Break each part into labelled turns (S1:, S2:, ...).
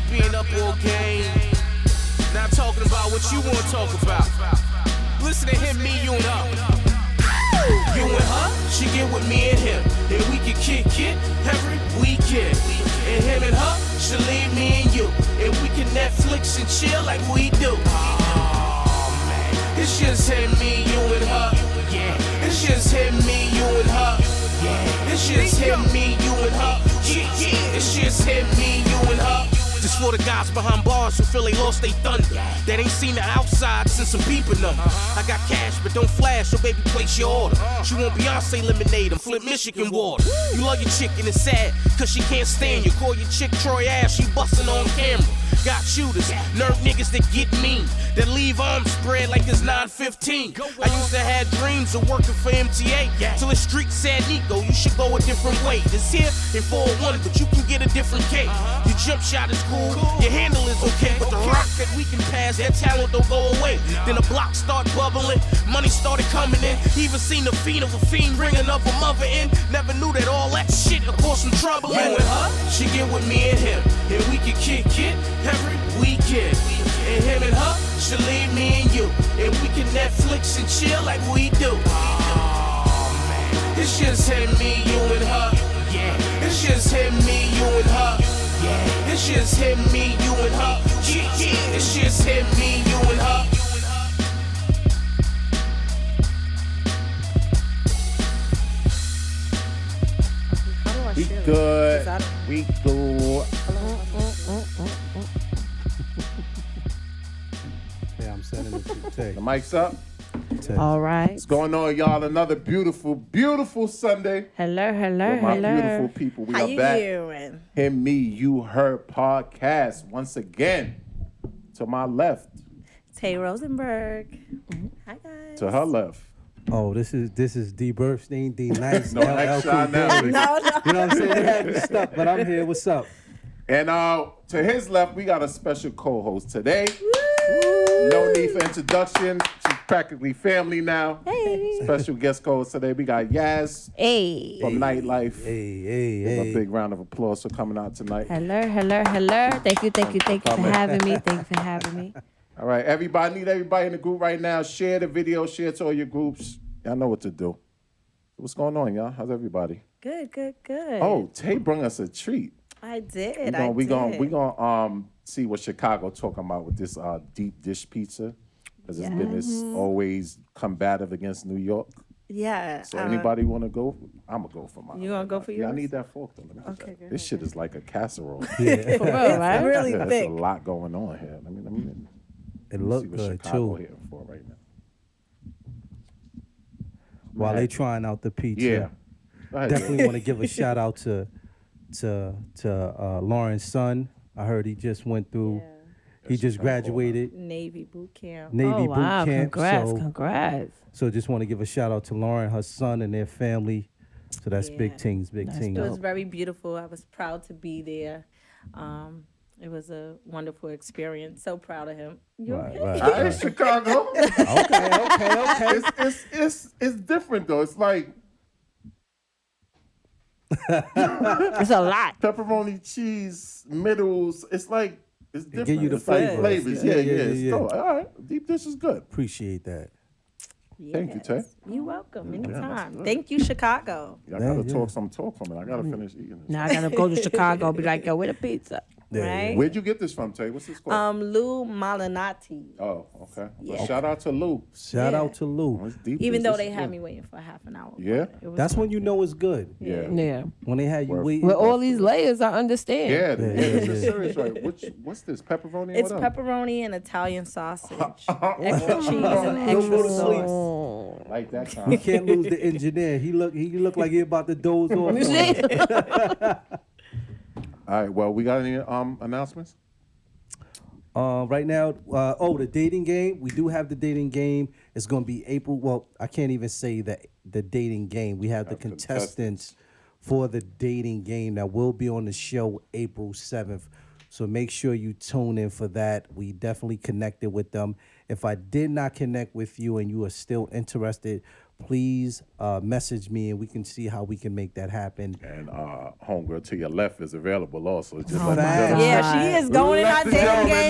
S1: football game. Now talking about what you want to talk about. Listen to him, me, you, and her. You and her, she get with me and him. And we can kick it every weekend. And him and her, she leave me and you. And we can Netflix and chill like we do. Oh, man. It's just him, me, you, and her. Yeah. It's just him, me, you, and her. Yeah. It's just him, me, you, and her. Yeah, yeah. It's just him, me, you, and her. Just for the guys behind bars who feel they lost they thunder. That ain't seen the outside since I'm peeping them. I got cash, but don't flash, so baby, place your order. She want Beyonce lemonade and Flint, Michigan water. You love your chick and it's sad, cause she can't stand you. Call your chick Troy Ash, she bustin' on camera. Got shooters, nerd niggas that get mean, that leave arms spread like it's 915. I used to have dreams of working for MTA, till the street said, Nico, you should go a different way. This here in 401, but you can get a different cake. Your jump shot is Uh-huh. cool, your handle is okay, but the rock that we can pass, that talent don't go away. Then the block start bubbling, money started coming in. Even seen the fiend of a fiend ringing up a mother in. Never knew that all that shit would cause some trouble. You and her, she get with me and him, and we can kick it every weekend. And him and her, she leave me and you, and we can Netflix and chill like we do. Oh, man. It's just him, me, you, and her. Yeah. It's just him, me, you, and her. Yeah. It's just him, me, you, and her. Yeah, yeah. It's just him, me, you, and her.
S2: How do I
S3: We
S2: share this? 'Cause I
S3: good.
S2: don't-
S3: We good.
S4: Yeah, I'm sending it to Tay.
S3: The mic's up.
S4: Tay.
S2: All right.
S3: What's going on, y'all? Another beautiful, beautiful Sunday.
S2: Hello, hello,
S3: with my beautiful
S2: hello.
S3: people. We
S2: How
S3: are
S2: you
S3: back.
S2: doing?
S3: Him, me, you, her podcast once again. To my left,
S2: Tay Rosenberg. Hi guys.
S3: to her left.
S4: Oh, this is this is D Burstein, D Nice,
S3: No
S4: LL
S3: extra
S4: Cool J.
S3: now.
S2: No, no.
S4: You know what I'm saying? They had me stuck, but I'm here. What's up?
S3: And uh, to his left, we got a special co-host today. No need for introduction. She's practically family now.
S2: Hey.
S3: Special guest co-host today. We got Yaz
S2: Hey.
S3: from Nightlife.
S4: Hey, hey,
S3: Give her A
S4: hey.
S3: big round of applause for coming out tonight.
S2: Hello, hello, hello. Thank you, thank you, thank you for
S3: Comment.
S2: having me. Thank you for having me.
S3: All right, everybody, I need everybody in the group right now. Share the video, share it to all your groups. Y'all know what to do. What's going on, y'all? How's everybody?
S2: Good, good, good.
S3: Oh, Tay brung us a treat.
S2: I did.
S3: We
S2: I
S3: gon' we
S2: did.
S3: gon' we gon' um see what Chicago talking about with this uh deep dish pizza because it's been this always combative against New York.
S2: Yeah.
S3: So
S2: uh,
S3: anybody want to go? I'ma go for mine.
S2: You gonna go for
S3: Yeah, I
S2: yours?
S3: need that fork. Though. Let me get
S2: Okay,
S3: that.
S2: go
S3: This shit is like a casserole.
S4: Yeah,
S2: For real, right?
S5: really
S3: Yeah, There's
S5: thick.
S3: a lot going on here. Let me let me, let me
S4: it
S3: see
S4: looked
S3: what
S4: good
S3: Chicago
S4: too.
S3: here for right now.
S4: While they trying out the pizza,
S3: Yeah. Go ahead, Jay.
S4: definitely want to give a shout out to to to uh, Lauren's son. I heard he just went through. He just graduated
S5: Navy boot camp.
S4: Navy
S2: oh, wow.
S4: boot camp.
S2: Congrats,
S4: so,
S2: congrats.
S4: so just want to give a shout out to Lauren, her son, and their family. So that's big
S5: Yeah.
S4: things, big things.
S5: It was very beautiful. I was proud to be there. Um, it was a wonderful experience. So proud of him. You
S4: Right,
S5: okay?
S4: right,
S3: All right,
S4: right.
S3: Chicago.
S4: okay, okay, okay.
S3: it's, it's it's it's different though. It's like
S2: It's a lot.
S3: pepperoni cheese middles. It's like it's different.
S4: give you the
S3: It's like
S4: flavors.
S3: flavors. Yeah, yeah, yeah. it's dope. All right, deep dish is good.
S4: Appreciate that.
S3: Thank you, Tay.
S5: You're welcome. Anytime. Thank you, Chicago.
S3: I gotta
S4: yeah.
S3: talk some talk from it. I gotta finish eating this.
S2: Now I gotta go to Chicago and be like, yo, with a pizza.
S5: Right?
S3: Where'd you get this from, Tay? What's this called?
S5: Um, Lou Malinati.
S3: oh, okay. Well, Shout out to Lou.
S4: Shout
S5: Yeah.
S4: out to Lou.
S3: It's deep
S5: Even
S3: dish.
S5: though
S3: This
S5: they
S3: is
S5: had
S3: good.
S5: me waiting for half an hour.
S3: Yeah.
S5: It was
S4: That's when you know it's good.
S3: Yeah. Yeah.
S2: Yeah.
S4: When they had you
S3: Word.
S4: waiting.
S2: With all these layers, I understand.
S3: Yeah, yeah,
S4: yeah,
S3: this is
S4: yeah.
S3: serious, right? Which, what's this? Pepperoni? and
S5: it's
S3: what
S5: pepperoni and Italian sausage.
S3: else?
S5: extra cheese and
S4: Don't
S5: extra
S4: go to sleep.
S5: sauce.
S3: like that kind.
S4: We can't lose the engineer. He look he look like he about to doze off.
S2: You see?
S3: All right. Well, we got any um announcements?
S4: Uh, right now, uh, oh, the dating game. We do have the dating game. It's going to be April. Well, I can't even say the the dating game. We have the contestants for the dating game that will be on the show April seventh. So make sure you tune in for that. We definitely connected with them. If I did not connect with you and you are still interested, please uh, message me and we can see how we can make that happen.
S3: And uh, homegirl to your left is available also. Just let the
S4: my
S3: gentleman-
S2: Yeah, she is going in
S3: Let
S2: our
S3: the
S2: dating
S3: gentleman
S2: game.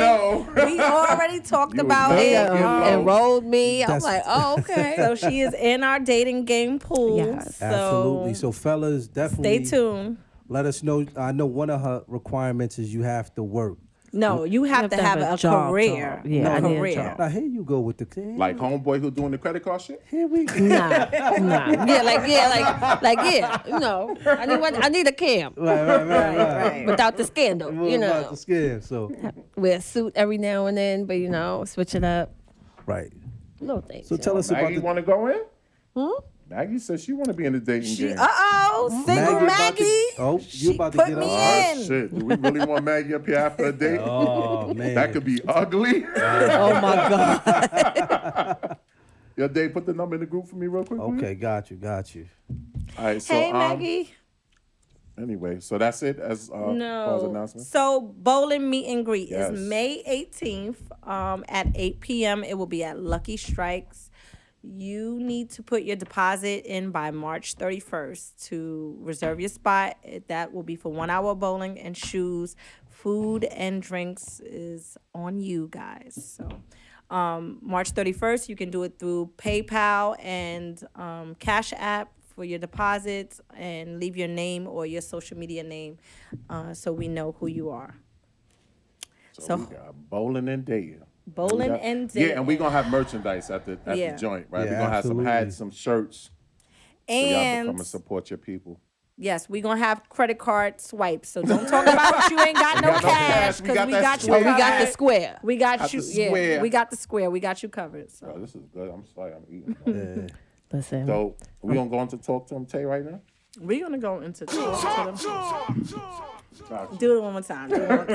S3: know.
S2: We already talked
S3: You was
S2: about
S3: not
S2: it.
S3: fucking
S2: Um,
S3: low.
S6: enrolled me. I'm
S4: That's-
S6: like, oh, okay.
S2: so she is in our dating game pool.
S6: Yes.
S2: So
S4: Absolutely. So, fellas, definitely
S2: stay tuned.
S4: Let us know. I know one of her requirements is you have to work.
S2: No, you have, to have, a,
S6: job,
S2: career.
S6: job. Yeah, I need a
S2: career.
S6: job.
S4: Now here you go with the
S3: Like homeboy who doing the credit card shit?
S4: Here we go.
S6: nah, nah. Yeah, like yeah, like like yeah. You know, I need one, I need a cam
S4: right, right, right, right.
S6: without the scandal.
S4: We're
S6: You
S4: about
S6: know,
S4: to scare, so
S6: wear a suit every now and then, but you know, switch it up.
S4: right.
S6: Little things.
S4: So
S6: you
S4: tell
S6: know.
S4: us about
S3: Maggie
S4: the
S3: want to go in? Maggie says she want to be in the dating game.
S2: Uh oh, single
S4: about
S2: Maggie.
S4: to- oh, you
S2: She
S4: about to
S2: put
S4: get
S2: me
S4: us-
S3: Ah,
S2: in.
S3: shit. Do we really want Maggie up here after a date?
S4: Oh man,
S3: That could be ugly.
S6: Oh my God.
S3: Yo, Dave, put the number in the group for me real quick. will you?
S4: okay. Got you, got you.
S3: All right. So,
S2: Hey,
S3: um,
S2: Maggie.
S3: Anyway, so that's it as uh, Paul's
S2: No.
S3: announcement.
S2: So bowling meet and greet
S3: Yes.
S2: is May 18th um, at 8 p.m. It will be at Lucky Strikes. You need to put your deposit in by March 31st to reserve your spot. It- That will be for one hour bowling and shoes. Food and drinks is on you guys. So um, March 31st, you can do it through PayPal and um, Cash App for your deposits and leave your name or your social media name uh, so we know who you are.
S3: So,
S2: so-
S3: we got bowling and dating.
S2: Bowling
S3: We got-
S2: and
S3: Yeah,
S2: dating.
S3: and we're going to have merchandise at the, at
S2: Yeah.
S3: the joint, right?
S4: Yeah,
S3: we're going to have some
S4: absolutely.
S3: hats, some shirts. So y'all can come
S2: And
S3: and support your people.
S2: yes, we're going to have credit card swipes. So don't talk about you ain't got no
S3: got no cash.
S2: cash
S3: We
S2: because
S3: got
S2: we,
S3: that
S2: got you
S6: But
S2: covered.
S6: we got the square.
S2: We
S3: Got
S2: got
S3: the
S2: you. Yeah,
S3: square.
S2: we got the square. We got you covered. So
S3: Oh, this is good. I'm sorry. I'm eating.
S6: Listen.
S3: so we going to go on to Talk to him Tay right now?
S2: we're going to go into talk to them.
S3: Gotcha.
S2: Do it one more time. Do it one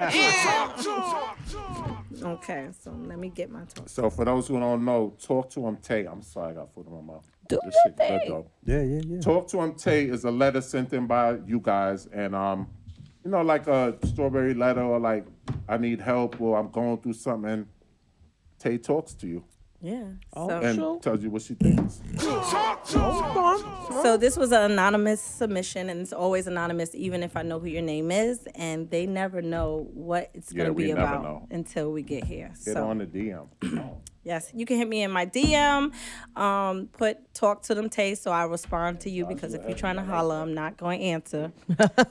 S2: more time. okay, so let me get my talk.
S3: So for those who don't know, Talk to him Tay. I'm sorry, I got food in my mouth.
S6: Do
S3: this
S6: your
S3: shit good
S6: thing.
S3: though.
S4: Yeah, yeah, yeah.
S3: Talk to him Tay is a letter sent in by you guys, and um, you know, like a strawberry letter or like I need help or I'm going through something. And Tay talks to you
S2: Yeah.
S3: Oh, and
S2: So,
S3: tells you what she thinks.
S2: so this was an anonymous submission, and it's always anonymous, even if I know who your name is, and they never know what it's
S3: Yeah,
S2: going to
S3: we
S2: be
S3: never
S2: about
S3: know.
S2: until we get here.
S3: Get
S2: so
S3: on the DM.
S2: yes, you can hit me in my DM. Um, put talk to them, Tay, so I respond to you because if you're trying to holler, I'm not going to answer.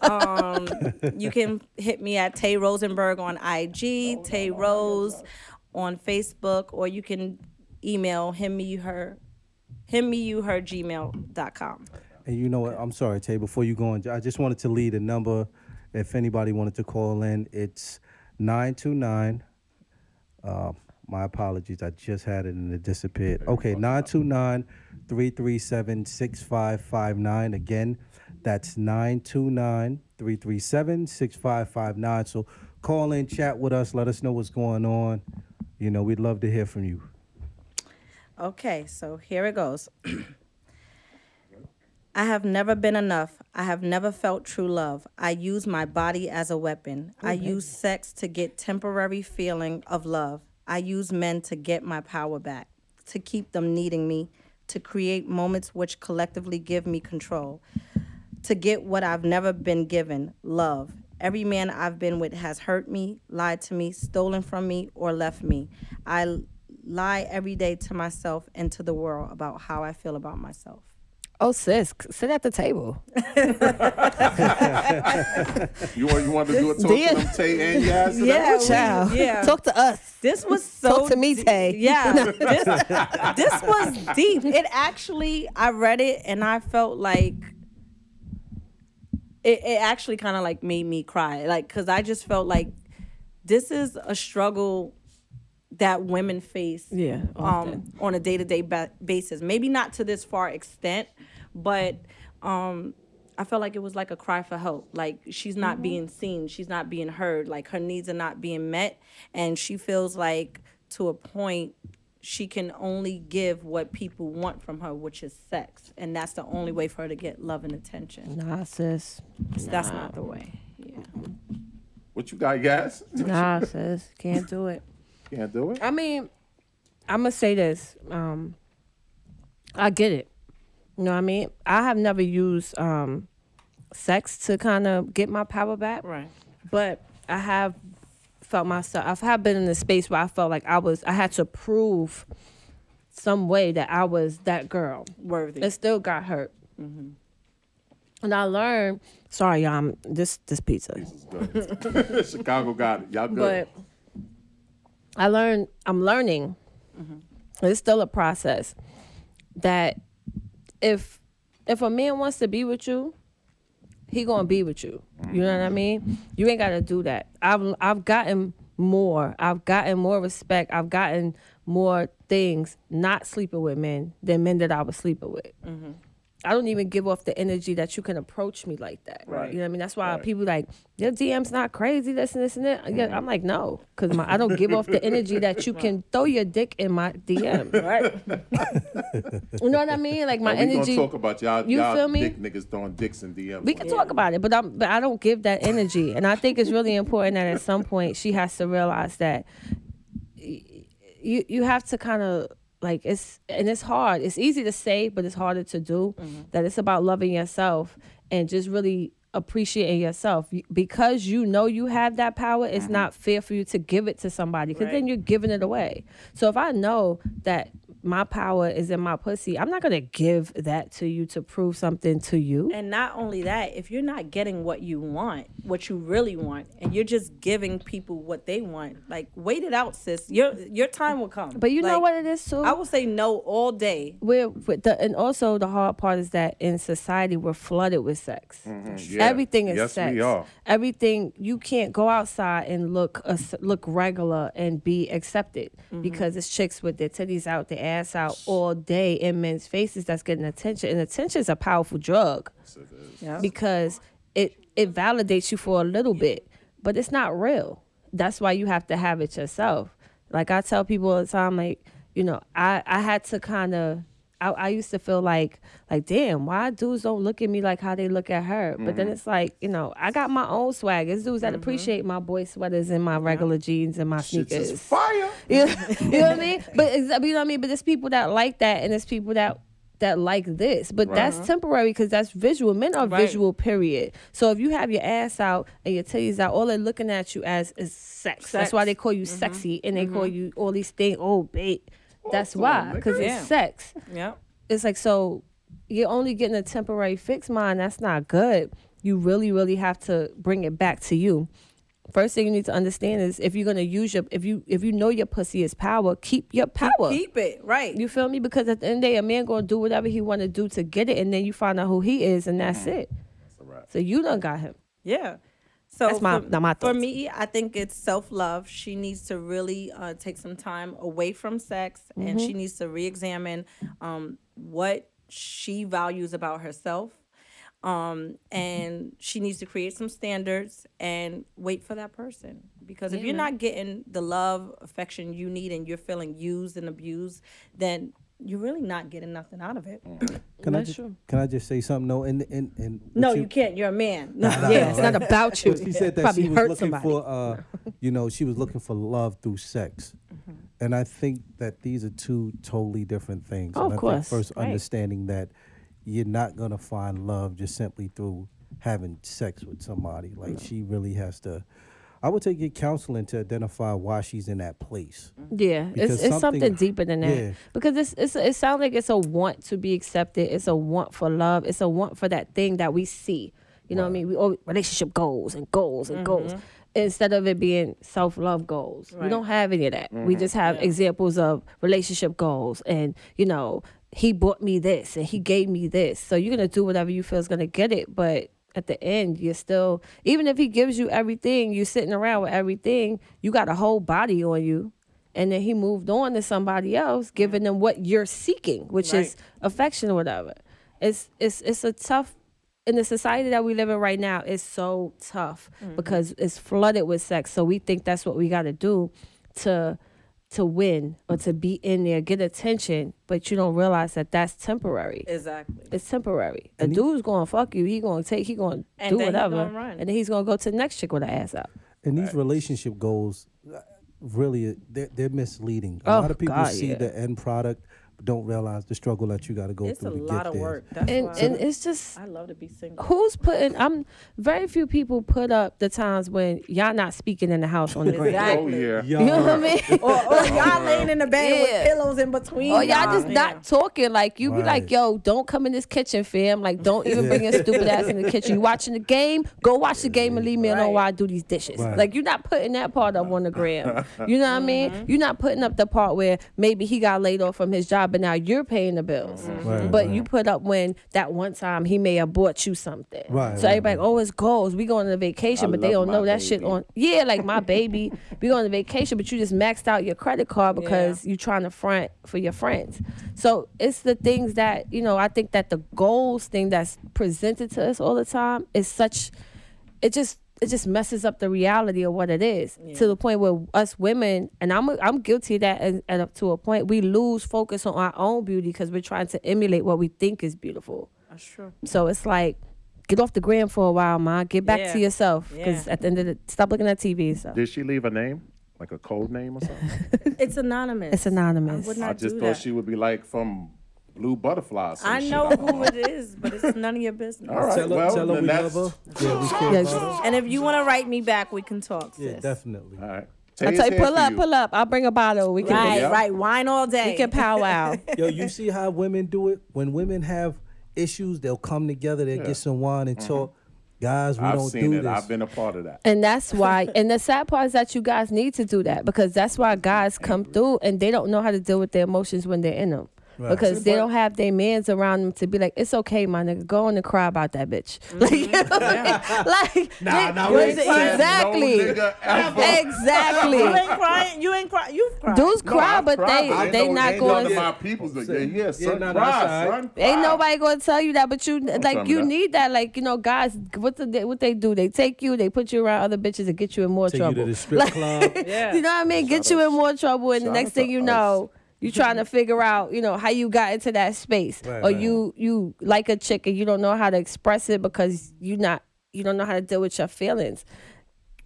S2: um, you can hit me at Tay Rosenberg on IG, Tay Rose on Facebook, or you can email him me her him me you her gmail.com.
S4: And you know what? I'm sorry, Tay. Before you go on, I just wanted to lead a number. If anybody wanted to call in, it's nine two nine. Um, My apologies. I just had it and it disappeared. Okay, 929 337 6559. Again, that's 929 337 6559. So call in, chat with us, let us know what's going on. You know, we'd love to hear from you.
S2: Okay, so here it goes. I have never been enough. I have never felt true love. I use my body as a weapon. I use sex to get temporary feeling of love. I use men to get my power back, to keep them needing me, to create moments which collectively give me control to get what I've never been given love. Every man I've been with has hurt me, lied to me, stolen from me, or left me. I l- lie every day to myself and to the world about how I feel about myself.
S6: Oh, sis, c- sit at the table.
S3: You want you want to do a Talk to
S6: Damn.
S3: him Tay and yes?
S2: Yeah,
S6: Child. Talk to us.
S2: This was so
S6: Talk to me,
S2: deep.
S6: Tay.
S2: Yeah, this, this was deep. It actually, I read it and I felt like it, it actually kind of like made me cry. Like, cause I just felt like this is a struggle that women face
S6: Yeah,
S2: um, on a day to day basis. Maybe not to this far extent, but um, I felt like it was like a cry for help. Like she's not being seen, she's not being heard, like her needs are not being met. And she feels like to a point, she can only give what people want from her, which is sex. And that's the only way for her to get love and attention.
S6: Nah, sis.
S2: That's not the way. Yeah.
S3: What you got, yes?
S6: Nah, sis. Can't do it.
S3: Can't do it.
S6: I mean, I'm gonna say this. Um,
S2: I get it.
S6: You know what I mean? I have never used um, sex to kind of get my power back.
S5: Right.
S6: But I have felt myself. I've have been in a space where I felt like I was. I had to prove some way that I was that girl.
S5: Worthy.
S6: It still got hurt. And I learned. Sorry, y'all. I'm- this this pizza.
S3: Chicago got it. Y'all good.
S6: but I learned I'm learning. It's still a process that if if a man wants to be with you, he gonna be with you. You know what I mean? You ain't gotta do that. I've I've gotten more. I've gotten more respect. I've gotten more things not sleeping with men than men that I was sleeping with. I don't even give off the energy that you can approach me like that. Right. Mm-hmm. You know what I mean? That's why people like your DM's not crazy. This and this and that. Yeah, I'm like no, because my I don't give off the energy that you can throw your dick in my DM. Right. you know what I mean? Like my
S3: Now, we
S6: energy.
S3: gonna talk about y'all.
S6: You
S3: y'all
S6: feel me?
S3: Dick niggas throwing dicks in DMs.
S6: We can talk about it, but I'm but I don't give that energy, and I think it's really important that at some point she has to realize that you you have to kind of like it's and it's hard. It's easy to say, but it's harder to do. That it's about loving yourself and just really appreciating yourself You- because you know you have that power. It's not fair for you to give it to somebody because then you're giving it away. So if I know that my power is in my pussy, I'm not gonna give that to you to prove something to you.
S5: And not only that, if you're not getting what you want, what you really want, and you're just giving people what they want, like wait it out, sis. Your your time will come.
S6: But you know
S5: Like,
S6: what it is too.
S5: I will say no all day.
S6: we're with the, and also the hard part is that in society we're flooded with sex.
S3: Mm-hmm. yeah.
S6: Everything is
S3: Yes, we
S6: sex.
S3: are.
S6: Everything you can't go outside and look a s look regular and be accepted because it's chicks with their titties out, their ass out all day in men's faces that's getting attention. And attention is a powerful drug because it it validates you for a little bit, but it's not real. That's why you have to have it yourself. Like I tell people all the time, like you know, I I had to kind of. I, I used to feel like like damn why dudes don't look at me like how they look at her but then it's like you know I got my own swag it's dudes that appreciate my boy sweaters and my regular jeans and my
S3: Shit's
S6: sneakers
S3: is fire.
S6: you know, you know what I mean? But it's- you know what I mean. But there's people that like that, and there's people that that like this. But that's temporary because that's visual. Men are visual. Period. So if you have your ass out and your titties out, all they're looking at you as is sex. That's why they call you sexy, and they call you all these things. Oh, babe. That's why, because
S5: Yeah.
S6: it's sex.
S5: Yeah.
S6: It's like so you're only getting a temporary fix, mine. That's not good. You really, really have to bring it back to you. First thing you need to understand is if you're gonna use your if you if you know your pussy is power, keep your power.
S5: Keep it. Right.
S6: You feel me? Because at the end of the day, a man gonna do whatever he wanna do to get it, and then you find out who he is, and
S4: Mm-hmm.
S6: that's it. So you done got him.
S5: Yeah. So
S6: That's my-
S5: for,
S6: not my
S5: for
S6: thoughts.
S5: me, I think it's self love. She needs to really uh, take some time away from sex, and
S6: Mm-hmm.
S5: she needs to re-examine um, what she values about herself. Um, and she needs to create some standards and wait for that person. Because if you're not getting the love, affection you need, and you're feeling used and abused, then you're really not getting nothing out of it.
S4: Can I, just, can I just say something? No, and and and what
S5: No, you, can't. You're a man. No,
S6: Yeah, it's not about you.
S4: She said that
S6: Probably
S4: she was
S6: hurt
S4: looking
S6: somebody. Mm-hmm.
S4: for, uh, you know, she was looking for love through sex, and I think that these are two totally different things.
S6: Oh,
S4: and
S6: of
S4: I think
S6: course.
S4: first,
S6: Right.
S4: understanding that you're not gonna find love just simply through having sex with somebody. Like she really has to. I would take your counseling to identify why she's in that place.
S6: Yeah, it's,
S4: Because
S6: it's something,
S4: something-
S6: deeper than that.
S4: yeah.
S6: Because it's, it's it sounds like it's a want to be accepted. It's a want for love. It's a want for that thing that we see. You know what I mean? We all relationship goals and goals and goals instead of it being self love goals. We don't have any of that. We
S4: Mm-hmm.
S6: just have examples of relationship goals and you know he bought me this and he gave me this. So you're gonna do whatever you feel is gonna get it, but at the end, you're still even if he gives you everything, you're sitting around with everything. You got a whole body on you, and then he moved on to somebody else, giving them what you're seeking, which is affection or whatever. It's it's it's a tough in the society that we live in right now. It's so tough
S5: Mm-hmm.
S6: because it's flooded with sex. So we think that's what we got to do to to win or to be in there, get attention. But you don't realize that that's temporary.
S5: exactly.
S6: It's temporary. A dude's gonna fuck you. He gonna take. He gonna
S5: And
S6: do
S5: then he
S6: whatever.
S5: gonna run.
S6: And then he's gonna go to the next chick with her ass out.
S4: And these relationship goals, uh, really, uh, they're, they're misleading. A
S6: Oh,
S4: lot of people
S6: God,
S4: see
S6: yeah.
S4: the end product, don't realize the struggle that you got to go
S2: It's a
S4: through to
S2: lot
S4: get
S2: of
S4: there.
S2: work. That's
S6: and
S2: why
S6: and it's just
S2: I love to be single.
S6: who's putting i'm very few people put up the times when y'all not speaking in the house on this
S3: Oh
S2: Exactly.
S3: yeah.
S6: you know what i mean
S2: Or, or y'all laying in the bed
S6: Yeah.
S2: with pillows in between.
S6: Or Oh, y'all just
S2: Yeah.
S6: not talking. Like you be
S4: Right.
S6: like, yo, don't come in this kitchen, fam. Like don't even bring your stupid ass in the kitchen. You watching the game? Go watch the game and leave me alone
S2: Right.
S6: while I do these dishes.
S4: Right.
S6: Like you're not putting that part up on the gram. You know what I mean?
S3: Mm-hmm.
S6: You're not putting up the part where maybe he got laid off from his job, but now you're paying the bills.
S3: Mm-hmm.
S4: Right,
S6: But
S4: right.
S6: you put up when that one time he may have bought you something.
S4: Right,
S6: So
S4: right,
S6: everybody, like, oh, it's goals. We going on a vacation,
S3: I
S6: but they
S3: love
S6: don't know
S3: my
S6: that shit
S3: baby.
S6: on. Yeah, like my baby, we going on a vacation, but you just maxed out your credit card because you trying to front for your friends. So it's the things that you know. I think that the goals thing that's presented to us all the time is such. It just it just messes up the reality of what it is to the point where us women and I'm I'm guilty of that and, and up to a point we lose focus on our own beauty because we're trying to emulate what we think is beautiful.
S2: That's true.
S6: So it's like, get off the gram for a while, ma. Get back
S2: Yeah.
S6: to yourself. Because
S2: Yeah.
S6: at the end of the, stop looking at TV and stuff.
S3: Did she leave a name? Like a code name or something?
S2: It's anonymous.
S6: It's anonymous.
S2: I would
S3: I
S2: not
S3: just
S2: do
S3: thought
S2: that.
S3: she would be like from Blue Butterfly. or some
S2: I
S3: shit.
S2: know
S3: don't
S2: who it is, but it's none of your business.
S3: All right.
S4: Tell her,
S3: well,
S4: tell her
S3: then
S4: we
S3: that's-
S4: love her. Yeah, we care
S6: Yeah,
S4: about her.
S2: And if you want to write me back, we can talk. Sis.
S4: Yeah, definitely.
S3: All right.
S6: I
S3: Tay's
S6: tell you,
S3: here
S6: pull
S3: for
S6: up,
S3: you.
S6: pull up. I'll bring a bottle. We can
S2: Right,
S3: Yeah.
S2: right. Wine all day.
S6: we can powwow.
S4: Yo, you see how women do it? When women have issues, they'll come together, they'll get some wine and talk. Guys, we
S3: Mm-hmm. I've
S4: don't
S3: seen
S4: do
S3: it.
S4: this.
S3: I've been a part of that.
S6: And that's why, and the sad part is that you guys need to do that because that's why guys come through and they don't know how to deal with their emotions when they're in them. Because they don't have their mans around them to be like, it's okay, my nigga, go on and cry about that bitch. Like, you know what
S2: Mm-hmm.
S6: I mean? like,
S4: Nah, nah,
S6: they-
S4: we ain't crying.
S6: exactly,
S3: No nigga ever.
S6: exactly.
S2: You ain't crying. You ain't crying. You've cried.
S6: Dudes
S3: No,
S6: cry,
S3: I've
S6: but
S3: cried,
S6: they
S3: but
S6: they
S3: know-
S6: not
S3: ain't
S6: going.
S3: None of my people's like, yeah, yeah, son,
S4: nah, nah,
S3: cry,
S4: sorry.
S3: son, cry.
S6: Ain't nobody gonna tell you that, but you like
S3: tell me
S6: you
S3: that.
S6: need that. Like you know, guys, what the, they what they do? They take you, they put you around other bitches and get you in more
S4: Take you to
S6: trouble.
S4: the strip
S6: Like,
S4: club.
S2: Yeah.
S6: you know what I mean? Get you in more trouble, and the
S3: shout
S6: next
S3: out
S6: thing
S3: to
S6: you
S3: us.
S6: know, you trying to figure out, you know, how you got into that space,
S4: Right,
S6: or
S4: right.
S6: you you like a chick and you don't know how to express it because you not you don't know how to deal with your feelings.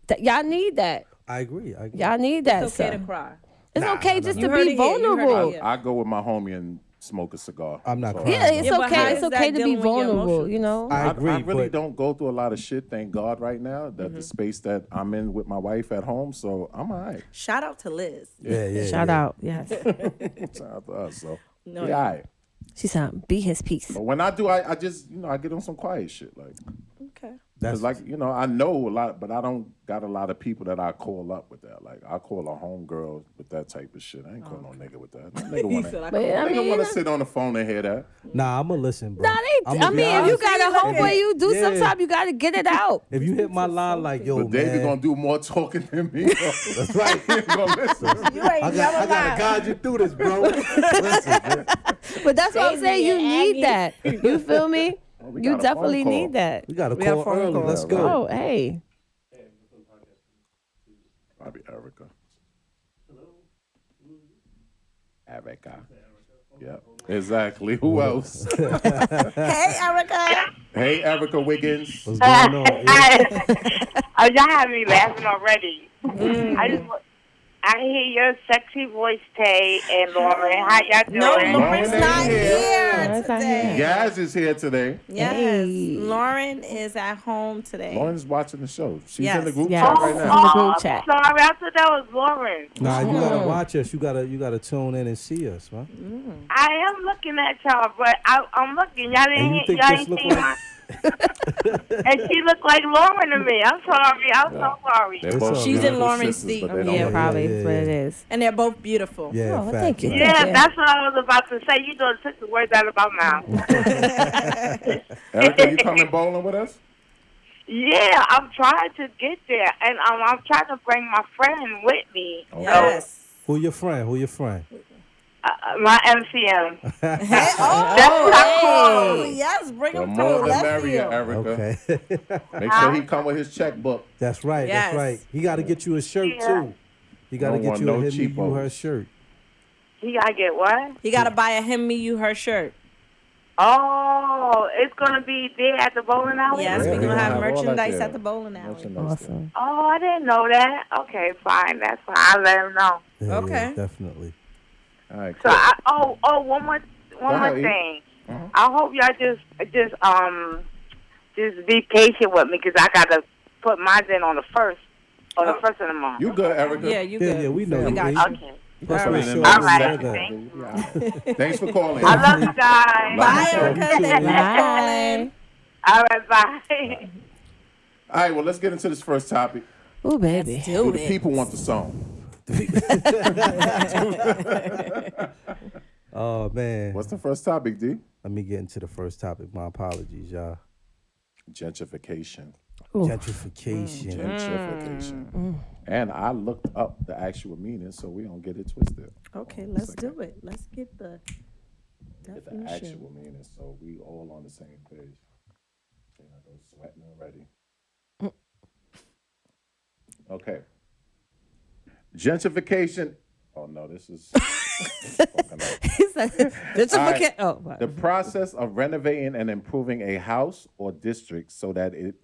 S6: That y'all need that.
S4: I agree. I agree.
S6: Y'all need that.
S2: It's okay
S6: son.
S2: to cry.
S6: It's okay just
S2: You
S6: to
S2: heard it
S6: be
S2: here, you heard it
S6: vulnerable.
S2: here.
S3: I go with my homie and smoke a cigar.
S4: I'm not
S3: So,
S4: crying.
S6: Yeah, it's
S2: Yeah, but how
S6: okay. It's
S2: is that
S6: okay to
S2: dealing
S6: be
S2: with your
S6: vulnerable.
S2: emotions?
S6: You know.
S4: I agree.
S3: I really
S4: but
S3: don't go through a lot of shit, thank God, right now. That the space that I'm in with my wife at home, so I'm all right.
S2: Shout out to Liz.
S4: Yeah, yeah.
S6: Shout
S4: yeah.
S6: out, yes.
S3: Shout out to us. So
S2: No.
S3: yeah, all right.
S6: She said, "Be his peace."
S3: But when I do, I, I just you know I get on some quiet shit like.
S2: Okay.
S4: That's
S3: Cause like you know, I know a lot, but I don't got a lot of people that I call up with that. Like I call a homegirl with that type of shit. I ain't call no nigga with that. No nigga
S2: He
S3: want
S2: said, I
S3: to.
S2: called
S6: I
S3: Nigga
S6: mean,
S3: want to sit on the phone and hear that.
S4: Nah, I'm gonna listen, bro.
S6: nah, they,
S4: I'ma
S6: I
S4: be
S6: mean, if you
S4: honest.
S6: got a homeboy, you do
S4: Yeah.
S6: sometime. You gotta get it out.
S4: If you hit my line like yo,
S3: But David
S4: Oh, man,
S3: gonna do more talking than me. That's right. he ain't gonna listen.
S2: You ain't
S4: I, got, I
S2: never
S4: gotta
S2: lied.
S4: guide you through this, bro. Listen, man.
S6: But that's what I'm
S2: Save
S6: saying.
S2: me
S6: You
S2: and
S6: need that.
S2: add
S6: You feel me?
S3: we
S6: you
S3: got a phone
S6: definitely
S3: call.
S6: need that.
S4: we gotta
S2: We got
S4: call
S2: phone
S4: early.
S2: calls.
S4: Let's go.
S6: Oh, hey.
S3: Bobby Erica. Hello. Mm-hmm. Erica. Yep. Exactly. Who else?
S2: Hey, Erica.
S3: hey, Erica Wiggins.
S4: What's going on? Yeah.
S5: oh, y'all have me laughing already. I just wa- I hear your sexy voice, Tay and Lauren. How y'all doing?
S2: No, Lauren's
S3: Lauren's
S2: not
S3: here.
S2: here
S6: Lauren's not
S2: today.
S3: Yaz is here today.
S2: Yes.
S6: Hey.
S2: Lauren is at home today.
S3: Lauren's watching the show. She's in
S2: Yes,
S3: the group
S6: yes.
S3: chat
S5: oh,
S3: right
S5: oh,
S3: now.
S6: the group
S5: I'm
S6: chat.
S5: sorry. I thought that was Lauren.
S4: Nah, you gotta watch us. You gotta you gotta tune in and see us, man.
S5: I am looking at y'all, but I, I'm looking. Y'all
S4: And you
S5: didn't. hear-
S4: think
S5: y'all
S4: this
S5: ain't
S4: look
S5: seen my.
S4: like
S5: And she looked like Lauren to me. I'm sorry. I'm so sorry.
S3: They're
S4: It's
S3: both
S4: all good.
S2: She's in
S3: beautiful
S2: Lauren's
S3: sisters,
S2: seat.
S3: but they don't
S6: Yeah,
S3: look
S6: probably.
S4: yeah,
S6: That's what it is.
S2: And they're both beautiful.
S4: Yeah,
S6: Oh, well,
S4: fact,
S6: thank you.
S4: fact.
S5: Yeah,
S6: Yeah.
S5: that's what I was about to say. You done took the words out of my mouth.
S3: Erica, you coming bowling with us?
S5: yeah, I'm trying to get there, and um, I'm trying to bring my friend with me.
S2: Yes.
S4: Who your friend? Who your friend?
S5: Uh, my MCM.
S2: Hey, oh,
S5: That's what I call
S2: oh,
S5: him.
S2: yes. Bring
S3: The
S2: them
S3: more
S2: to
S3: the
S2: left
S3: merrier,
S2: field.
S3: Erica.
S4: Okay,
S3: Make sure he come with his checkbook.
S4: that's right.
S2: Yes.
S4: That's right. You gotta get you a shirt
S5: Yeah.
S4: too. You gotta
S3: Don't
S4: get
S3: want
S4: you
S3: no
S4: a him, you
S3: cheapos.
S4: her shirt.
S5: You gotta get what?
S2: You got to buy a him, me, you, her shirt.
S5: Oh, it's gonna be there at the bowling alley.
S2: Yes,
S3: Yeah,
S2: we're
S3: we
S2: going to
S3: gonna
S2: have
S3: have all that
S2: merchandise
S3: there.
S2: at the bowling alley.
S6: Awesome.
S5: Oh, I didn't know that. Okay, fine. That's fine. I'll let him know.
S4: Yeah, yeah,
S2: Okay.
S4: definitely.
S3: All right,
S5: So
S3: cool. Uh-huh.
S5: I oh oh one more one
S3: Go
S5: more
S3: ahead, Eve.
S5: thing. I hope y'all just just um just be patient with me because I gotta put mine in on the first on the first of the month.
S3: Oh. You good, Erica?
S7: Yeah, you
S4: Yeah,
S7: good.
S4: yeah, we know.
S7: We
S4: you,
S7: got
S4: Eve.
S7: you.
S5: okay.
S4: Plus,
S7: All
S4: we're
S7: right.
S4: sure
S5: All
S4: we
S5: right.
S4: know that.
S5: Thank
S3: Yeah. Thanks for calling.
S5: I love you guys.
S3: Bye,
S2: Erica. Thank you for calling.
S5: All right, bye.
S3: All right, well, let's get into this first topic.
S6: Oh, baby.
S7: Do
S3: Do the
S7: it.
S3: people want the song?
S4: Oh man.
S3: What's the first topic, D?
S4: Let me get into the first topic. My apologies, y'all.
S3: Gentrification.
S4: Gentrification.
S7: Mm,
S3: Mm. Gentrification.
S2: Mm.
S3: And I looked up the actual meaning so we don't get it twisted.
S2: Okay, let's do it. Let's get the
S3: Get the actual meaning so we all on the same page. Think I go sweating already.
S2: Mm.
S3: Okay. Gentrification. Oh no, this is fucking up.
S6: It's like- Just a
S3: All right.
S6: forget- Oh, wow.
S3: The process of renovating and improving a house or district so that it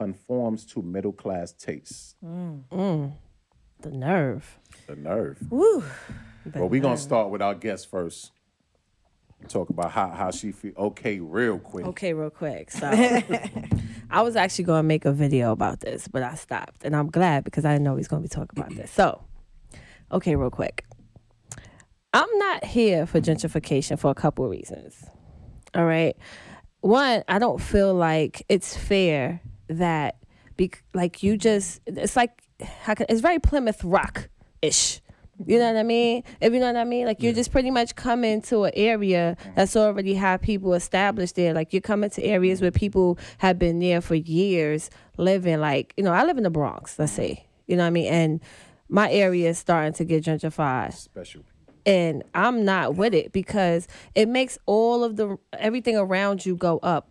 S3: conforms to middle class tastes.
S6: the nerve.
S3: The nerve.
S6: Woo.
S3: Well, we're gonna start with our guest first. Talk about how, how she feel okay real quick.
S6: Okay, real quick. So I was actually going to make a video about this, but I stopped. And I'm glad because I didn't know he's going to be talking about this. So, okay, real quick. I'm not here for gentrification for a couple of reasons. All right. One, I don't feel like it's fair that, bec- like, you just, it's like, how can, it's very Plymouth Rock ish. You know what I mean? If you know what I mean, like you're just pretty much coming to an area that's already have people established there. Like you're coming to areas where people have been there for years living. Like you know, I live in the Bronx. Let's say you know what I mean, and my area is starting to get gentrified
S3: Special.
S6: and I'm not with it because it makes all of the everything around you go up.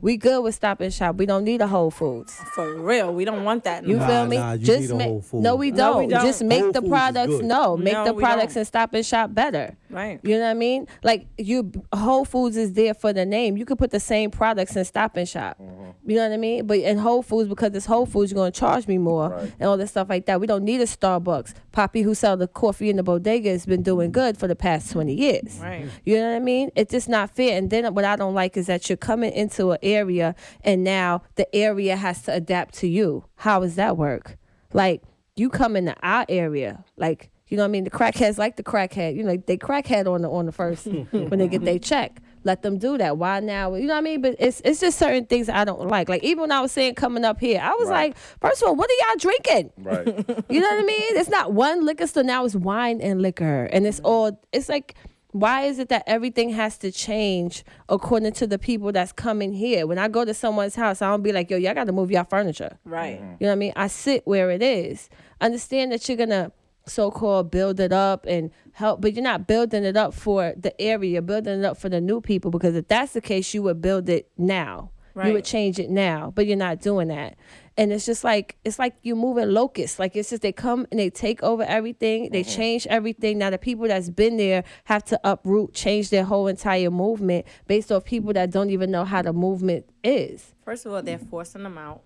S6: We good with Stop and Shop. We don't need a Whole Foods.
S7: For real, we don't want that.
S6: You
S7: no more.
S6: feel
S4: Nah,
S6: me?
S4: nah, you need a
S6: ma-
S4: Whole Foods.
S6: no, we don't.
S7: we don't.
S6: Just make
S4: Whole
S6: the
S4: Foods is
S6: products.
S4: good.
S6: No, make
S7: No,
S6: the
S7: we
S6: products
S7: don't.
S6: and Stop and Shop better.
S7: Right.
S6: You know what I mean? Like you, Whole Foods is there for the name. You could put the same products in Stop and Shop.
S4: Mm-hmm.
S6: You know what I mean? But in Whole Foods, because it's Whole Foods, you're gonna charge me more and all this stuff like that. We don't need a Starbucks. Poppy, who sell the coffee in the bodega, has been doing good for the past twenty years.
S7: Right.
S6: You know what I mean? It's just not fair. And then what I don't like is that you're coming into an area and now the area has to adapt to you. How does that work? Like you come into our area, like you know what I mean. The crackheads like the crackhead. You know they crackhead on the on the first when they get their check. Let them do that. Why now? You know what I mean? But it's it's just certain things I don't like. Like even when I was saying coming up here, I was
S3: Right.
S6: like, first of all, what are y'all drinking?
S3: Right.
S6: You know what I mean? It's not one liquor store now. It's wine and liquor, and it's all. It's like, why is it that everything has to change according to the people that's coming here? When I go to someone's house, I don't be like, yo, y'all got to move y'all furniture.
S7: Right.
S6: You know what I mean? I sit where it is. Understand that you're gonna so-called build it up and help, but you're not building it up for the area. You're building it up for the new people because if that's the case, you would build it now. You would
S7: Right.
S6: change it now, but you're not doing that. And it's just like it's like you're moving locusts. Like it's just they come and they take over everything. They change everything. Now the people that's been there have to uproot, change their whole entire movement based off people that don't even know how the movement is.
S2: First of all, they're forcing them out.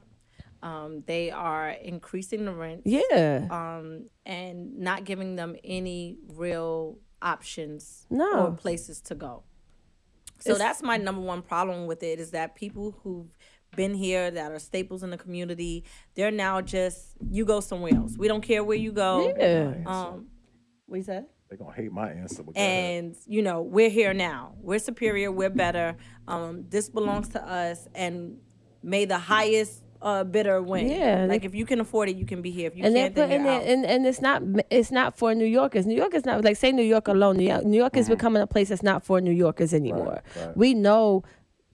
S2: Um, they are increasing the rent
S6: Yeah.
S2: um, and not giving them any real options
S6: No.
S2: or places to go. So that's my number one problem with it is that people who've been here that are staples in the community, they're now just you go somewhere else. We don't care where you go.
S6: yeah.
S2: Um, what you said?
S3: They're gonna hate my answer. But go ahead.
S2: and you know we're here now we're superior we're better um, this belongs to us and may the highest uh, bidder win
S6: Yeah,
S2: like if you can afford it you can be here if you
S6: and they're
S2: can't
S6: putting
S2: then you're out.
S6: it, and, and it's not it's not for New Yorkers. New Yorkers not like say New York alone. New York, New York is becoming a place that's not for New Yorkers anymore. We know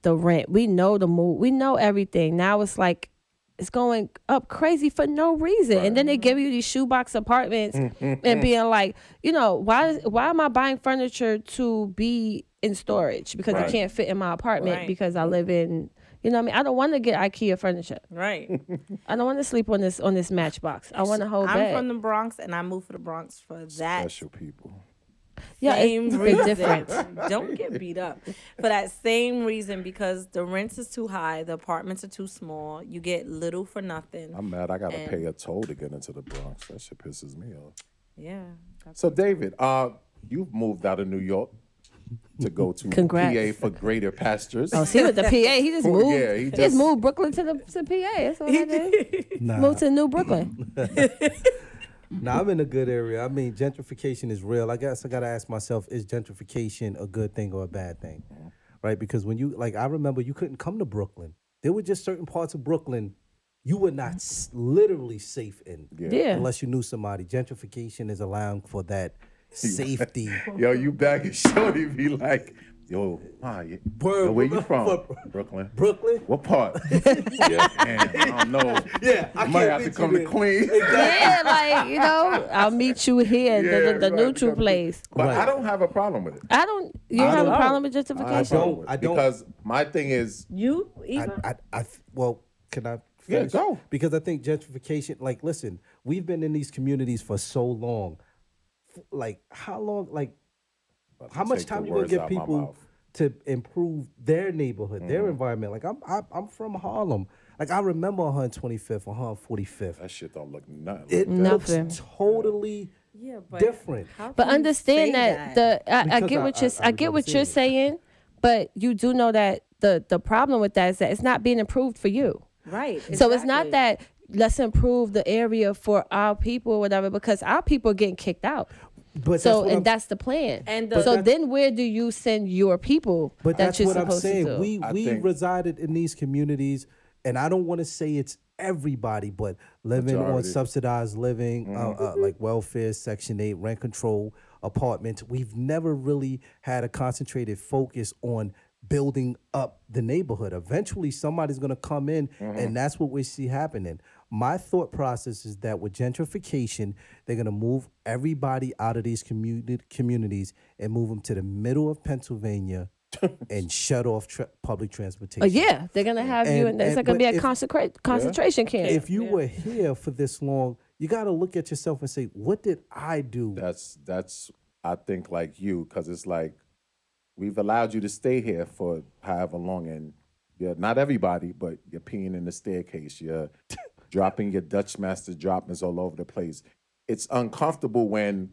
S6: the rent, we know the move, we know everything. Now it's like it's going up crazy for no reason, and then they give you these shoebox apartments and being like, you know, why why am I buying furniture to be in storage because it can't fit in my apartment
S7: Right.
S6: because I live in. You know what I mean? I don't want to get IKEA furniture.
S7: Right.
S6: I don't want to sleep on this on this matchbox. I want to hold
S2: i'm
S6: bed.
S2: from the bronx and i moved for the bronx for that
S3: special people.
S6: Yeah, it's
S2: same
S6: the
S2: reason.
S6: difference.
S2: Don't get beat up for that same reason because the rents is too high, the apartments are too small. You get little for nothing.
S3: I'm mad. I gotta pay a toll to get into the Bronx. That shit pisses me off.
S2: yeah,
S3: So David, uh, You've moved out of New York to go to
S6: Congrats.
S3: PA for greater pastures.
S6: Oh, see with the PA, he just
S3: Oh,
S6: moved.
S3: yeah, he
S6: he,
S3: just-
S6: just moved Brooklyn to the to PA. That's what I did.
S4: Nah.
S6: Moved to New Brooklyn.
S4: Nah, I'm in a good area. I mean, gentrification is real. I guess I gotta ask myself: Is gentrification a good thing or a bad thing? Right? Because when you like, I remember you couldn't come to Brooklyn. There were just certain parts of Brooklyn you were not s- literally safe in,
S6: Yeah.
S4: unless you knew somebody. Gentrification is allowing for that safety.
S3: Yo, you back and shorty be like, yo, ma, you-
S4: Word,
S3: yo, where you from?
S4: word.
S3: Brooklyn.
S4: Brooklyn.
S3: What part? yeah, man, I don't know.
S4: Yeah, I
S3: I might have
S4: can't
S3: to
S4: meet
S3: come
S4: you
S3: to
S4: there.
S3: Queens.
S6: yeah, like you know, I'll meet you here,
S3: Yeah,
S6: the, the, the
S3: right,
S6: neutral
S3: because-
S6: place.
S3: But
S4: Right.
S3: I don't have a problem with it.
S6: I don't. You
S4: I
S6: have
S4: don't-
S6: a problem with
S4: I
S6: gentrification?
S4: don't. I don't.
S3: because my thing is
S2: You
S4: I,
S2: either.
S4: I, I th- well, can I?
S3: Yeah,
S4: finish?
S3: go.
S4: Because I think gentrification. Like, listen, we've been in these communities for so long. F- Like, how long? Like, how much
S3: take the
S4: time you gonna
S3: words
S4: give
S3: out my
S4: people
S3: mouth. Mm-hmm.
S4: to improve their neighborhood, their environment? Like, I'm, I, I'm from Harlem. Like, I remember 125th, 145th.
S3: that shit don't look nothing. like that.
S4: It
S6: Nothing.
S4: looks totally
S2: but
S4: different.
S6: But understand
S5: say
S6: that, the I, I
S4: Because
S6: get
S4: I-
S6: what
S4: I-
S6: you're s-
S4: I
S6: I get what
S4: remember
S6: you're
S4: seeing
S6: saying, but you do know that the the problem with that is that it's not being improved for you.
S2: Right.
S6: So it's not
S2: exactly.
S6: that let's improve the area for our people or whatever because our people are getting kicked out.
S4: But
S6: so
S4: what
S6: and
S4: I'm-
S6: that's the plan.
S2: And
S6: And
S2: the-
S6: so
S2: But
S6: then where do you send your people
S4: But
S6: that
S4: that's
S6: you're
S4: what I'm
S6: supposed to
S4: saying.
S6: do?
S4: We
S3: I
S4: we
S3: think-
S4: resided in these communities, and I don't want to say it's everybody, but living on
S3: Majority. Mm-hmm.
S4: subsidized living, uh, uh, like welfare, Section Eight, rent control apartments, we've never really had a concentrated focus on building up the neighborhood. Eventually, somebody's going to come in,
S3: Mm-hmm.
S4: and that's what we see happening. My thought process is that with gentrification, they're going to move everybody out of these community communities and move them to the middle of Pennsylvania and shut off tra- public transportation.
S6: Uh,
S2: Oh,
S6: yeah, they're gonna have you,
S4: And-
S6: and it's
S4: and-
S6: like gonna be
S4: but
S6: a
S4: if-
S6: concentra- concentration camp.
S4: If you were here for this long, you got to look at yourself and say, "What did I do?"
S3: That's that's I think like you because it's like we've allowed you to stay here for however long, and you're not everybody, but you're peeing in the staircase, you're dropping your Dutch master droppings all over the place. It's uncomfortable when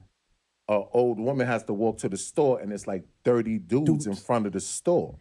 S3: an old woman has to walk to the store and it's like thirty dudes, in front of the store,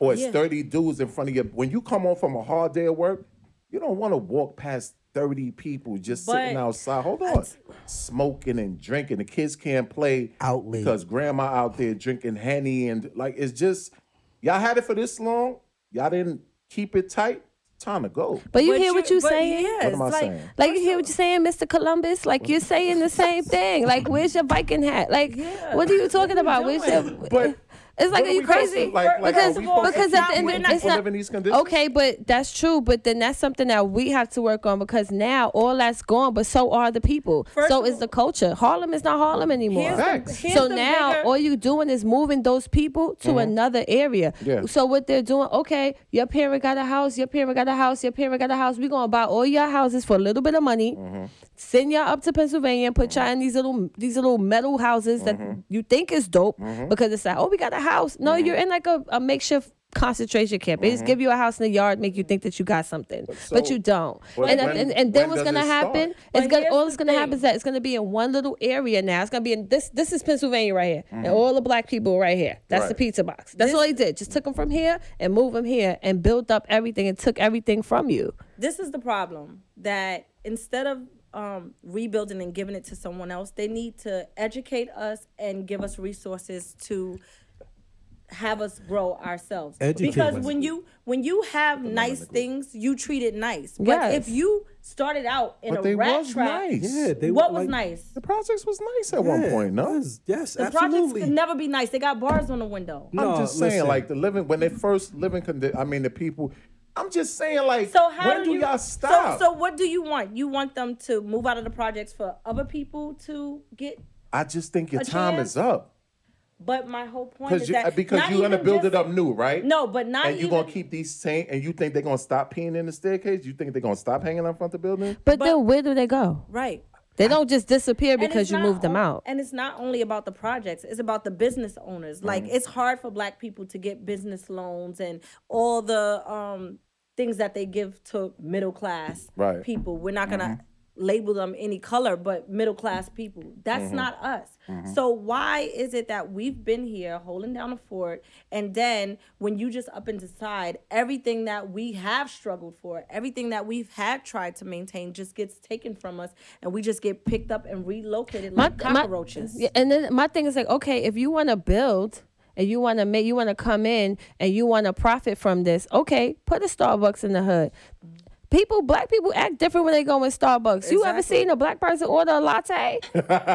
S3: or it's thirty dudes in front of you. When you come home from a hard day of work, you don't want to walk past. 30 people just sitting
S2: But-
S3: outside. Hold on. Smoking and drinking. The kids can't play
S4: Out late.
S3: because grandma out there drinking henny and like it's just y'all had it for this long. Y'all didn't keep it tight. Time to go.
S6: but you
S2: But
S6: hear what you're
S2: but
S6: saying?
S2: Yeah,
S3: What am
S2: it's
S3: I
S2: like,
S3: saying?
S6: Like you hear what you're saying, Mr. Columbus? Like you're saying the same thing. Like where's your Viking hat? Like what are you talking about? Where's your
S3: But
S6: It's like are
S3: What are
S6: you
S3: we supposed to-
S6: crazy?
S3: like- like,
S6: because
S3: are we supposed to
S6: because
S3: keep
S6: at the end,
S3: letting
S6: it's
S3: people
S6: not
S3: live in these conditions?
S6: okay. But that's true. But then that's something that we have to work on because now all that's gone, but so are the people.
S2: First
S6: so
S2: of
S6: is
S2: all-
S6: the culture. Harlem is not Harlem anymore.
S2: the-
S3: Facts.
S2: here's
S6: so
S2: the
S6: now
S2: bigger-
S6: all you're doing is moving those people to another area.
S3: Mm-hmm. Yeah.
S6: So what they're doing, okay, your parent got a house, your parent got a house, your parent got a house. We're gonna buy all your houses for a little bit of money,
S3: Mm-hmm.
S6: send y'all up to Pennsylvania and put y'all in these little these little metal houses that
S3: Mm-hmm.
S6: you think is dope because it's like, oh, we got a house. No, you're in like a, a makeshift concentration camp. They just give you a house in the yard, make you think that you got something. But,
S3: Mm-hmm. so-
S6: you don't.
S3: But
S6: and,
S3: when-
S6: and and then
S3: when
S6: what's
S3: does
S6: gonna
S3: it start?
S6: happen?
S2: But
S6: It's gonna
S2: here's
S6: all
S2: the
S6: that's gonna happen
S2: thing.
S6: is that it's gonna be in one little area now. It's gonna be in this. This is Pennsylvania right here, and all the black people right here. That's the
S3: Right.
S6: pizza box. That's all they did. Just took them from here and moved them here and built up everything and took everything from you.
S2: this is the problem that instead of um, rebuilding and giving it to someone else, they need to educate us and give us resources to have us grow ourselves.
S4: Educate
S2: because
S4: us.
S2: when you when you have nice things, you treat it nice. But
S6: Yes.
S2: if you started out in
S3: But
S2: a
S3: they
S2: rat
S3: was
S2: trap,
S3: nice.
S4: Yeah, they
S2: what
S4: were
S2: was
S4: like-
S2: nice?
S3: The projects was nice at
S4: Yeah,
S3: one point, no?
S4: yes, yes,
S2: The projects
S4: absolutely.
S2: could never be nice. They got bars on the window.
S4: No,
S3: I'm just saying,
S4: listen.
S3: like the living when they first living condi- I mean the people I'm just saying like
S2: So how
S3: when do,
S2: you,
S3: y'all
S2: so-
S3: stop?
S2: So, what do you want? You want them to move out of the projects for other people to get?
S3: I just think your
S2: a
S3: time
S2: chance?
S3: is up.
S2: But my whole point
S3: Because
S2: is
S3: you, uh,
S2: that
S3: because
S2: not
S3: you're gonna
S2: even
S3: build
S2: just-
S3: it up new, right?
S2: No, but not
S3: and you're
S2: even-
S3: gonna keep these same and you think they're gonna stop peeing in the staircase? You think they're gonna stop hanging out front of the building?
S6: But, then where do they go?
S2: Right.
S6: They don't just disappear
S2: And
S6: because
S2: it's
S6: you
S2: not
S6: moved them
S2: on-
S6: out.
S2: And it's not only about the projects, it's about the business owners. Like it's hard for black people to get business loans and all the um things that they give to middle class
S3: Right.
S2: people. We're not gonna label them any color but middle class people. That's not us. So why is it that we've been here holding down a fort and then when you just up and decide everything that we have struggled for, everything that we've had tried to maintain just gets taken from us and we just get picked up and relocated like cockroaches.
S6: yeah, and then my thing is like, okay, if you want to build and you want to make, you want to come in and you want to profit from this, okay, put a Starbucks in the hood. People, black people act different when they go in Starbucks. You ever
S2: Exactly.
S6: seen a black person order a latte?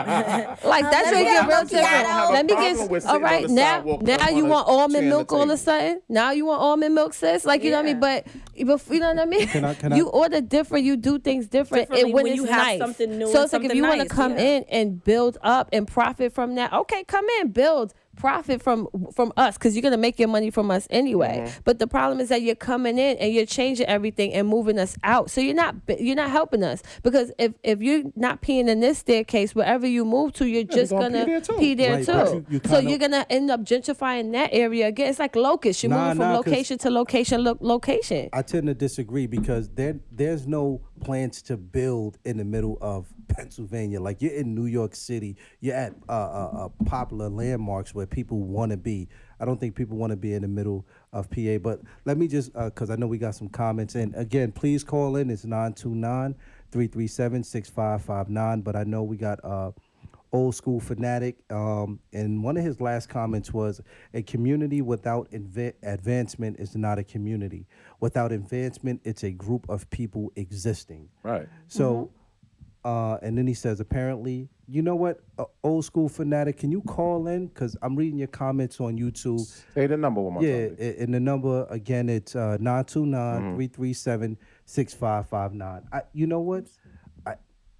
S6: like that's
S2: me
S6: where you
S2: get
S6: get
S2: a
S6: real
S2: macchiato.
S3: I don't have
S6: different.
S3: a
S6: Let me
S3: problem
S6: get
S3: with sitting
S6: all
S3: on
S6: right
S3: the
S6: now.
S3: sidewalk
S6: Now
S3: with
S6: you
S3: a
S6: want
S3: chair
S6: almond
S3: and a
S6: milk all of
S3: table.
S6: a sudden. Now you want almond milk, sis. Like you know what I mean. But but you know what I mean.
S4: Can I- can I-
S6: you order different. You do things different.
S2: Differently
S6: And when,
S2: when
S6: it's
S2: you have
S6: nice.
S2: something new
S6: So it's
S2: and
S6: like if
S2: something
S6: you want
S2: nice,
S6: to come
S2: yeah.
S6: in in and build up and profit from that okay come in build profit from from us because you're gonna make your money from us anyway but the problem is that you're coming in and you're changing everything and moving us out so you're not you're not helping us because if if you're not peeing in this staircase wherever you move to you're just gonna
S3: gonna pee there too.
S6: pee there
S4: Right,
S6: too
S4: but you- you
S6: so
S4: kinda-
S6: you're gonna end up gentrifying that area again it's like locusts you're
S4: Nah,
S6: moving from
S4: nah, 'cause-
S6: location to location lo- location
S4: I tend to disagree because there there's no plans to build in the middle of Pennsylvania. Like you're in New York City, you're at uh, uh, uh, popular landmarks where people want to be. I don't think people want to be in the middle of PA. But let me just because I know we got some comments and again, please call in. It's 929-337-6559. But I know we got uh old school fanatic. Um, and one of his last comments was, "A community without inve- advancement is not a community. Without advancement, it's a group of people existing."
S3: Right.
S4: So, uh, and then he says, apparently, you know what, uh, old school fanatic, can you call in? Because I'm reading your comments on YouTube.
S3: Say the number one more
S4: Yeah,
S3: time.
S4: a- and the number again, it's uh, 929-337-6559. I, you know what? I,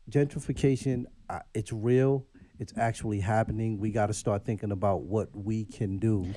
S4: gentrification, I, it's real. It's actually happening. We got to start thinking about what we can do.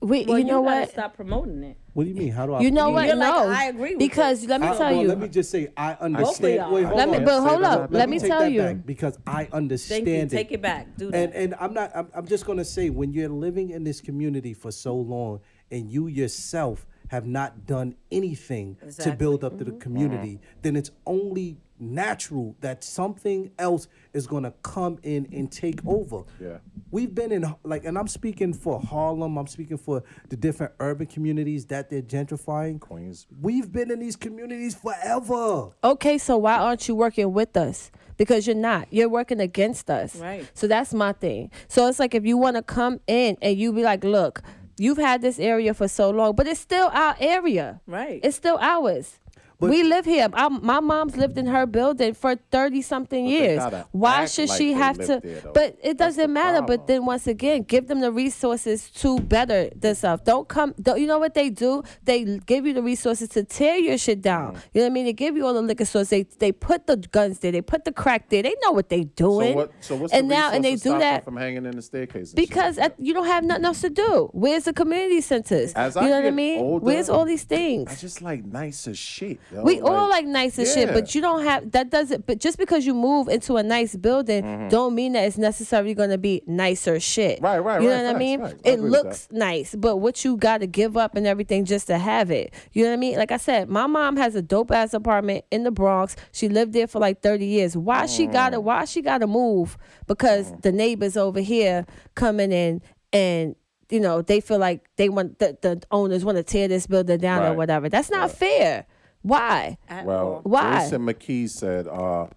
S6: we
S2: Well,
S6: you know
S2: gotta
S6: what
S2: Stop promoting it.
S4: What do you mean? How do I?
S6: you know
S4: you-
S6: what
S2: You're like,
S6: no
S2: I agree with
S6: because let me
S4: I-
S6: tell
S4: well,
S6: you
S4: Let me just say, I understand.
S2: y'all.
S4: Wait, hold
S6: Let me-
S4: on.
S6: but hold up. Let me
S4: take
S6: tell
S4: that
S6: you.
S4: back because I understand.
S2: Thank you.
S4: it.
S2: Take it back. Do
S4: And
S2: that.
S4: and I'm not. I'm, I'm just gonna say when you're living in this community for so long, and you yourself have not done anything to build up to the community, then it's only natural that something else is gonna come in and take over.
S3: Yeah.
S4: We've been in like, and I'm speaking for Harlem. I'm speaking for the different urban communities that they're gentrifying.
S3: Queens.
S4: We've been in these communities forever.
S6: okay, so why aren't you working with us? Because you're not. You're working against us.
S2: Right.
S6: So that's my thing. So it's like if you want to come in and you be like, look, you've had this area for so long, but it's still our area.
S2: Right.
S6: It's still ours.
S4: But-
S6: we live here. Our, my mom's lived in her building for thirty something years.
S3: gotta
S6: Why
S3: act
S6: should
S3: like
S6: she
S3: they
S6: have
S3: live
S6: to?
S3: there, though.
S6: but it
S3: That's the
S6: doesn't matter.
S3: problem.
S6: But then once again, give them the resources to better themselves. Don't come. Don't, you know what they do? They give you the resources to tear your shit down.
S3: Mm.
S6: You know what I mean? They give you all the liquor stores. They they put the guns there. They put the crack there. They know what they doing.
S3: So what? So what's
S6: and
S3: the
S6: now and they
S3: resource to
S6: do
S3: stop them
S6: that
S3: from hanging in the staircase? and shit
S6: because
S3: like
S6: at, you don't have nothing else to do. Where's the community centers?
S3: As I
S6: you know what I
S3: get
S6: mean?
S3: older,
S6: Where's all these
S3: that? I
S6: things?
S3: just like nice as shit. yo.
S6: We all like nice and shit,
S3: Yeah.
S6: but you don't have that doesn't but just because you move into a nice building don't mean that it's necessarily gonna be nicer shit.
S3: Mm-hmm. Right, right,
S6: You know
S3: right,
S6: what I
S3: facts,
S6: mean?
S3: facts. I
S6: It
S3: agree with
S6: looks nice, but what you gotta give up and everything just to have it. You know what I mean? Like I said, my mom has a dope ass apartment in the Bronx. She lived there for like thirty years. Why she
S3: Mm.
S6: gotta why she gotta move? Because the neighbors over here coming in and you know, they feel like they want the, the owners want to tear this building down or
S3: Right.
S6: whatever. That's not fair. Why?
S3: Well,
S6: Why?
S3: Jason McKee said, uh,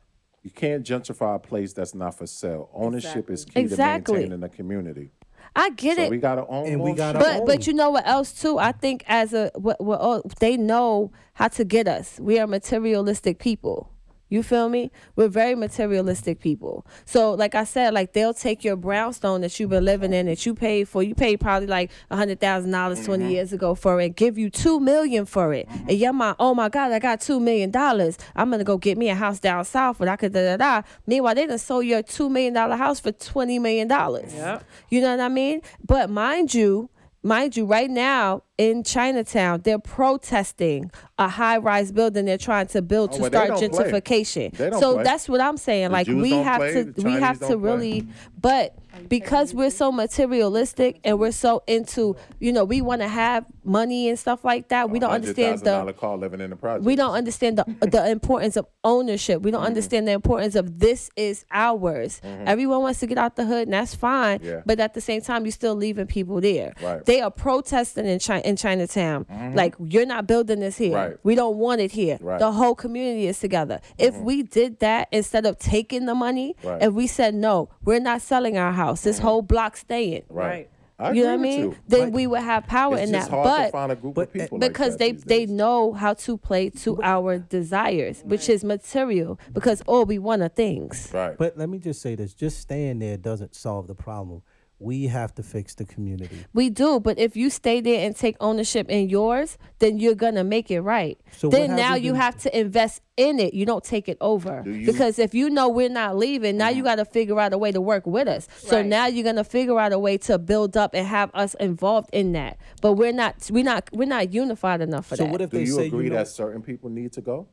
S3: "You can't gentrify a place that's not for sale. Ownership is key
S6: Exactly.
S3: to maintaining a community.
S6: I get
S3: So
S6: it.
S3: we gotta own.
S4: And we
S3: more
S4: gotta
S3: shit.
S6: but but you know what else too? I think as a what what all, they know how to get us. We are materialistic people. You feel me? We're very materialistic people. So like I said, like they'll take your brownstone that you've been living in that you paid for. You paid probably like a hundred thousand dollars 20 years ago for it. Give you two million for it, and your mind, oh my god, I got two million dollars. I'm gonna go get me a house down south, and I could da da da. Meanwhile, they done sold your two million dollar house for twenty million dollars. You know what I mean? But mind you, mind you, right now in Chinatown, they're protesting a high rise building they're trying to build to
S3: Oh, well, they
S6: start
S3: don't play.
S6: gentrification.
S3: They don't
S6: So
S3: play.
S6: that's what I'm saying.
S3: The
S6: like
S3: Jews
S6: we
S3: don't
S6: have
S3: play,
S6: to
S3: the
S6: we have
S3: Chinese
S6: to
S3: don't play.
S6: really but because we're so materialistic and we're so into, you know, we want to have money and stuff like that. We don't understand the
S3: $100,000 car living in the project.
S6: we don't understand the the importance of ownership.
S3: Mm-hmm.
S6: We don't understand the importance of this is ours. Everyone wants to get out the hood, and that's fine.
S3: Yeah.
S6: But at the same time, you're still leaving people there.
S3: Right. Mm-hmm.
S6: They are protesting in China in Chinatown. Like you're not building this here.
S3: Right.
S6: We don't want it here.
S3: Right. Mm-hmm.
S6: The whole community is together. If we did that instead of taking the money,
S3: Right. Mm-hmm.
S6: if we said no, we're not selling our house. This whole block staying.
S3: Right. I
S6: You know what I
S3: agree
S6: mean?
S3: with you.
S6: Then we would have power
S3: It's
S6: in
S3: just
S6: that.
S3: hard
S6: but eh,
S3: to find a group
S4: but-
S3: of people like
S6: because
S3: that
S6: they
S3: these
S6: they
S3: days.
S6: know how to play to our desires, which is material. Because all we want are things.
S3: Right.
S4: But let me just say this: just staying there doesn't solve the problem. We have to fix the community.
S6: We do, but if you stay there and take ownership in yours, then you're gonna make it right.
S4: So what
S6: then
S4: have
S6: now
S4: we
S6: you
S4: been-
S6: have to invest in it. You don't take it over
S3: Do you-
S6: because if you know we're not leaving, now
S4: Uh-huh.
S6: you got to figure out a way to work with us. So
S2: Right.
S6: now you're gonna figure out a way to build up and have us involved in that. But we're not. We're not. We're not unified enough for
S4: So
S6: that.
S4: what if
S3: Do
S4: they
S3: you
S4: say
S3: agree
S4: you know,
S3: that certain people need to go?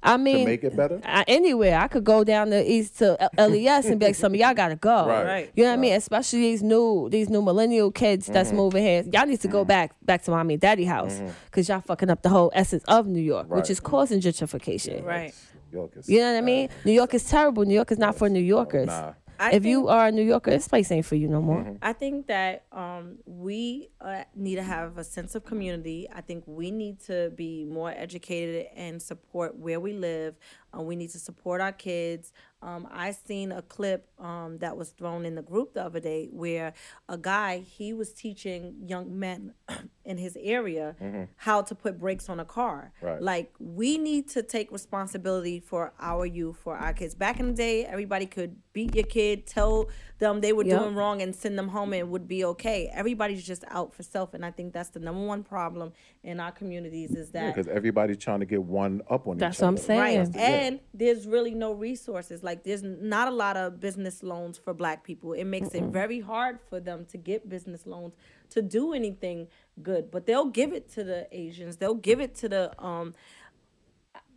S6: I mean,
S3: make it better?
S6: I, anywhere I could go down the east to L- LES and be like, "Some of y'all gotta go."
S3: Right. Right. Mm-hmm.
S6: You know what I mean? Especially these new these new millennial kids that's moving here. Y'all need to go back back to mommy and daddy house because y'all fucking up the whole essence of New York,
S3: Right.
S6: which is causing gentrification.
S2: Right.
S3: Yo, 'cause-
S6: You know what I mean? New York is terrible. New York is not for New Yorkers.
S3: Oh, Nah. Mm-hmm.
S2: I
S6: if you are a New Yorker, this place ain't for you no more.
S2: I think that um, we uh, need to have a sense of community. I think we need to be more educated and support where we live. Uh, we need to support our kids. Um, I seen a clip um, that was thrown in the group the other day where a guy he was teaching young men in his area how to put brakes on a car.
S3: Right.
S2: Like we need to take responsibility for our youth, for our kids. Back in the day, everybody could beat your kid, tell them they were
S6: Yep.
S2: doing wrong and send them home and it would be okay. Everybody's just out for self and I think that's the number one problem in our communities is that
S3: Because everybody's trying to get one up on
S6: That's
S3: each
S6: what I'm
S3: other.
S6: saying.
S2: Right.
S6: Yeah.
S2: And there's really no resources. Like there's not a lot of business loans for black people. It makes it very hard for them to get business loans to do anything good. But they'll give it to the Asians. They'll give it to the um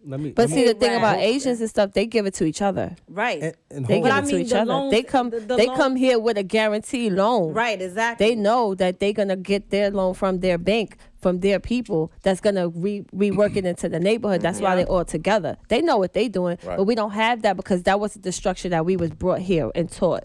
S4: Let me.
S6: But
S4: let
S6: see,
S4: me,
S6: the thing about
S2: Right.
S6: Asians and stuff, they give it to each other.
S2: right.
S4: and, and
S6: They
S4: hold
S6: give
S4: on.
S2: I
S6: it to
S2: mean,
S6: each
S2: the
S6: other. they
S2: loans-
S6: come.
S2: the- the
S6: they
S2: loan-
S6: come here with a guarantee loan.
S2: right, exactly.
S6: they know that they're gonna get their loan from their bank from their people that's gonna re- rework it into the neighborhood that's why they're all together they know what they're doing
S3: Right.
S6: but we don't have that because that wasn't the structure that we was brought here and taught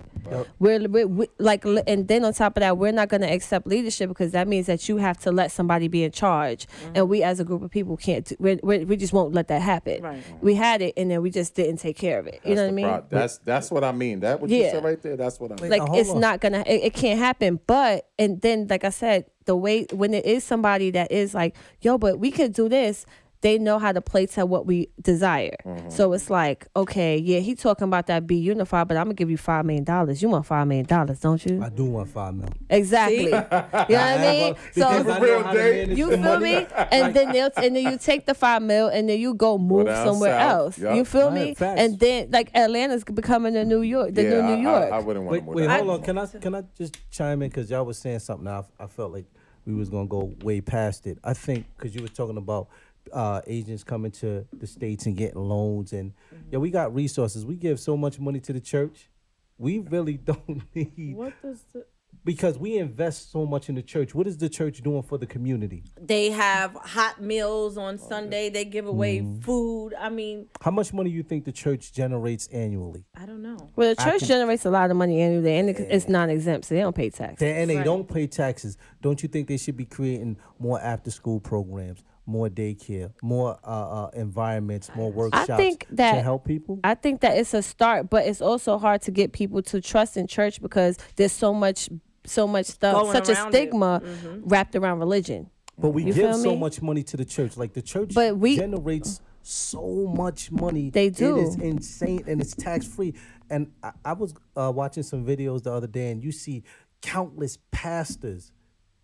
S6: we're, we're we, like li- and then on top of that we're not gonna accept leadership because that means that you have to let somebody be in charge
S3: Mm-hmm.
S6: and we as a group of people can't do, we're, we're, we just won't let that happen
S2: Right.
S6: we had it and then we just didn't take care of it you know what i
S3: the
S6: mean
S3: pro- That's that's what I mean. That what you
S6: Yeah.
S3: said right there. That's what I mean.
S6: like
S4: Now, hold
S6: it's
S4: on.
S6: not gonna it, it can't happen but and then like i said the way when it is somebody that is like yo but we could do this they know how to play to what we desire
S3: Mm-hmm.
S6: so it's like okay yeah he talking about that be unified but i'm gonna give you five million dollars you want five million dollars don't you
S4: I do want five mil.
S6: exactly you know what i mean
S4: Because I
S6: so
S4: know
S3: real
S4: how to
S3: date.
S4: manage
S6: you
S4: the
S6: feel
S4: money.
S6: me? And then they'll, and then you take the five mil, and then you go move
S3: down
S6: somewhere
S3: south.
S6: else.
S3: Yup.
S6: You feel
S4: Right,
S6: me?
S4: facts.
S6: And then like Atlanta's becoming the New York, the
S3: yeah,
S6: new
S3: I,
S6: New
S3: I-
S6: York.
S3: I, wouldn't want
S4: Wait,
S3: to
S4: wait, hold on. Can I can I just chime in because y'all was saying something? I I felt like we was gonna go way past it. I think because you were talking about uh, agents coming to the states and getting loans, and
S6: Mm-hmm.
S4: yeah, we got resources. We give so much money to the church. We really don't need
S2: what does the
S4: because we invest so much in the church. What is the church doing for the community?
S2: they have hot meals
S4: Oh,
S2: on Sunday. They give away
S4: Mm-hmm.
S2: food. I mean,
S4: How much money you think the church generates annually?
S2: I don't know.
S6: Well, the church generates a lot of money annually, and it- it's non-exempt, so they don't pay tax.
S4: They- and they don't pay taxes. Don't you think they should be creating more after-school programs, more daycare, more uh, uh, environments, more workshops
S6: think that-
S4: to help people?
S6: I think that it's a start, but it's also hard to get people to trust in church because there's so much, so much stuff,
S2: Going
S6: such a
S2: around it. Mm-hmm.
S6: stigma wrapped around religion.
S4: but we
S6: feel
S4: give so
S6: me?
S4: much money to the church. Like the church
S6: But we-
S4: generates so much money.
S6: They
S4: It is
S6: do.
S4: insane, and it's tax-free. And I, I was uh, watching some videos the other day, and you see countless pastors.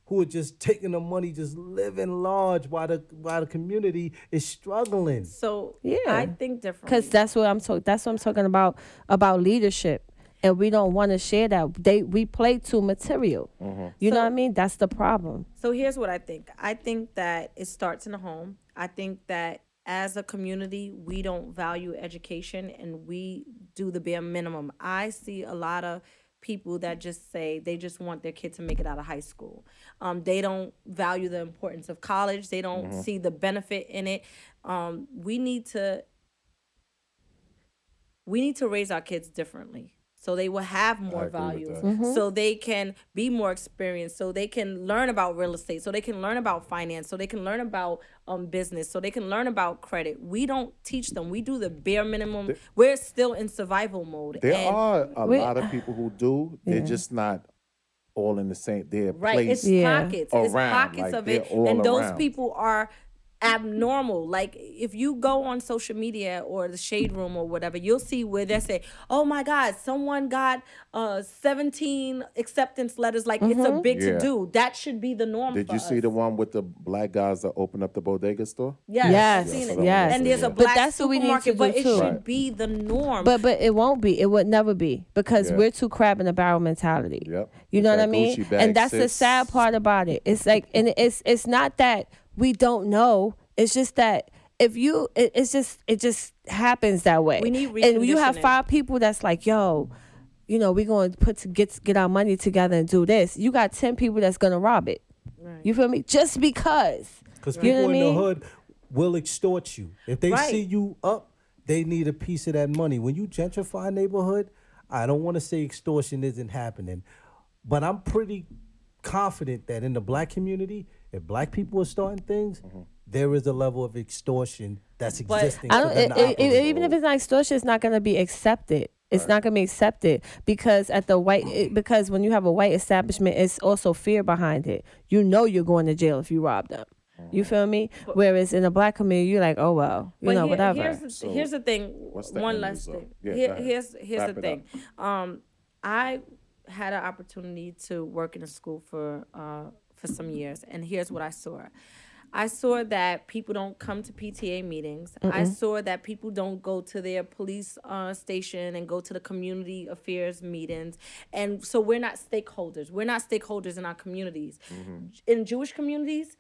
S4: Who are just taking the money, just living large while the while the community is struggling.
S2: So
S6: Yeah.
S2: I think different.
S6: Because that's what I'm talking. That's what I'm talking about about leadership, and we don't want to share that. They we play too material. You know what I mean? That's the problem.
S2: So here's what I think. I think that it starts in the home. I think that as a community, we don't value education and we do the bare minimum. I see a lot of people that just say they just want their kid to make it out of high school. Um, they don't value the importance of college. They don't
S3: Mm-hmm.
S2: see the benefit in it. Um, we need to we need to raise our kids differently so they will have
S3: agree
S2: more
S3: with
S2: values
S3: that.
S2: so they can be more experienced so they can learn about real estate so they can learn about finance so they can learn about um, business so they can learn about credit we don't teach them we do the bare minimum we're still in survival mode
S3: There
S2: and
S3: are a
S6: we-
S3: lot of people who do. They're just not all in the same. They're
S2: right
S3: placed.
S2: it's
S6: Yeah.
S2: pockets it's
S3: around,
S2: pockets
S3: like,
S2: of it
S3: they're all
S2: and those
S3: around.
S2: people are abnormal like if you go on social media or the shade room or whatever you'll see where they say oh my god someone got uh 17 acceptance letters like it's
S6: Mm-hmm.
S2: a big
S3: Yeah.
S2: to do that should be the norm
S3: Did
S2: for
S3: you see
S2: us.
S3: the one with the black guys that opened up the bodega store?
S2: yes
S6: Yes,
S2: I've seen
S3: yes,
S2: it.
S3: yes.
S2: and there's a
S3: But
S2: black
S6: that's what we need to
S2: supermarket but
S6: do
S2: it
S6: too.
S2: should
S3: Right.
S2: be the norm
S6: But but it won't be. It would never be because
S3: Yeah.
S6: we're too crab in the barrel mentality.
S3: Yep.
S6: You know
S3: With
S6: what I
S3: that
S6: mean?
S3: Gucci bag
S6: And that's the
S3: sits.
S6: sad part about it. It's like and it's it's not that we don't know. It's just that if you it, it's just it just happens that way.
S2: We need
S6: and you have
S2: reconditioning.
S6: five people that's like, yo, you know, we're going to put to get get our money together and do this. You got ten people that's gonna rob it. You feel me? Just because.
S4: Because
S6: You know
S4: people
S6: what I
S4: in the
S6: mean?
S4: hood will extort you. If they
S2: Right.
S4: see you up, they need a piece of that money. When you gentrify a neighborhood, I don't want to say extortion isn't happening, but I'm pretty confident that in the black community, if black people are starting things, there is a level of extortion that's existing.
S6: I
S4: for
S6: don't.
S4: them
S6: It,
S4: to
S6: it,
S4: operate.
S6: it- even if it's not extortion, it's not gonna be accepted. It's not gonna be accepted because at the white it- because when you have a white establishment, it's also fear behind it. You know you're going to jail if you rob them. You feel me? Whereas in a black community, you're like, oh well, you
S2: But
S6: know
S2: here-
S6: whatever.
S2: Here's the, here's the thing.
S3: what's the
S2: one
S3: end
S2: last
S3: result?
S2: thing.
S3: Yeah,
S2: Here-
S3: go ahead.
S2: here's here's
S3: Wrap
S2: the
S3: it up.
S2: thing. Um, I had an opportunity to work in a school for uh, for some years, and here's what I saw. I saw that people don't come to PTA meetings. I saw that people don't go to their police uh, station and go to the community affairs meetings. And so we're not stakeholders. We're not stakeholders in our communities.
S3: Mm-hmm.
S2: In Jewish communities,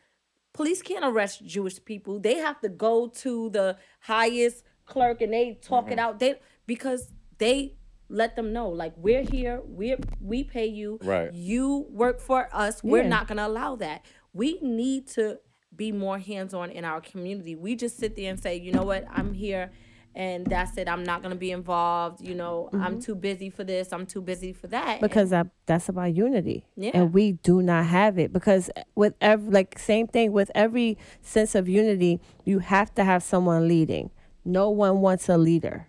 S2: police can't arrest Jewish people. They have to go to the highest clerk and they talk
S6: Mm-hmm.
S2: it out. They because they let them know like we're here, we are we pay you,
S3: Right.
S2: you work for us. We're
S6: Yeah.
S2: not gonna allow that. We need to be more hands on in our community. We just sit there and say, you know what, I'm here. And that's it. I'm not gonna be involved. You know, I'm too busy for this. I'm too busy for that. And-
S6: Mm-hmm. because that, that's about unity
S2: Yeah.
S6: and we do not have it because with every like same thing with every sense of unity you have to have someone leading no one wants a leader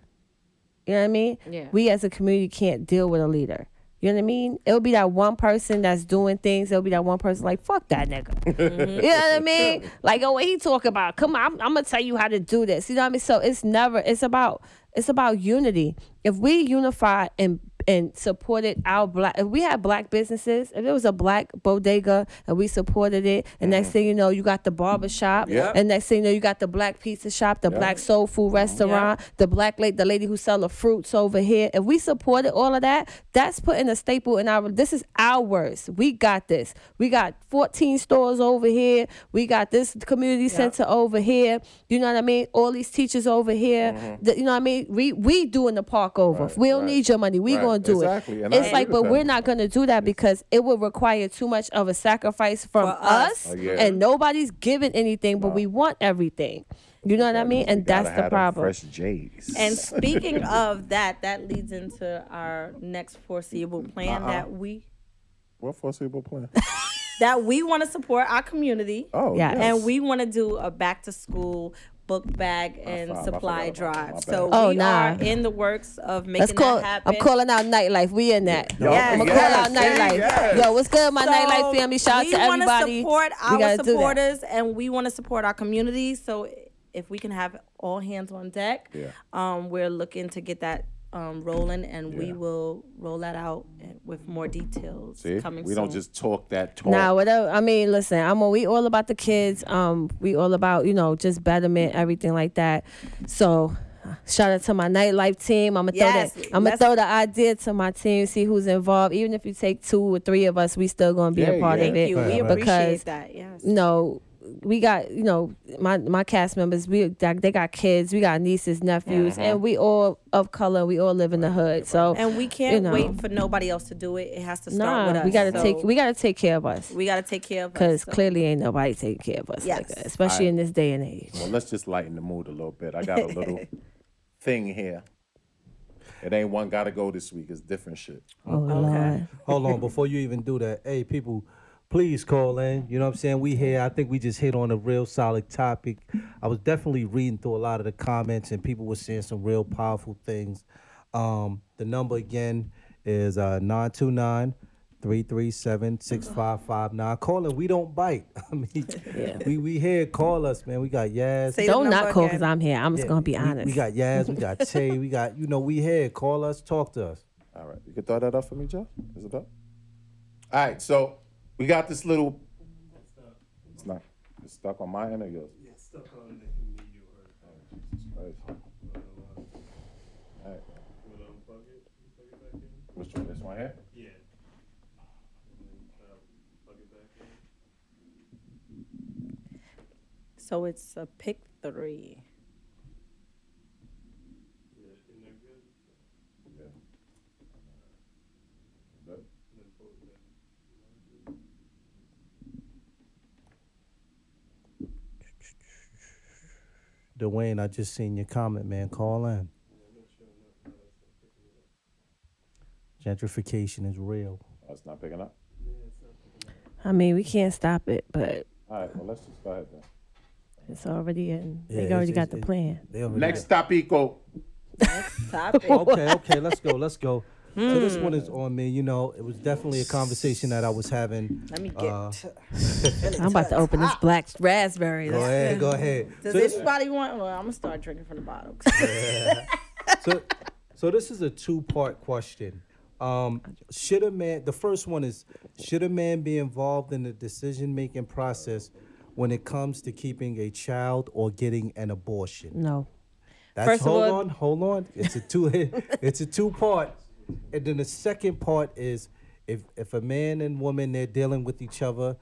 S6: you know what i mean
S2: Yeah.
S6: we as a community can't deal with a leader you know what I mean? It'll be that one person that's doing things. It'll be that one person like, fuck that nigga. You know what I mean? Like, oh, what he talk about? Come on, I'm, I'm gonna tell you how to do this. You know what I mean? So it's never. It's about. It's about unity. If we unify and and supported our black, if we had black businesses, if there was a black bodega and we supported it, and next thing you know, you got the barber shop,
S3: Yep.
S6: and next thing you know, you got the black pizza shop, the black soul food restaurant, the black lady, the lady who sell the fruits over here. If we supported all of that, that's putting a staple in our. This is ours. We got this. We got 14 stores over here. We got this community center over here. You know what I mean? All these teachers over here. The- you know what I mean? We we doing the park over.
S3: Mm-hmm. Right,
S6: we don't
S3: right.
S6: need your money. We
S3: Right,
S6: gonna do
S3: exactly,
S6: it.
S3: and I
S6: it's
S3: agree
S6: like,
S3: with
S6: but
S3: that.
S6: we're not gonna do that because it would require too much of a sacrifice from
S2: For us.
S6: us,
S3: Oh, yeah.
S6: and nobody's giving anything, but we want everything. You know what I mean? And
S3: We gotta
S6: that's
S3: have
S6: the
S3: them
S6: problem.
S3: Fresh J's.
S2: And speaking of that, that leads into our next foreseeable plan that we
S3: what foreseeable plan?
S2: that we want to support our community
S3: Oh,
S6: Yes.
S3: yes.
S2: and we want to do a back to school book bag and
S3: forgot- I
S2: supply
S3: forgot about that.
S2: drive.
S3: My
S2: So
S6: bad. Oh,
S2: we
S6: nah.
S2: are in the works of making
S6: Let's call.
S2: that happen.
S6: I'm calling out nightlife. We in that.
S2: Yes.
S6: I'm gonna
S2: Yes,
S6: call out nightlife.
S3: yes.
S6: Yo, what's good, my
S2: So
S6: nightlife family? Shout out to everybody.
S2: We want to
S6: we
S2: support
S6: gotta
S2: our
S6: do that.
S2: supporters and we want to support our community. So if we can have all hands on deck,
S3: Yeah.
S2: um, we're looking to get that um, rolling and we
S3: Yeah.
S2: will roll that out eh, with more details
S3: See,
S2: coming
S3: we
S2: soon.
S3: don't just talk that talk.
S6: Nah, whatever. I mean, listen, I'm a, we all about the kids. Um, we all about you know just betterment, everything like that. So, shout out to my nightlife team. I'm gonna
S2: Yes,
S6: throw that. I'm gonna
S2: let's-
S6: throw the idea to my team. See who's involved. Even if you take two or three of us, we still gonna be
S3: Yeah,
S6: a part
S3: yeah.
S6: of it.
S2: Thank you. We
S6: because
S2: appreciate that. Yes.
S6: you know we got you know my my cast members. We that- they got kids. We got nieces, nephews,
S4: Uh-huh.
S6: and we all of color. We all live in the hood. So
S2: And we can't
S6: you know.
S2: wait for nobody else to do it. It has to start with
S6: nah,
S2: us.
S6: we gotta
S2: So
S6: take we gotta take care of us
S2: we gotta take care of
S6: because
S2: us. so-
S6: clearly ain't nobody taking care of us like
S2: Yes.
S6: that, especially in this day and age.
S3: Well, let's just lighten the mood a little bit. I got a little thing here. It ain't one gotta go this week. It's different shit.
S6: Oh Lord.
S4: Hold on, before you even do that, hey people, please call in. You know what I'm saying? We here. I think we just hit on a real solid topic. I was definitely reading through a lot of the comments, and people were saying some real powerful things. Um, the number again is uh 929 337 6559. Call in. We don't bite. I mean, we, we here. Call us, man. We got Yaz.
S2: Say the
S6: Don't
S2: number
S6: not call
S2: again.
S6: because I'm here. I'm just gonna be
S4: We-
S6: honest.
S4: We, got Yaz. We got Tay. We got, you know, we here. Call us. Talk to us.
S3: All right. You can throw that up for me, Joe? Is it up? All right. So we got this little. It's not. It's stuck on my end or yours? Yeah, it's stuck on the All right. Which one? This one here? Yeah.
S2: So it's a pick three.
S4: Dwayne, I just seen your comment, man. Call in. Gentrification is real.
S3: Oh, it's not picking up.
S6: I mean, we can't stop it, but
S3: All right. Well, let's just go ahead then.
S6: it's already in.
S4: Yeah,
S6: They
S4: it's-
S6: already got
S4: it's-
S6: the
S4: it-
S6: plan.
S4: They over
S3: Next topico.
S2: Topic.
S4: there. Okay, okay, let's go, let's go. So this one is on me. You know, it was definitely a conversation that I was having.
S2: Let me get.
S4: Uh,
S2: t-
S6: I'm about to open this black raspberry.
S4: Go ahead, go ahead.
S2: Does
S4: So this-
S2: anybody want? Well, I'm gonna start drinking from the bottle.
S4: so, so this is a two-part question. Um, should a man? The first one is: Should a man be involved in the decision-making process when it comes to keeping a child or getting an abortion?
S6: No.
S4: That's
S2: First of
S4: hold
S2: all-
S4: on, hold on. It's a two. it's a two part, and then the second part is if if a man and woman they're dealing with each other,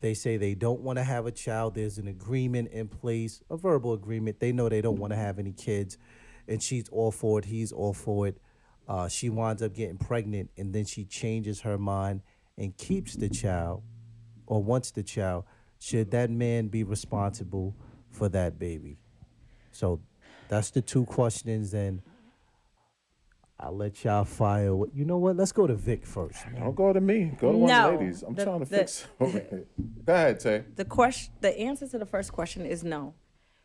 S4: they say they don't want to have a child. There's an agreement in place, a verbal agreement. They know they don't want to have any kids, and she's all for it. He's all for it. Uh, she winds up getting pregnant, and then she changes her mind and keeps the child, or wants the child. Should that man be responsible for that baby? So that's the two questions, and I'll let y'all fire. what- You know what? Let's go to Vic first.
S3: Don't go to me. Go to one
S2: No.
S3: of the ladies. I'm
S2: The-
S3: trying to
S2: the-
S3: fix. it. go ahead, Tay.
S2: the question, the answer to the first question is no.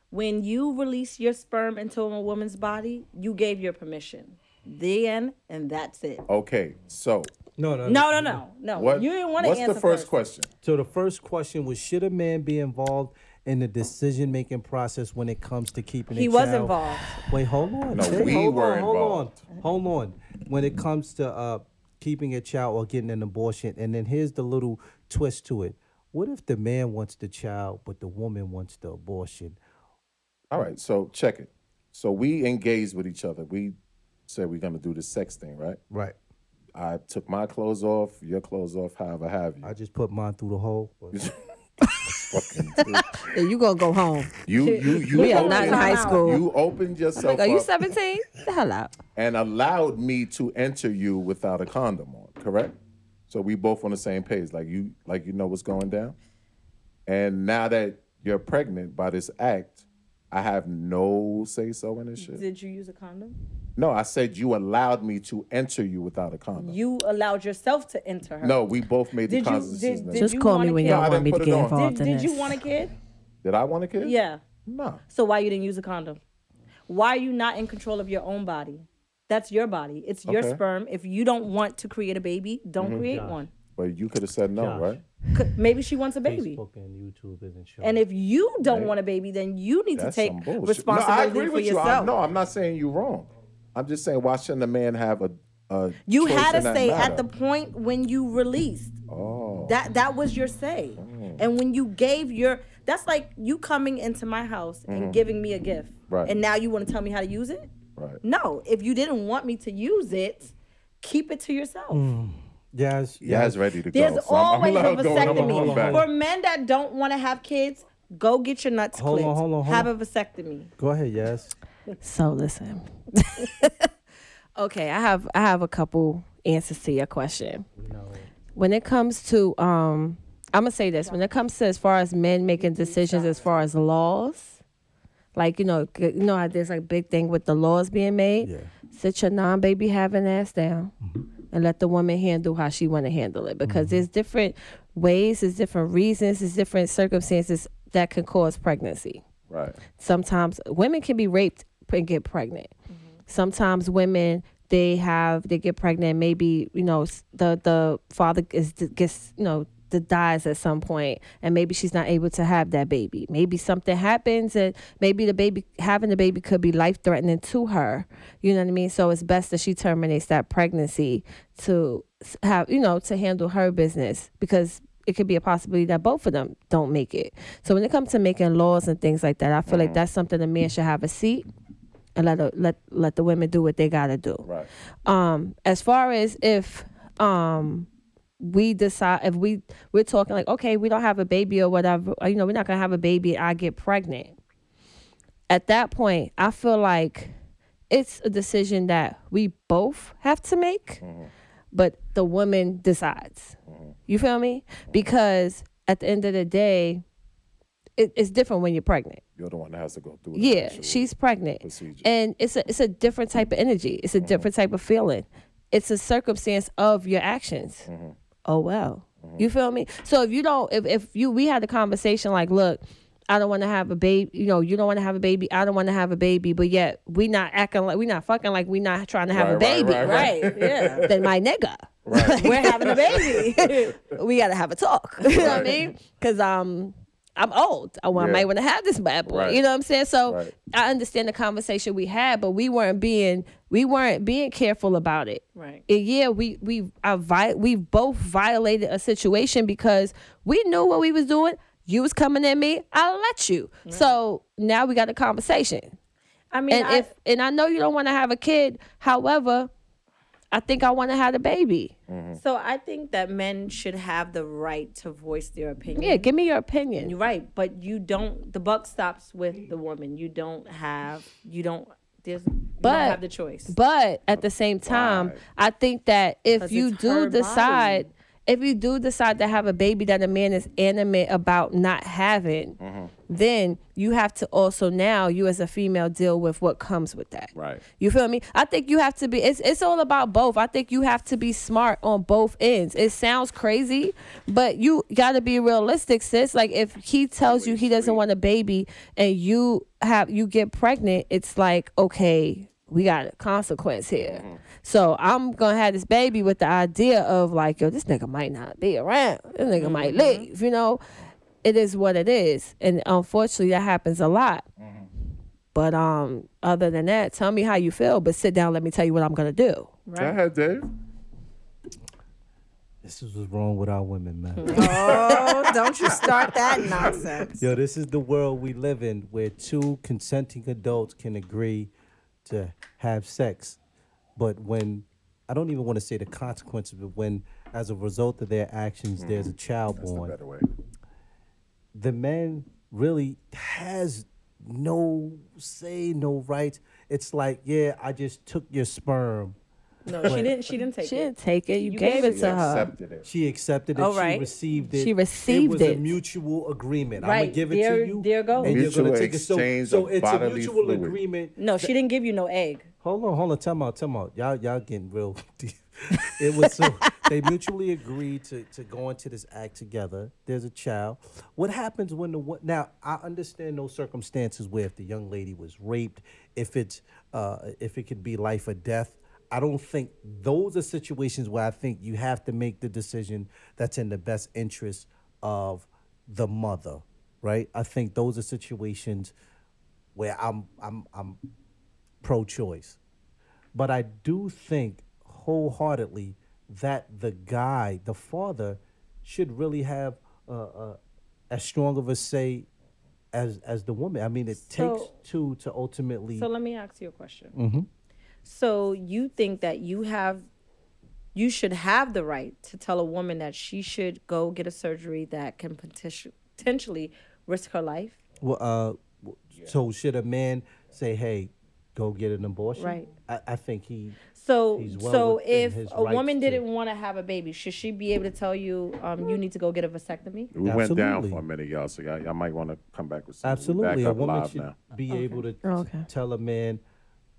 S2: When you release your sperm into a woman's body, you gave your permission. Then and that's it.
S3: Okay. So
S4: No, no,
S2: No, no, no, no.
S3: what?
S2: You didn't want to
S3: What's
S2: answer
S3: the first question?
S4: So the first question was: Should a man be involved in the decision-making process when it comes to keeping? a
S2: He was
S4: child-
S2: involved.
S4: Wait, hold on.
S3: No,
S4: Say-
S3: we
S4: hold
S3: were
S4: on, hold
S3: involved.
S4: on, hold on. When it comes to uh, keeping a child or getting an abortion, and then here's the little twist to it: What if the man wants the child, but the woman wants the abortion?
S3: All right, so check it. So we engaged with each other. We said we're gonna do the sex thing, right?
S4: Right.
S3: I took my clothes off, your clothes off, however have you.
S4: I just put mine through the hole.
S3: Fucking
S6: Yeah, you gonna go home.
S3: you, you, you.
S6: We are not in high school.
S3: You opened yourself
S6: Are you
S3: up
S6: 17? the hell out.
S3: and allowed me to enter you without a condom on. Correct. So we both on the same page. Like you, like you know what's going down. And now that you're pregnant by this act, I have no say so in this shit.
S2: Did you use a condom?
S3: No, I said you allowed me to enter you without a condom.
S2: You allowed yourself to enter her.
S3: No, we both made the
S2: Did you-
S3: conscious
S2: did-
S3: decision.
S2: did-
S3: Did,
S6: Just
S2: you
S6: call
S2: want
S6: me
S2: a
S6: when
S2: kid?
S6: y'all
S3: No, I
S6: want me
S3: didn't
S6: to
S3: put
S6: get
S3: it on.
S6: involved
S2: Did,
S6: in
S2: did
S6: this.
S2: you want a kid?
S3: I want a kid?
S2: Yeah.
S3: No.
S2: So why you didn't use a condom? Why are you not in control of your own body? That's your body. It's your
S3: Okay. Mm-hmm.
S2: sperm. If you don't want to create a baby, don't create one.
S3: But you could have said no,
S4: Josh.
S3: right?
S2: C- Maybe she wants a baby.
S4: Facebook and YouTube isn't showing.
S2: And if you don't want a baby, then you need
S3: That's
S2: to take
S3: some bullshit. no, I
S2: responsibility
S3: agree
S2: for
S3: with you. I,
S2: yourself.
S3: no, I'm not saying you're wrong. I'm just saying, why shouldn't a man have a, a
S2: you
S3: choice
S2: had
S3: in
S2: a
S3: that
S2: say at
S3: matter?
S2: the point when you released.
S3: Oh, Mm.
S2: That that was your say. And when you gave your that's like you coming into my house and giving me a gift.
S3: Mm-hmm. Right.
S2: And now you want to tell me how to use it?
S3: right.
S2: No. If you didn't want me to use it, keep it to yourself.
S4: Yes,
S3: Yeah, it's ready to
S2: There's
S3: go. So I'm- I'm
S2: always
S3: allowed
S2: a
S3: going. I'm- I'm
S2: vasectomy.
S3: back.
S2: For men that don't want to have kids, Go get your nuts
S4: Hold on,
S2: clipped.
S4: hold on, hold
S2: Have
S4: on.
S2: a vasectomy.
S4: Go ahead, yes.
S6: So listen. okay, I have I have a couple answers to your question. When it comes to um I'm gonna say this, when it comes to as far as men making decisions as far as laws, like you know, g- you know how there's like big thing with the laws being made.
S4: Yeah.
S6: Sit your non baby having ass down
S3: Mm-hmm.
S6: and let the woman handle how she wanna handle it. Because there's different ways, there's different reasons, there's different circumstances that can cause pregnancy
S3: Right.
S6: sometimes women can be raped and get pregnant. Sometimes women they have they get pregnant. Maybe you know s- the the father is gets you know the dies at some point, and maybe she's not able to have that baby. Maybe something happens, and maybe the baby having the baby could be life threatening to her. You know what I mean? So it's best that she terminates that pregnancy to s- have you know to handle her business because it could be a possibility that both of them don't make it. So when it comes to making laws and things like that, I feel like that's something a man should have a seat and let a, let let the women do what they gotta do.
S3: Right.
S6: Um, as far as if um we decide if we we're talking like okay we don't have a baby or whatever or, you know we're not gonna have a baby I get pregnant. At that point, I feel like it's a decision that we both have to make, but the woman decides. You feel me? Because at the end of the day, it, it's different when you're pregnant.
S3: You're the one that has to go through. the
S6: Yeah,
S3: actual-
S6: she's pregnant,
S3: procedure. Mm-hmm.
S6: and it's a it's a different type of energy. It's a different type of feeling. It's a circumstance of your actions.
S3: Mm-hmm.
S6: Oh well, you feel me? So if you don't, if if you we had a conversation like, look, I don't want to have a baby. You know, you don't want to have a baby. I don't want to have a baby. But yet we not acting like we not fucking like we not trying to have a
S3: Right, right,
S6: baby.
S3: right, right.
S2: Right. Yeah.
S6: Then my nigga.
S2: We're having a baby.
S6: we gotta have a talk. You know what I mean? Because um, I'm old. I, want- I
S3: Yeah.
S6: might want to have this bad boy.
S3: Right.
S6: You know what I'm saying? So
S3: Right.
S6: I understand the conversation we had, but we weren't being we weren't being careful about it.
S2: right.
S6: And yeah, we we I vi- we both violated a situation because we knew what we was doing. You was coming at me. I let you. So now we got a conversation.
S2: I mean,
S6: And
S2: I,
S6: if and I know you don't want to have a kid. However, I think I want to have a baby.
S2: so I think that men should have the right to voice their opinion.
S3: Mm-hmm.
S6: Yeah, give me your opinion.
S2: You're right, but you don't. The buck stops with the woman. You don't have. You don't. There's. But you
S6: But-
S2: don't have the choice.
S6: But at the same time, I think that if
S2: 'Cause
S6: you
S2: it's
S6: do
S2: her
S6: decide, if you do decide to have a baby that a man is animate about not having, then you have to also now you as a female deal with what comes with that.
S3: Right.
S6: You feel me? I think you have to be. It's it's all about both. I think you have to be smart on both ends. It sounds crazy, but you gotta be realistic, sis. Like if he tells you he doesn't want a baby and you have you get pregnant, it's like okay, we got a consequence here. So I'm gonna have this baby with the idea of like, yo, this nigga might not be around. This nigga might leave. You know, it is what it is, and unfortunately, that happens a lot. But um, other than that, tell me how you feel. But sit down, let me tell you what I'm gonna do.
S3: Go ahead, Dave.
S4: This is what's wrong with our women, man.
S2: Oh, don't you start that nonsense.
S4: Yo, this is the world we live in where two consenting adults can agree to have sex. But when, I don't even want to say the consequences, but when, as a result of their actions, there's a child born,
S3: Better way.
S4: the man really has no say, no rights. It's like, yeah, I just took your sperm.
S2: No, she didn't. She didn't take
S6: She
S2: it.
S6: didn't take it. You, gave, it to her.
S3: Accepted it.
S4: She accepted it.
S2: All
S4: She
S2: right.
S4: received it.
S6: She received
S4: it. was a
S6: it.
S4: mutual agreement. I'm
S2: Right.
S4: gonna give it
S2: There-
S4: to you.
S2: there goes.
S4: And you're
S3: Mutual
S4: gonna take it. So,
S3: exchange
S4: so
S3: of
S4: it's a
S3: bodily
S4: mutual
S3: fluid.
S4: agreement.
S2: No, she didn't give you no egg.
S4: Hold on, hold on. Time out, time out. Y'all, y'all getting real. deep. it was so they mutually agreed to to go into this act together. There's a child. What happens when the wo- now? I understand those circumstances where if the young lady was raped, if it's uh, if it could be life or death. I don't think those are situations where I think you have to make the decision that's in the best interest of the mother, right? I think those are situations where I'm I'm I'm pro-choice. But I do think wholeheartedly that the guy, the father, should really have uh, uh, as strong of a say as as the woman. I mean, it takes
S2: So-
S4: two to ultimately.
S2: So let me ask you a question. So you think that you have, you should have the right to tell a woman that she should go get a surgery that can potenti- potentially risk her life.
S4: Well, uh, w- so should a man say, "Hey, go get an abortion"?
S2: Right.
S4: I, I think he.
S2: So,
S4: He's well
S2: so
S4: within
S2: if
S4: his
S2: a woman
S4: rights to-
S2: didn't want to have a baby, should she be able to tell you, um, you need to go get a vasectomy?
S3: We went down
S4: Absolutely.
S3: for a minute, y'all. So y'all, y'all might want to come back with some. we
S4: Absolutely,
S3: Back
S4: a
S3: up
S4: woman
S3: live
S4: should
S3: now.
S4: be able to t-
S6: Okay.
S4: tell a man,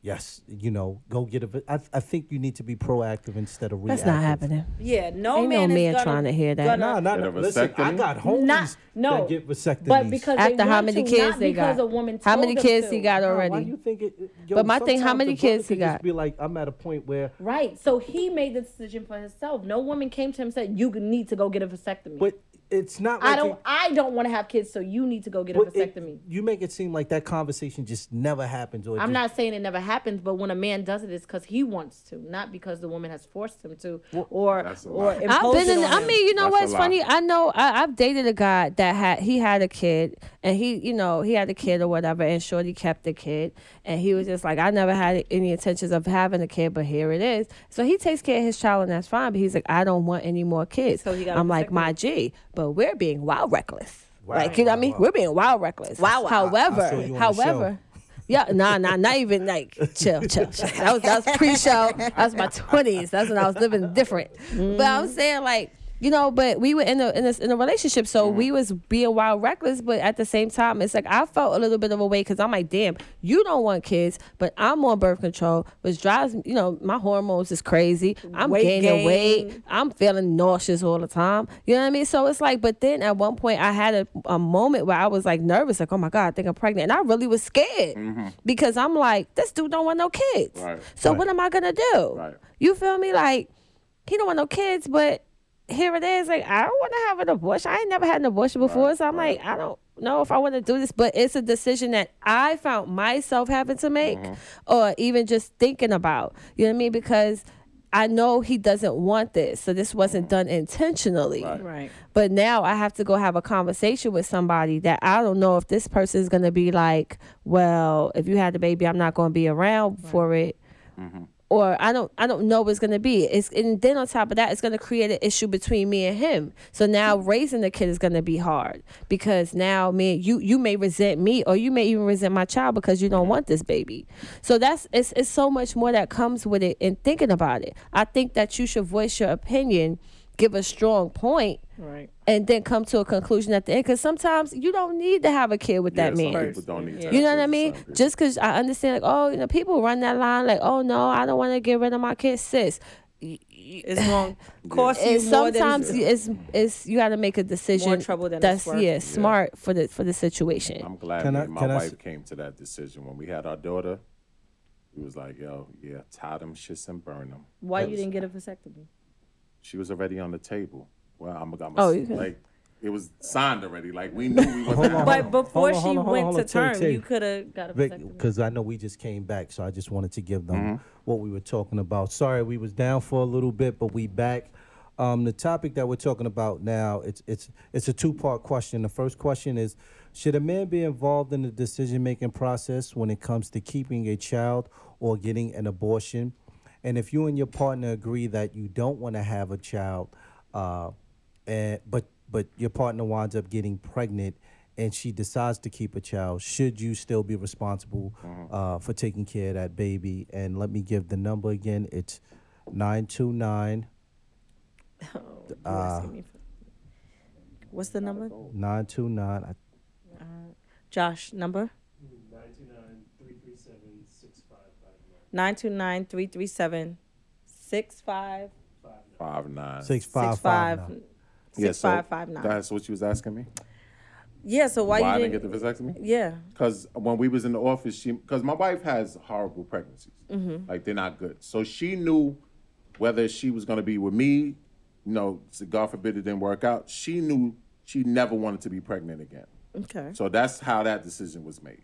S4: "Yes, you know, go get a." va- I, I think you need to be proactive instead of reactive.
S6: That's not happening.
S2: Yeah, no
S6: Ain't no
S2: man, is
S6: man
S2: gonna-
S6: trying to hear that.
S4: No,
S2: gonna-
S4: no, no.
S3: Get a
S4: Listen, I
S3: vasectomy?
S4: got homies
S2: Not no.
S4: that get vasectomies.
S2: But because they
S6: After how
S2: want
S6: many
S2: to,
S6: kids
S2: not
S6: they
S2: because
S6: got?
S2: a woman
S6: How
S2: told
S6: many
S2: them
S6: kids
S2: to.
S6: he got
S4: Nah, Why
S6: already?
S4: you think it, yo,
S6: But my thing, how
S4: sometimes
S6: many
S4: the brother
S6: kids he
S4: could just
S6: got?
S4: Be like, I'm at a point where,
S2: Right. So he made the decision for himself. No woman came to him and said, "You need to go get a vasectomy."
S4: but it's not. Like
S2: I don't.
S4: it-
S2: I don't want to have kids, so you need to go get a
S4: but it-
S2: vasectomy.
S4: you make it seem like that conversation just never happens. Or it
S2: I'm
S4: just-
S2: not saying it never happens, but when a man does it, it's because he wants to, not because the woman has forced him to, or
S3: that's a
S2: or
S3: lie.
S2: imposed
S6: I've been
S2: it
S6: in.
S2: on
S6: I
S2: him.
S6: mean, you know
S3: That's a
S6: what's
S3: lie.
S6: funny? I know I, I've dated a guy that had he had a kid, and he, you know, he had a kid or whatever, and Shorty kept the kid, and he was just like, I never had any intentions of having a kid, but here it is. So he takes care of his child, and that's fine. But he's like, I don't want any more kids.
S2: So he got a
S6: I'm like,
S2: vasectomy.
S6: my G, but we're being wild reckless.
S4: Wow,
S6: like, you know what I
S4: wow,
S6: mean?
S4: wow.
S6: We're being wild reckless. Wow.
S4: I saw you on
S6: However,
S4: the
S6: however. Yeah, nah, nah, not even like chill, chill, chill. That was that was pre-show. That was my twenties. That's when I was living different. But I'm saying like you know, but we were in a in a, in a relationship, so we was being wild reckless. But at the same time, it's like I felt a little bit of a way because I'm like, damn, you don't want kids, but I'm on birth control, which drives me- you know my hormones is crazy. I'm
S2: Weight
S6: gaining
S2: gain.
S6: weight. I'm feeling nauseous all the time. You know what I mean? So it's like, but then at one point I had a, a moment where I was like nervous, like, oh my God, I think I'm pregnant. And I really was scared because I'm like, this dude don't want no kids.
S3: Mm-hmm. Right.
S6: So what am I going to do?
S3: Right.
S6: You feel me? Like, he don't want no kids, but here it is. Like, I don't want to have an abortion. I ain't never had an abortion before. so I'm like, I don't know if I want to do this, but it's a decision that I found myself having to make or even just thinking about. You know what I mean? Because I know he doesn't want this. So this wasn't done intentionally.
S2: Right.
S6: But now I have to go have a conversation with somebody that I don't know if this person is going to be like, well, if you had the baby, I'm not going to be around for it. Or I don't, I don't know what it's gonna be. It's and then on top of that, it's gonna create an issue between me and him. So now raising the kid is gonna be hard because now me, you, you may resent me, or you may even resent my child because you don't want this baby. So that's it's, it's so much more that comes with it in thinking about it. I think that you should voice your opinion, give a strong point,
S2: Right.
S6: and then come to a conclusion at the end. Because sometimes you don't need to have a kid with that
S3: yeah, Some
S6: man.
S3: people don't need to
S6: You know
S3: have
S6: what I
S3: kids,
S6: mean?
S3: some people-
S6: Just because I understand, like, oh, you know, people run that line, like, oh no, I don't want to get rid of my kid, sis.
S2: It's wrong. Cost you
S6: And
S2: more than-
S6: sometimes it's it's you got to make a decision.
S2: trouble than it's
S6: that's
S2: worth.
S6: yeah, smart for the for the situation.
S3: I'm glad
S4: Can
S3: me
S4: I-
S3: and my
S4: can I
S3: wife
S4: s-
S3: came to that decision when we had our daughter. It was like, yo, yeah, tie them shits and burn them.
S2: why you didn't get a vasectomy.
S3: She was already on the table. Well, I'm gonna
S6: Oh,
S3: oh,
S6: you can-
S3: like it was signed already. Like we knew we wasn't.
S4: Hold on,
S3: having
S4: hold
S2: But
S3: them.
S2: before
S4: hold on,
S2: she
S4: hold on,
S2: went
S4: hold on,
S2: to
S4: hold on,
S2: term,
S4: take,
S2: you
S4: take.
S2: could have got a vasectomy.
S4: because I know we just came back, so I just wanted to give them what we were talking about. Sorry, we was down for a little bit, but we back. Um, the topic that we're talking about now it's it's it's a two part question. The first question is, should a man be involved in the decision making process when it comes to keeping a child or getting an abortion? And if you and your partner agree that you don't want to have a child, uh, and but but your partner winds up getting pregnant and she decides to keep a child should you still be responsible uh, for taking care of that baby and let me give the number again it's 929
S2: You
S4: uh,
S2: asking me for- What's the number?
S4: 929 I-
S2: Josh, number?
S5: 929 337 65
S3: five nine.
S4: six five five nine.
S5: 65
S3: yeah, so
S5: 6559.
S3: That's what she was asking me.
S5: Yeah, so why,
S3: Why I
S5: you
S3: didn't
S5: didn't
S3: get the vasectomy?
S5: Yeah.
S3: because when we was in the office, she because my wife has horrible pregnancies,
S5: Mm-hmm.
S3: like they're not good. So she knew whether she was gonna be with me, you know, so God forbid it didn't work out. She knew she never wanted to be pregnant again.
S5: Okay.
S3: So that's how that decision was made.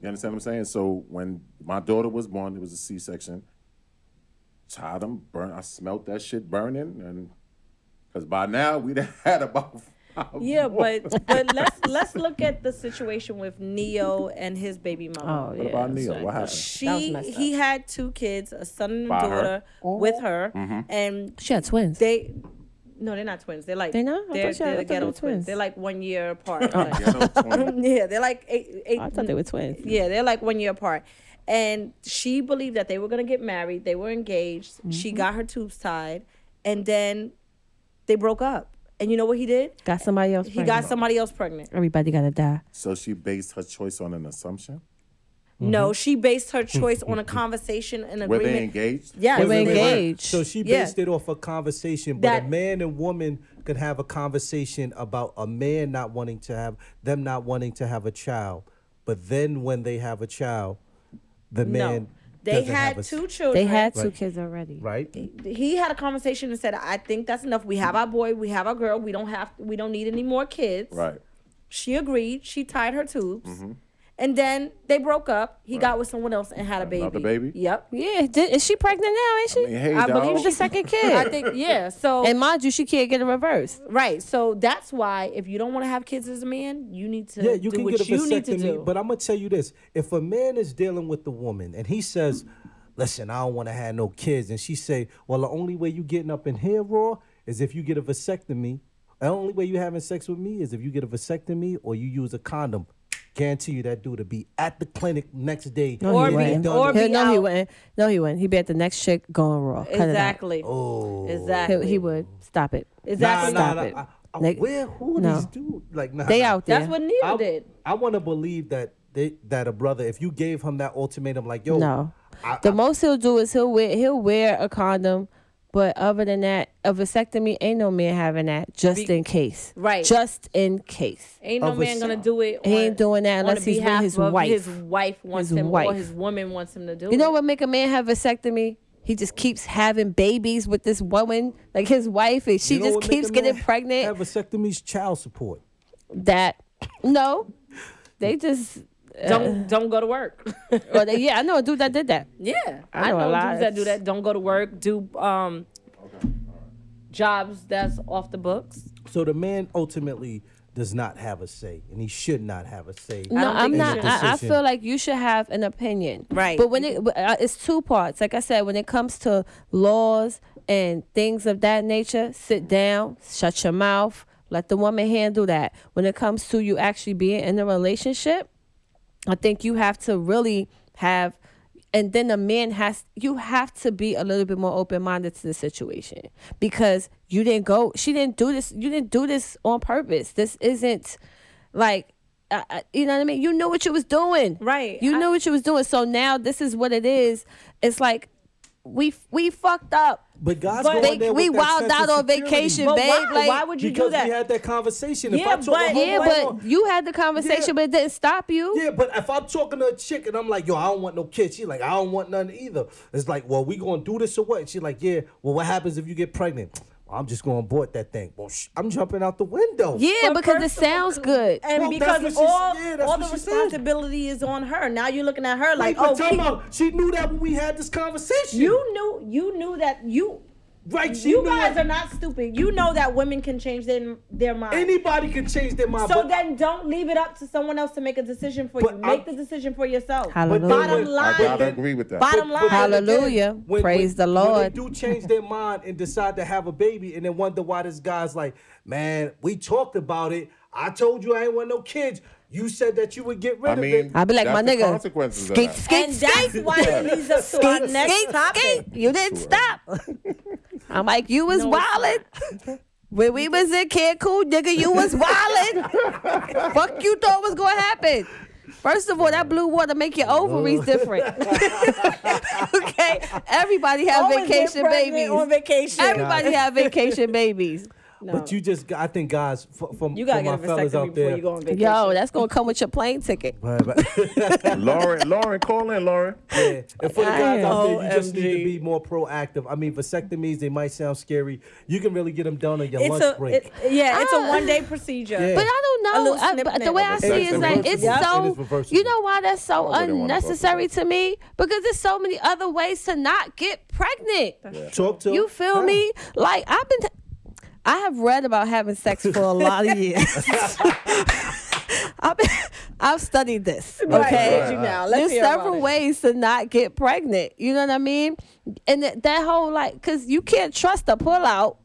S3: You understand what I'm saying? So when my daughter was born, it was a C-section. Tied them, burn. I smelt that shit burning, and because by now we'd had about five
S2: Yeah,
S3: more.
S2: but but let's let's look at the situation with Neo and his baby mama.
S6: oh
S3: What
S6: yeah.
S3: about Neil? What happened?
S2: She
S6: messed Oh.
S2: he had two kids, a son and a
S3: By her? Mm-hmm.
S2: daughter with her, and
S6: She had twins.
S2: they No, they're not twins. They're like
S6: They not? I
S2: They're,
S6: thought y'all- I
S2: they're
S6: thought they
S2: ghetto
S6: were
S2: twins.
S6: twins.
S2: They're like one year apart.
S3: Ghetto twin.
S2: yeah, they're like eight. eight
S6: I thought they were twins.
S2: Yeah, they're like one year apart. And she believed that they were gonna get married. They were engaged. She
S6: Mm-hmm.
S2: got her tubes tied, and then they broke up. And you know what he did?
S6: Got somebody else.
S2: He
S6: pregnant.
S2: got somebody else pregnant.
S6: Everybody gotta die.
S3: So she based her choice on an assumption.
S4: Mm-hmm.
S2: No, she based her choice on a conversation and
S3: Were
S2: agreement.
S3: they engaged?
S2: Yeah,
S6: They were
S2: they were.
S6: engaged.
S4: So she
S2: Yeah.
S4: based it off a conversation, but a
S2: That-
S4: man and woman could have a conversation about a man not wanting to have them not wanting to have a child, but then when they have a child, the man
S2: No, they
S4: doesn't have
S2: had
S4: a s-
S2: two children.
S6: They had two kids already.
S4: right.
S2: he had a conversation and said, "I think that's enough. We have our boy, we have our girl. We don't have, we don't need any more kids."
S3: Right. Mm-hmm.
S2: She agreed. She tied her tubes, and then they broke up. He got with someone else and had a baby.
S3: Another baby?
S2: Yep.
S6: Yeah, did, is she pregnant now? Ain't she?
S3: I mean, hey,
S2: I
S3: dog.
S2: believe
S6: It was the second kid.
S2: I think yeah. So
S6: and mind you, she can't get it reversed.
S2: right. So that's why if you don't want to have kids as a man, you need to
S4: Yeah, you
S2: do
S4: can
S2: what
S4: get a
S2: you need to do.
S4: vasectomy, but I'm gonna tell you this: if a man is dealing with the woman and he says, "Listen, I don't want to have no kids," and she say, "Well, the only way you getting up in here raw is if you get a vasectomy. The only way you having sex with me is if you get a vasectomy or you use a condom." Guarantee you that dude to be at the clinic next day.
S6: No,
S2: Or
S6: he
S2: be-
S6: wouldn't.
S2: or be
S6: He'll- no, he
S2: out.
S6: wouldn't. No, he wouldn't. He'd be at the next chick going raw. Cut it out.
S2: exactly. Oh.
S6: He'll-
S2: Exactly.
S6: He, would stop it.
S2: Exactly.
S6: Nah, nah.
S4: I,
S6: Stop it.
S4: I, I,
S6: Like,
S4: where who
S6: no.
S4: these dude like nah,
S6: They
S4: nah.
S6: out there.
S2: That's what Neil
S4: I,
S2: did.
S4: want to believe that they that a brother if you gave him that ultimatum like yo
S6: No.
S4: I-
S6: the most he'll do is he'll wear he'll wear a condom, but other than that, a vasectomy ain't no man having that just in case.
S2: Right.
S6: Just in case.
S2: Ain't no
S4: Of a
S2: man gonna
S4: son.
S2: do it.
S6: He ain't
S2: on-
S6: doing that
S2: on
S6: unless
S2: the
S6: he's with
S2: behalf
S6: his
S2: of
S6: wife.
S2: His wife wants
S6: His
S2: him, or
S6: wife.
S2: his woman wants him to do.
S6: You know
S2: it.
S6: what make a man have vasectomy? He just keeps having babies with this woman, like his wife, and she
S4: You know
S6: just
S4: what make
S6: keeps
S4: a
S6: getting
S4: man
S6: pregnant.
S4: Have vasectomies, child support.
S6: that no, they just
S2: Don't don't go to work.
S6: or they, yeah, I know a dude that did that.
S2: yeah,
S6: I
S2: I
S6: know
S2: know,
S6: a lot.
S2: dudes that do that. Don't go to work. Do um jobs that's off the books.
S4: So the man ultimately does not have a say, and he should not have a say.
S6: No,
S2: don't
S6: I'm
S2: think
S6: not.
S2: it's a
S6: I, I
S4: decision.
S6: feel like you should have an opinion.
S2: Right.
S6: But when it, but, uh, it's two parts. Like I said, when it comes to laws and things of that nature, sit down, shut your mouth, let the woman handle that. When it comes to you actually being in a relationship, I think you have to really have, and then the man has, you have to be a little bit more open minded to the situation because you didn't go, she didn't do this, you didn't do this on purpose. This isn't like, I I- you know what I mean? You knew what you was doing.
S2: Right.
S6: You
S2: I-
S6: knew what you was doing. So now this is what it is. It's like, we we fucked up.
S4: But God's
S2: But-
S4: going
S6: They,
S4: there
S6: we
S4: with that
S6: wild
S4: sense of
S6: out on
S4: security.
S6: vacation,
S2: But
S6: babe.
S2: why?
S6: Like,
S2: why would you
S4: because
S2: do that?
S4: we had that conversation. if
S2: Yeah,
S4: I talk
S2: but-
S4: oh,
S6: yeah,
S4: hold
S6: but
S4: on.
S6: you had the conversation,
S4: Yeah.
S6: but it didn't stop you.
S4: Yeah, but if I'm talking to a chick and I'm like, yo, I don't want no kids. She's like, I don't want none either. It's like, well, we gonna do this or what? She's like, yeah. Well, what happens if you get pregnant? I'm just gonna abort that thing. Well, sh- I'm jumping out the window.
S6: Yeah,
S2: But
S6: because it
S2: first of all,
S6: sounds good.
S2: And
S4: Well, that's
S2: because
S4: what she-
S2: all,
S4: yeah, that's
S2: all
S4: what
S2: the
S4: she said.
S2: responsibility is on her. Now you're looking at her
S4: Wait,
S2: like,
S4: but
S2: oh,
S4: tell
S2: he-
S4: her, she knew that when we had this conversation.
S2: you knew, you knew that you,
S4: right? She
S2: you
S4: knew
S2: guys
S4: that
S2: are not stupid. You know that women can change their their mind.
S4: Anybody can change their mind.
S2: so
S4: but
S2: then don't leave it up to someone else to make a decision for
S4: But
S2: you. Make
S4: I-
S2: the decision for yourself.
S6: Hallelujah.
S2: Bottom
S4: But-
S2: line.
S4: I
S3: I gotta agree with that.
S2: Bottom
S4: But- but
S2: line.
S4: then again,
S6: Hallelujah. Praise the
S4: When they
S6: Lord.
S4: do change their mind and decide to have a baby, and then wonder why this guy's like, man, we talked about it. I told you I ain't want no kids. You said that you would get rid
S3: I
S4: of
S3: mean,
S4: it.
S6: I'd be like,
S3: that's
S6: my
S3: the
S6: nigga,
S3: Consequences
S6: skate,
S3: of that.
S6: skate,
S2: and
S6: skate,
S2: that's why it leads us to our
S6: skate,
S2: next
S6: skate,
S2: topic.
S6: skate. You didn't stop. I'm like, you was
S2: No, it's
S6: wildin'. When we was in Cancun, nigga, you was wildin'. Fuck you thought was gonna happen. First of all, that blue water make your ovaries different. okay, everybody have
S2: Always get
S6: vacation
S2: pregnant
S6: babies.
S2: on vacation.
S6: Everybody have vacation babies.
S4: But you just, I think, guys, f- from
S2: You gotta
S4: for
S2: get a
S4: my fellas
S2: vasectomy
S4: out
S2: before
S4: there.
S2: you go on vacation.
S6: Yo, that's gonna come with your plane ticket.
S3: Lauren, Lauren, call in, Lauren.
S4: Yeah. And for the guys out there, you just need to
S2: OMG.
S4: be more proactive. I mean, vasectomies, they might sound scary. You can really get them done on your
S2: it's
S4: lunch
S2: a
S4: break.
S2: it- yeah, it's a
S6: Ah.
S2: one day procedure.
S4: Yeah.
S6: But I don't
S2: A
S6: know.
S2: little
S6: I, but the
S2: snippet.
S6: way I see it is like
S4: Reversible.
S6: it's
S4: Yep. It is
S6: so.
S4: reversible.
S6: You know why that's so
S3: I wouldn't wanna fuck with
S6: unnecessary
S3: that.
S6: to me? Because there's so many other ways to not get pregnant.
S4: Talk to
S6: You feel
S4: Huh.
S6: me? Like I've been. I have read about having sex for a lot of years. I've, been, I've studied this. Okay.
S2: Right, did you now? Let's
S6: There's
S2: hear about
S6: several
S2: it.
S6: ways to not get pregnant. You know what I mean? And that, that whole like, cause you can't trust a pullout.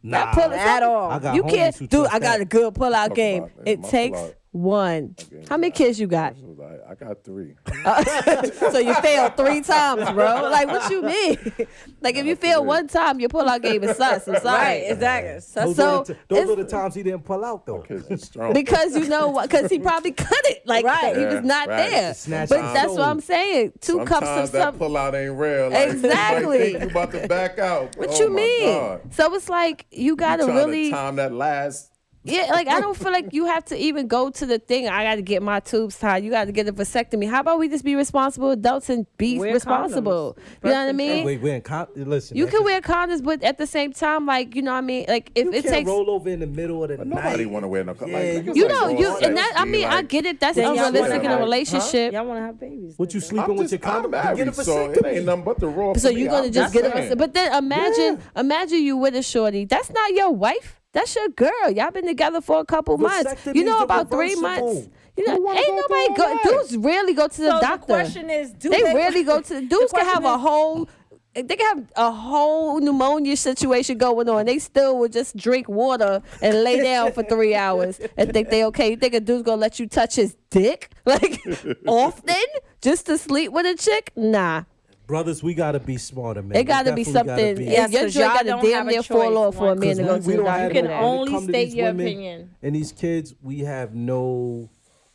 S6: Not pull it
S5: At all.
S4: I got
S6: you
S4: homies who
S6: can't, dude.
S4: trust
S6: I got
S4: that.
S6: a good pull out
S3: Talk
S6: game.
S3: about it.
S6: It
S3: Muscle
S6: takes
S3: out.
S6: one.
S3: game
S6: How many kids you got?
S3: She was like, I got three.
S6: so you failed three times, bro. Like what you mean? like if you fail one time, your pull out game is sus. I'm sorry.
S2: Right, exactly. So,
S6: Those
S4: Those
S6: So,
S4: are the t- those
S6: it's-
S4: are the times he didn't pull out though.
S3: Kids is strong.
S6: Because you know what? Because he probably couldn't. Like
S2: Right.
S6: he was not
S3: Yeah, right.
S6: there.
S4: Snatch
S6: But
S4: his
S6: that's
S4: soul.
S6: what I'm saying. Two cups of
S3: Sometimes that
S6: something.
S3: pull out ain't real. Like,
S6: Exactly.
S3: You, might think you about to back out.
S6: What
S3: Oh
S6: you
S3: my
S6: mean?
S3: God.
S6: So it's like you gotta
S3: trying
S6: really
S3: to time that last.
S6: Yeah, like I don't feel like you have to even go to the thing. I got to get my tubes tied. You got to get a vasectomy. How about we just be responsible adults and be
S2: Wear
S6: responsible?
S2: condoms.
S6: You know what I
S2: Birth
S6: mean?
S4: Wait, wait, con- listen.
S6: you
S4: that
S6: can
S4: just-
S6: wear condoms, but at the same time, like you know what I mean? Like if
S4: You
S6: it
S4: can't
S6: takes,
S4: roll over in the middle of the night.
S3: Nobody want to wear no. Like,
S4: Yeah,
S3: like,
S4: you-
S3: it's
S6: you
S3: like
S6: know,
S3: raw
S6: you and
S3: sex,
S6: that. I
S3: be
S6: mean, I
S3: like-
S6: get it. That's
S2: Then y'all
S6: unrealistic
S3: wanna,
S6: in a
S3: like,
S6: relationship.
S2: y'all want to have babies.
S4: What you
S2: then.
S3: I'm
S4: sleeping with
S3: just,
S4: your condom?
S3: I'm married,
S4: Get a vasectomy.
S3: so it ain't nothing but the raw.
S6: So
S3: for me.
S6: you're gonna
S3: I'm
S6: just get a
S3: saying.
S6: vasectomy. But then imagine, imagine you with a shorty. That's not your wife. That's your girl. Y'all been together for a couple months. You
S4: Vasectomies
S6: know
S4: are
S6: about three months.
S4: reversible.
S6: You know,
S3: wanna
S6: ain't
S3: go
S6: nobody
S3: through
S6: go.
S3: all that?
S6: Dudes really go to the
S2: So
S6: doctor.
S2: the question is, do
S6: they,
S2: they
S6: really go to dudes can
S2: question
S6: have a
S2: is-
S6: whole they can have a whole pneumonia situation going on. They still would just drink water and lay down for three hours and think they okay. You think a dude's gonna let you touch his dick like often just to sleep with a chick? Nah,
S4: Brothers, we gotta be smarter, man.
S6: it
S4: We
S6: gotta be
S4: definitely gotta
S6: something.
S4: be-
S6: Yeah,
S2: Yes,
S6: your
S2: 'cause
S6: joint
S2: y'all
S6: gotta
S2: don't
S6: damn
S2: have a
S6: near fall
S2: choice
S6: off for a
S2: once.
S6: man to go
S4: Because
S6: to
S4: we,
S6: the
S4: we don't
S6: doctor.
S4: have
S2: You can
S4: no- when it
S2: only
S4: come to
S2: state
S4: these
S2: your
S4: women
S2: opinion.
S4: And these kids, we have no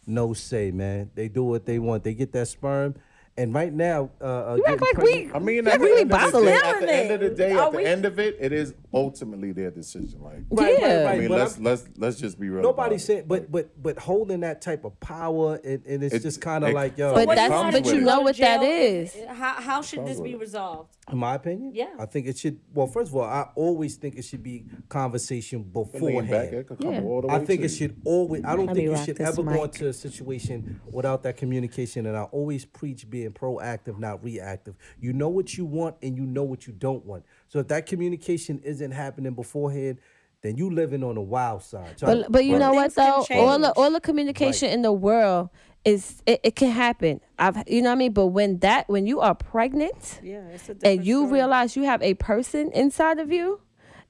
S4: no say, man. They do what they want. They get that sperm. And right now, uh, uh
S6: You act
S4: getting
S6: like we
S4: pregnant-
S3: I mean,
S6: you
S3: at
S6: act like
S3: the,
S6: we
S3: end of the,
S6: bottling.
S3: day, at the end of the day,
S2: Are
S3: at the
S2: we-
S3: end of it, it is ultimately their decision. Like,
S4: Right, right,
S6: Yeah.
S4: right,
S3: I mean,
S4: but
S3: let's
S4: I'm-
S3: let's let's just be real.
S4: Nobody
S3: about it.
S4: said, but but but holding that type of power, and, and it's
S3: It-
S4: just kind of
S3: it-
S4: like, yo,
S6: But
S2: What
S6: that's-
S2: you wanna
S3: but you
S2: do,
S6: know
S2: go to
S6: what that
S2: jail?
S6: is.
S2: How, how should this be resolved?
S4: in my opinion,
S2: Yeah.
S4: I think it should. Well, first of all, I always think it should be conversation
S3: lean back,
S4: beforehand.
S3: it could come all the way
S4: I think
S3: to
S4: it
S3: you.
S4: should always. I
S6: Let
S4: don't
S6: me
S4: think you
S6: rock
S4: should
S6: this
S4: ever
S6: mic.
S4: go into a situation without that communication. And I always preach being proactive, not reactive. You know what you want, and you know what you don't want. So if that communication isn't happening beforehand, then you living on the wild side. So I-
S6: But but you know what
S2: Things can
S6: though, all the
S2: change.
S6: all the communication in the world is it, it can happen. I've you know what I mean. But when that when you are pregnant,
S2: Yeah, it's a different
S6: and you
S2: story.
S6: realize you have a person inside of you,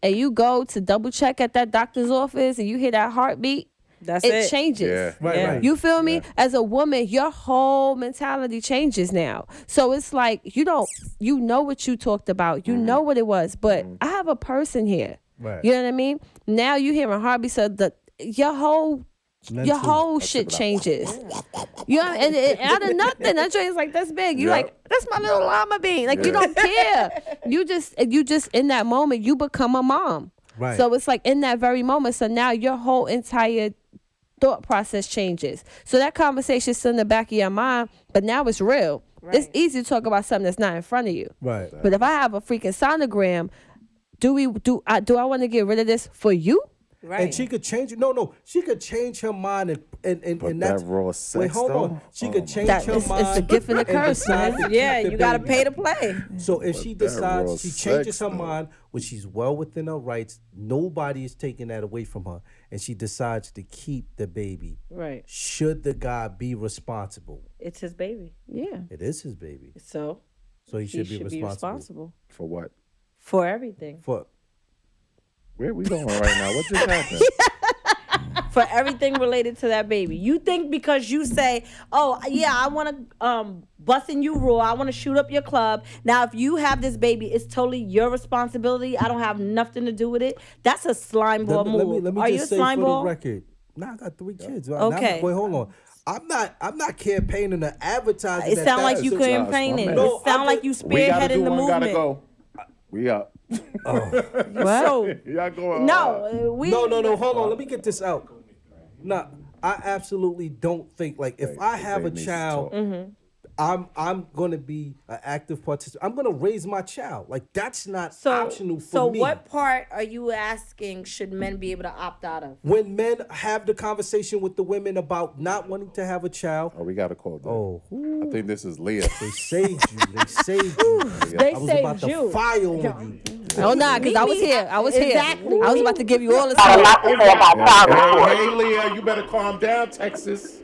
S6: and you go to double check at that doctor's office, and you hear that heartbeat,
S2: That's
S6: it,
S2: it.
S6: changes.
S3: Yeah.
S4: right,
S2: Yeah.
S4: right.
S6: You feel me? As a woman, your whole mentality changes now. So it's like you don't you know what you talked about. You know what it was, but I have a person here.
S4: Mm-hmm. Right.
S6: You know what I mean? Now you hearing Harvey so the your whole your
S4: Mental.
S6: whole shit changes. You know, and, and out of nothing, that joint's like that's big. You
S3: Yeah.
S6: like that's my little llama bean. Like you
S3: Yeah.
S6: don't care. You just you just in that moment you become a mom.
S4: Right.
S6: So it's like in that very moment. So now your whole entire thought process changes. So that conversation's still in the back of your mind, but now it's real. It's easy to talk about something that's not in front of you.
S4: right.
S6: But if I have a freaking sonogram, do we do I do I want to get rid of this for you?
S4: And she could change. No, no, she could change her mind, and and and,
S3: But
S4: and
S3: that
S4: that's
S3: raw
S4: Wait,
S3: sex,
S4: hold
S3: though? Oh,
S4: on. She could change
S6: That
S4: her
S6: is- it's
S4: mind.
S6: a gift and a curse,
S4: decide
S6: man.
S4: to keep
S2: yeah,
S4: the
S2: you got to
S4: baby.
S2: pay to play.
S4: So if she
S3: that raw
S4: decides she changes
S3: sex,
S4: her
S3: though.
S4: mind, which she's well within her rights, nobody is taking that away from her, and she decides to keep the baby.
S2: Right.
S4: Should the guy be responsible?
S2: It's his baby.
S6: Yeah.
S4: It is his baby,
S2: So
S4: so he
S2: he
S4: should, be, responsible.
S3: for what?
S2: for everything.
S4: for.
S3: Where we going right now? What just happened?
S2: For everything related to that baby. You think because you say, "Oh, yeah, I want to um bust in you rule. I want to shoot up your club." Now, if you have this baby, it's totally your responsibility. I don't have nothing to do with it. That's a slime
S4: Let,
S2: ball
S4: me-
S2: move.
S4: let me let me
S2: Are you a
S4: just say
S2: slime
S4: for
S2: ball?
S4: the record. Now I got three kids. Now I'm-
S2: Okay.
S4: wait, hold on. I'm not. I'm not campaigning or advertising.
S2: It
S4: that
S2: sound
S4: that's
S2: like you
S4: the-
S3: Nah, it's
S2: couldn't paint
S3: my
S2: it.
S3: bad.
S4: No,
S2: It sound
S4: I'm
S2: like you
S4: just-
S3: we gotta do
S2: spearheading the
S3: one. Gotta
S2: movement.
S3: go. We up.
S2: So
S3: Y'all going? hard.
S2: no, uh, we
S4: No, no, no. Hold on. Let me get this out. No, I absolutely don't think like if I have a
S3: Baby needs to
S4: child,
S3: talk.
S4: I'm I'm gonna be an active participant. I'm gonna raise my child. Like that's not
S2: So,
S4: optional for
S2: so
S4: me.
S2: what part are you asking should men be able to opt out of?
S4: when men have the conversation with the women about not wanting to have a child,
S3: Oh, we gotta call. Them.
S4: oh, who-
S3: I think this is Leah.
S4: they saved you. They saved you.
S6: They
S4: I was about to fire on you.
S6: Oh nah, because I was here. I was here.
S2: Exactly.
S6: I was about to give you all the
S8: Got a
S6: stuff.
S8: lot to say about
S3: hey,
S8: progress.
S3: hey, Leah, you better calm down, Texas.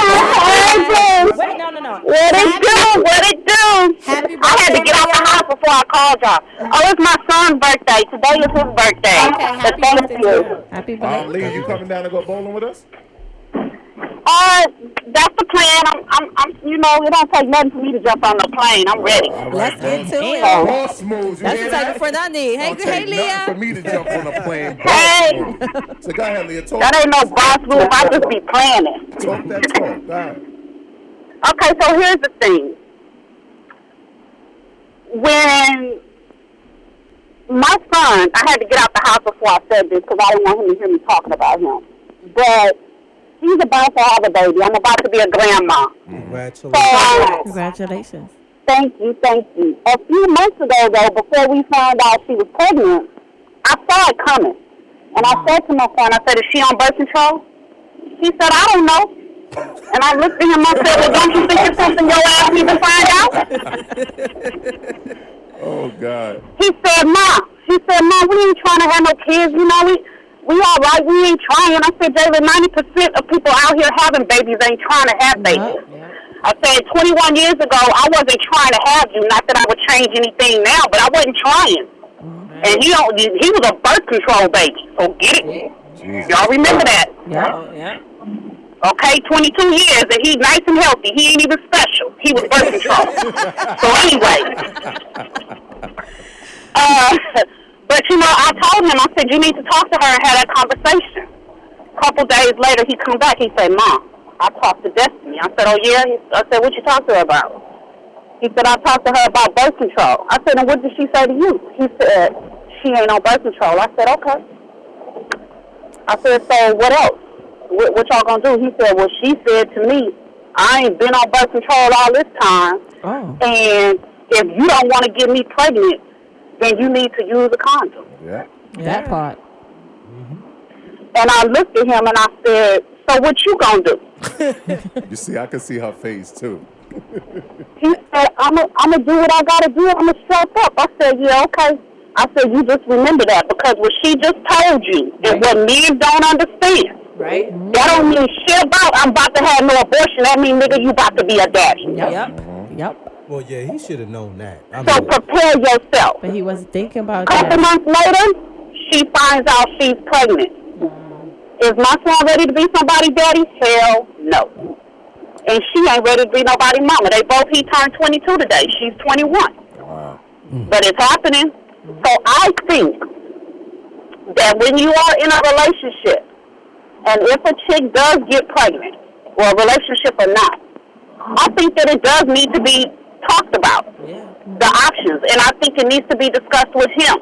S8: Hi, Francis.
S2: Wait, no, no, no.
S8: What it do? What it do?
S2: Happy
S8: I had to
S2: birthday,
S8: get out the
S2: Leah.
S8: house before I called y'all. Oh, it's my son's birthday. Today is his birthday.
S2: Okay,
S8: But
S2: happy
S8: thank
S2: birthday to
S8: you.
S2: you.
S6: Happy birthday.
S3: Um, Leah, you coming down to go bowling with us?
S8: Uh, that's the plan. I'm, I'm, I'm, you know, it don't take nothing for me to jump on the plane. I'm ready.
S3: All
S5: Let's
S3: right,
S5: get to it.
S8: Oh.
S3: Boss moves. You
S5: That's the
S3: hear
S5: type of
S3: that?
S5: friend I need. Hey,
S3: Don't
S5: hey,
S3: take nothing for
S5: Leah.
S3: me to jump on a plane.
S8: Hey.
S3: Boss moves. So go ahead, Leah. Talk,
S8: That ain't no boss move. I just be planning.
S3: talk that talk. All right.
S8: Okay, so here's the thing. When my son, I had to get out the house before I said this because I didn't want him to hear me talking about him. But he's about to have a baby. I'm about to be a grandma.
S4: Congratulations.
S8: So
S6: Congratulations.
S8: Thank you, thank you. A few months ago, though, before we found out she was pregnant, I saw it coming. And I said to my son, I said, is she on birth control? He said, I don't know. And I looked at him, I said, well, don't you think it's something your ass need to find out?
S3: Oh God.
S8: He said, ma. He said, ma, we ain't trying to have no kids, you know, we, we all right, we ain't trying. I said, Jalen, 90% of people out here having babies ain't trying to have babies. I said 21 years ago, I wasn't trying to have you. Not that I would change anything now, but I wasn't trying. And he don't, he was a birth control baby, so get it. Y'all remember that,
S6: Yeah.
S8: okay? 22 years, and he's nice and healthy. He ain't even special. He was birth control. so anyway, uh, but you know, I told him, I said, you need to talk to her and have that conversation. couple days later, he come back. He said, "Mom, I talked to Destiny." I said, "Oh yeah." He, I said, "What you talked to her about?" He said, "I talked to her about birth control." I said, "And what did she say to you?" He said, "She ain't on birth control." I said, "Okay." I said, "So what else? What, what y'all gonna do?" He said, "Well, she said to me, I ain't been on birth control all this time,
S6: Oh.
S8: and if you don't want to get me pregnant, then you need to use a condom."
S3: Yeah.
S6: That part.
S8: And I looked at him and I said, "So what you gonna do?"
S3: You see, I can see her face too.
S8: He said, I'm going I'm to do what I got to do. I'm going to strap up. I said, yeah, okay. I said, you just remember that because what she just told you and what men don't understand,
S2: Right?
S8: that don't mean shit about I'm about to have no abortion. That mean, nigga, you about to be a daddy.
S6: Yep. Yep.
S4: Well, yeah, he should have known that. I
S8: So
S4: mean,
S8: prepare yourself.
S6: But he wasn't thinking about
S8: couple
S6: that.
S8: months later, she finds out she's pregnant. Is my son ready to be somebody daddy? Hell no. And she ain't ready to be nobody mama. They both, he turned 22 today. She's 21.
S3: Wow.
S8: but it's happening. So I think that when you are in a relationship, and if a chick does get pregnant, or a relationship or not, I think that it does need to be talked about, the options, and I think it needs to be discussed with him.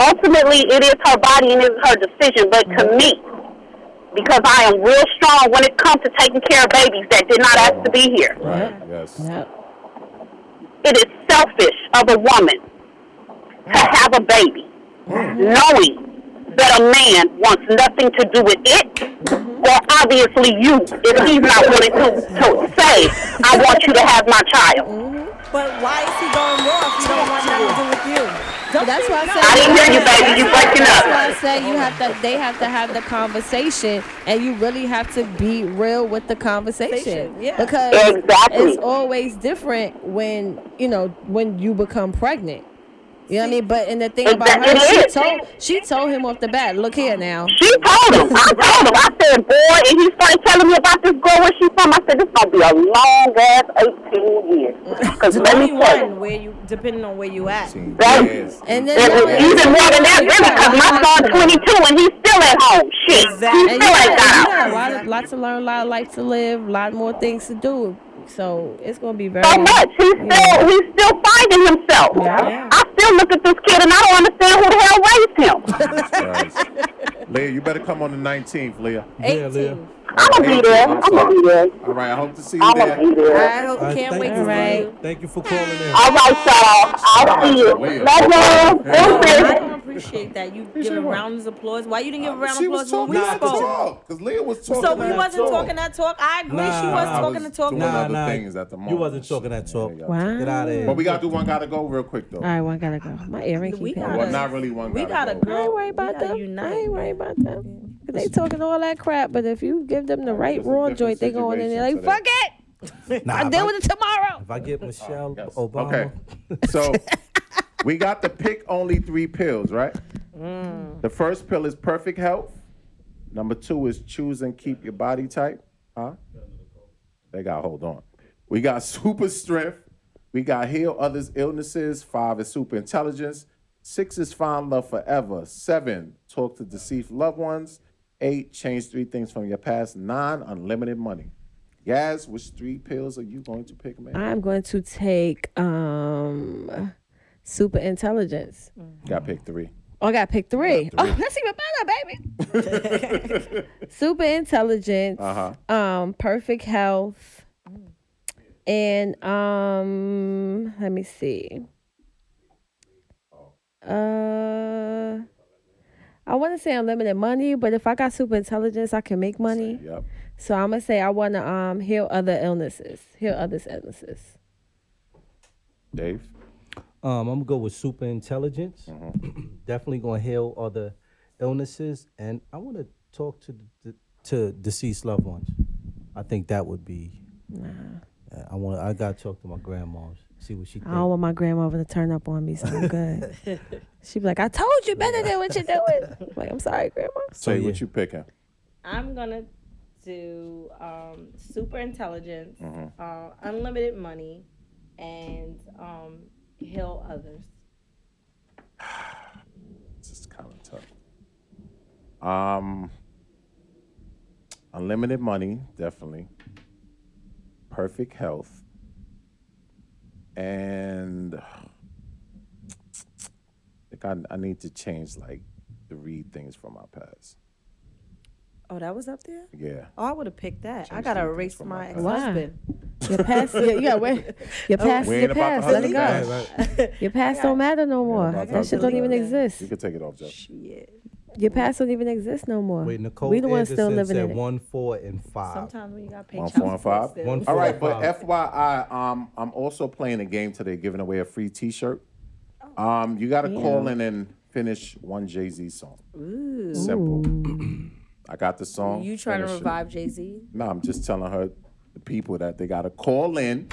S8: Ultimately, it is her body and it is her decision, but to me, because I am real strong when it comes to taking care of babies that did not ask to be here
S3: Right. Yes.
S6: Yep.
S8: it is selfish of a woman to have a baby knowing that a man wants nothing to do with it or obviously you if he's not willing to, to say i want you to have my child
S2: But why is he going raw if you don't want nothing to do with you?
S6: That's why I said.
S8: i didn't hear you baby you breaking
S6: That's why I
S8: up
S6: said you have to. They have to have the conversation, and you really have to be real with the conversation.
S2: Yeah.
S6: Because
S8: Exactly.
S6: Mm-hmm. it's always different when you know when you become pregnant. You know what I mean? But and the thing about her,
S8: Exactly.
S6: she told she told him off the bat. Look here now.
S8: she told him i told him i said boy and he started telling me about this girl where she from i said this gonna be a long ass 18 years because let me tell you
S2: 21, where you, depending on where you at.
S3: Yes.
S6: And
S8: It was
S6: then
S8: even more than that, really, because my son's 22 and he's still at home. Shit,
S2: Exactly.
S8: he
S6: And you
S8: still
S6: got,
S8: ain't got
S6: you
S8: out.
S6: got a lot, of, lot to learn, a lot of life to live, a lot more things to do. So it's gonna be very.
S8: So much. He's
S6: Yeah.
S8: still he's still finding himself.
S6: Yeah.
S8: I still look at this kid and I don't understand who the hell raised him.
S3: Jesus Christ. Leah, you better come on the 19th, Leah.
S4: yeah, Leah.
S8: I'm gonna be there. I'm gonna be there.
S3: All right, I hope to see you
S8: I'm
S3: there.
S8: gonna be there.
S2: I hope,
S4: All right,
S2: can't
S4: thank
S2: wait
S4: you,
S2: to
S6: Right.
S2: see
S4: Leah.
S2: you.
S6: Oh.
S4: Thank you for calling in.
S8: All right, y'all. I'll see you. Love you. Deuces.
S2: I don't appreciate that. You give a round of applause. Why you didn't give a round of
S3: Uh, She was
S2: applause when
S3: talking
S2: we
S3: that
S2: spoke?
S3: talk because Leah was talking.
S2: So we
S3: that
S2: wasn't
S3: talk.
S2: talking that talk. I agree. she
S4: Nah,
S2: was
S4: I
S2: talking the
S3: was
S2: talk.
S3: doing
S4: Nah,
S3: other
S4: nah,
S3: things at the
S4: you
S3: moment.
S4: wasn't talking that
S3: Yeah,
S4: talk.
S3: yeah.
S6: Wow.
S4: Get out of here.
S3: But we gotta do one. Gotta go real quick though.
S6: All right, one gotta go. My earring
S2: We
S6: keep
S2: gotta-
S6: out.
S3: Well, not really one.
S2: We
S3: gotta
S2: gotta
S6: I
S2: go.
S6: ain't worried
S2: We
S6: about
S2: gotta
S6: them. I
S2: unite.
S6: ain't worried about them. 'Cause They talking all that crap, but if you give them the right
S3: it's a
S6: raw
S3: different
S6: joint, they going in there
S3: situation
S6: like, fuck it.
S4: Nah,
S6: I
S4: if
S6: deal
S4: I-
S6: with it tomorrow.
S4: If I get Michelle
S3: Yes.
S4: Obama,
S3: Okay. So we got the pick only three pills, right? The first pill is perfect health. Number two is choose and keep your body type. Huh? They got hold on. We got super strength. We got heal others' illnesses. Five is super intelligence. Six is find love forever. Seven, talk to deceived loved ones. Eight, change three things from your past. Nine, unlimited money. Yaz, which three pills are you going to pick, man?
S6: I'm going to take um super intelligence.
S3: Got pick three.
S6: Oh, I got pick three. Oh, that's even better, baby. super intelligence.
S3: Uh-huh.
S6: Um, perfect health. And um, let me see. Uh, I want to say unlimited money, but if I got super intelligence, I can make money.
S3: Yep.
S6: So I'm gonna say I want to um heal other illnesses, heal others' illnesses.
S3: Dave.
S4: um, I'm gonna go with super intelligence.
S3: Mm-hmm.
S4: Definitely gonna heal other illnesses, and I want to talk to the, to deceased loved ones. I think that would be. Uh, I want. I gotta talk to my grandmoms. See what she
S6: I don't
S4: thinks.
S6: want my grandmother to turn up on me, so I'm good. she be like, I told you better than what you're doing. I'm like, I'm sorry, grandma.
S3: Say
S4: yeah.
S3: what you picking.
S2: I'm gonna do um, super intelligence,
S3: Mm-hmm.
S2: uh, unlimited money, and um, heal others.
S3: This is kind of tough. Um, unlimited money, definitely. Perfect health. And I think I, I need to change like the read things from my past.
S2: Oh, that was up there.
S3: Yeah.
S2: Oh, I would have picked that. I
S3: Change
S2: gotta
S3: some things
S2: erase
S3: from
S2: my
S3: my
S2: ex
S3: past.
S2: husband.
S6: Your past, your, yeah, wait, your past,
S3: we ain't
S6: your
S3: about
S6: past.
S3: to
S6: Let it
S3: hustle
S6: go.
S3: back.
S6: Your past don't matter no more.
S3: about to
S6: That shit
S3: hustle
S6: don't even
S3: back.
S6: exist.
S3: You can take it off, Jeff.
S2: Shit.
S6: Your past don't even exist no more.
S4: Wait, Nicole
S6: we the ones
S4: Anderson
S6: still living
S4: said
S6: in it.
S4: one, four, and five.
S2: Sometimes when you gotta pay
S3: One,
S2: child
S3: four, and
S2: support
S3: five?
S2: still.
S4: One,
S3: All
S4: four,
S3: right,
S4: and
S3: but
S4: five.
S3: FYI, um, I'm also playing a game today, giving away a free T-shirt.
S2: Oh.
S3: Um, you got to call in and finish one Jay Z song. Simple. I got the song.
S2: You trying to
S3: finish it.
S2: revive Jay Z?
S3: No, I'm just telling her the people that they got to call in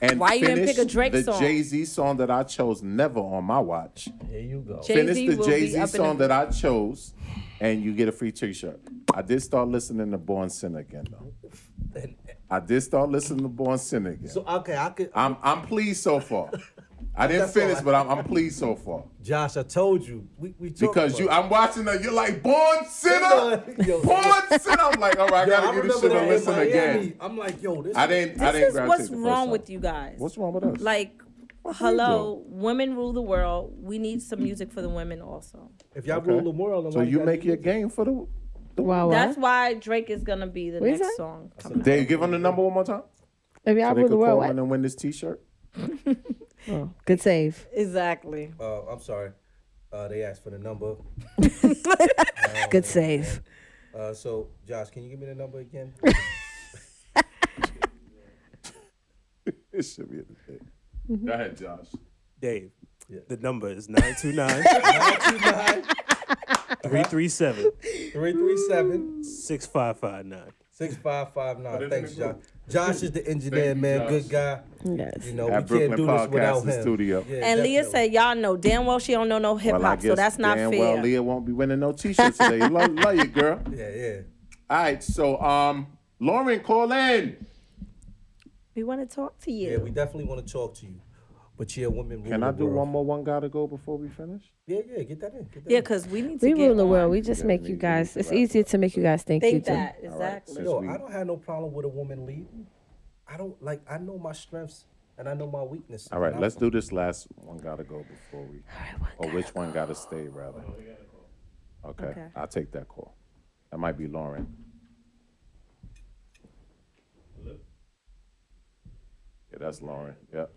S3: and
S2: Why you didn't
S3: finish
S2: pick a Drake
S3: the
S2: song?
S3: Jay Z song that I chose. Never on my watch.
S4: There you go.
S2: Jay-Z
S3: finish the
S2: will
S3: Jay
S2: be
S3: Z
S2: up in
S3: song
S2: the-
S3: that I chose, and you get a free T-shirt. I did start listening to Born Sinner again, though. I did start listening to Born Sinner again.
S4: So okay, I could.
S3: I'm I'm pleased so far. I didn't finish, but I'm, I'm pleased so far
S4: Josh, I told you we we talked
S3: because
S4: about
S3: you.
S4: it.
S3: I'm watching that. You're like born sinner,
S4: Yo.
S3: born sinner. I'm like, all right, I
S4: Yo,
S3: gotta give this
S4: remember
S3: shit a
S4: that in
S3: listen
S4: Miami.
S3: again.
S4: I'm like, yo, this.
S3: I didn't. I didn't.
S2: This is
S3: gravitate
S2: what's
S3: the first
S2: wrong
S3: time.
S2: with you guys.
S3: What's wrong with us?
S2: Like,
S3: we
S2: hello, women rule the world. We need some music for the women also.
S4: If y'all
S3: Okay.
S4: rule the world, then
S3: so
S4: why
S3: you
S4: gotta
S3: make
S4: do
S3: your
S4: this?
S3: game for the.
S6: Wow,
S2: That's
S6: wow.
S2: why Drake is gonna be the
S6: What is that?
S2: next song.
S3: Dave, give them the number one more time.
S6: If
S3: So
S6: y'all
S3: they
S6: rule the
S3: could call
S6: world,
S3: in
S6: what?
S3: and win this T-shirt.
S6: Oh, good save.
S2: Exactly.
S3: Oh,
S4: Uh, I'm sorry. Uh, they asked for the number.
S6: Good save.
S4: Uh, so Josh, can you give me the number again?
S3: It should be. in the thing. Go ahead, Josh.
S9: Dave, the number is 929 337
S4: 337
S9: 6559.
S4: 6559.
S3: in
S4: Thanks,
S3: the
S4: Josh.
S3: group.
S4: Josh is the engineer,
S3: you,
S4: man.
S3: Josh.
S4: Good guy.
S6: Yes.
S4: You know,
S3: At
S4: we
S3: Brooklyn
S4: can't do this
S3: Podcasting
S4: without him.
S3: Studio.
S4: Yeah,
S2: And Leah
S4: definitely.
S2: said, "Y'all know damn well she don't know no hip hop,
S3: Well, I
S2: so
S3: guess
S2: that's not
S3: damn
S2: fair."
S3: well, Leah won't be winning no T-shirts today. love, love you, girl.
S4: Yeah, yeah.
S3: All right, so um, Lauren, call in.
S2: we want to talk to you.
S4: Yeah, we definitely want to talk to you. But yeah, women rule
S3: Can
S4: the
S3: I do
S4: world.
S3: one more one gotta go before we finish?
S4: Yeah, yeah, get that in. Get that
S2: Yeah,
S4: in.
S2: because we need to
S6: We
S2: get
S6: rule the
S2: on.
S6: world. We just make you guys. It's easier to make you guys think, you
S2: think
S6: do.
S2: that
S3: All right,
S2: exactly.
S3: since
S4: Yo,
S3: we-
S4: I don't have no problem with a woman leading. I don't like. I know my strengths and I know my weaknesses.
S3: All right,
S4: and I-
S3: let's do this last one gotta go before we or which one gotta stay rather.
S2: Oh,
S3: Okay,
S2: Okay.
S3: I'll take that call. That might be Lauren. Yeah, that's Lauren. Yep.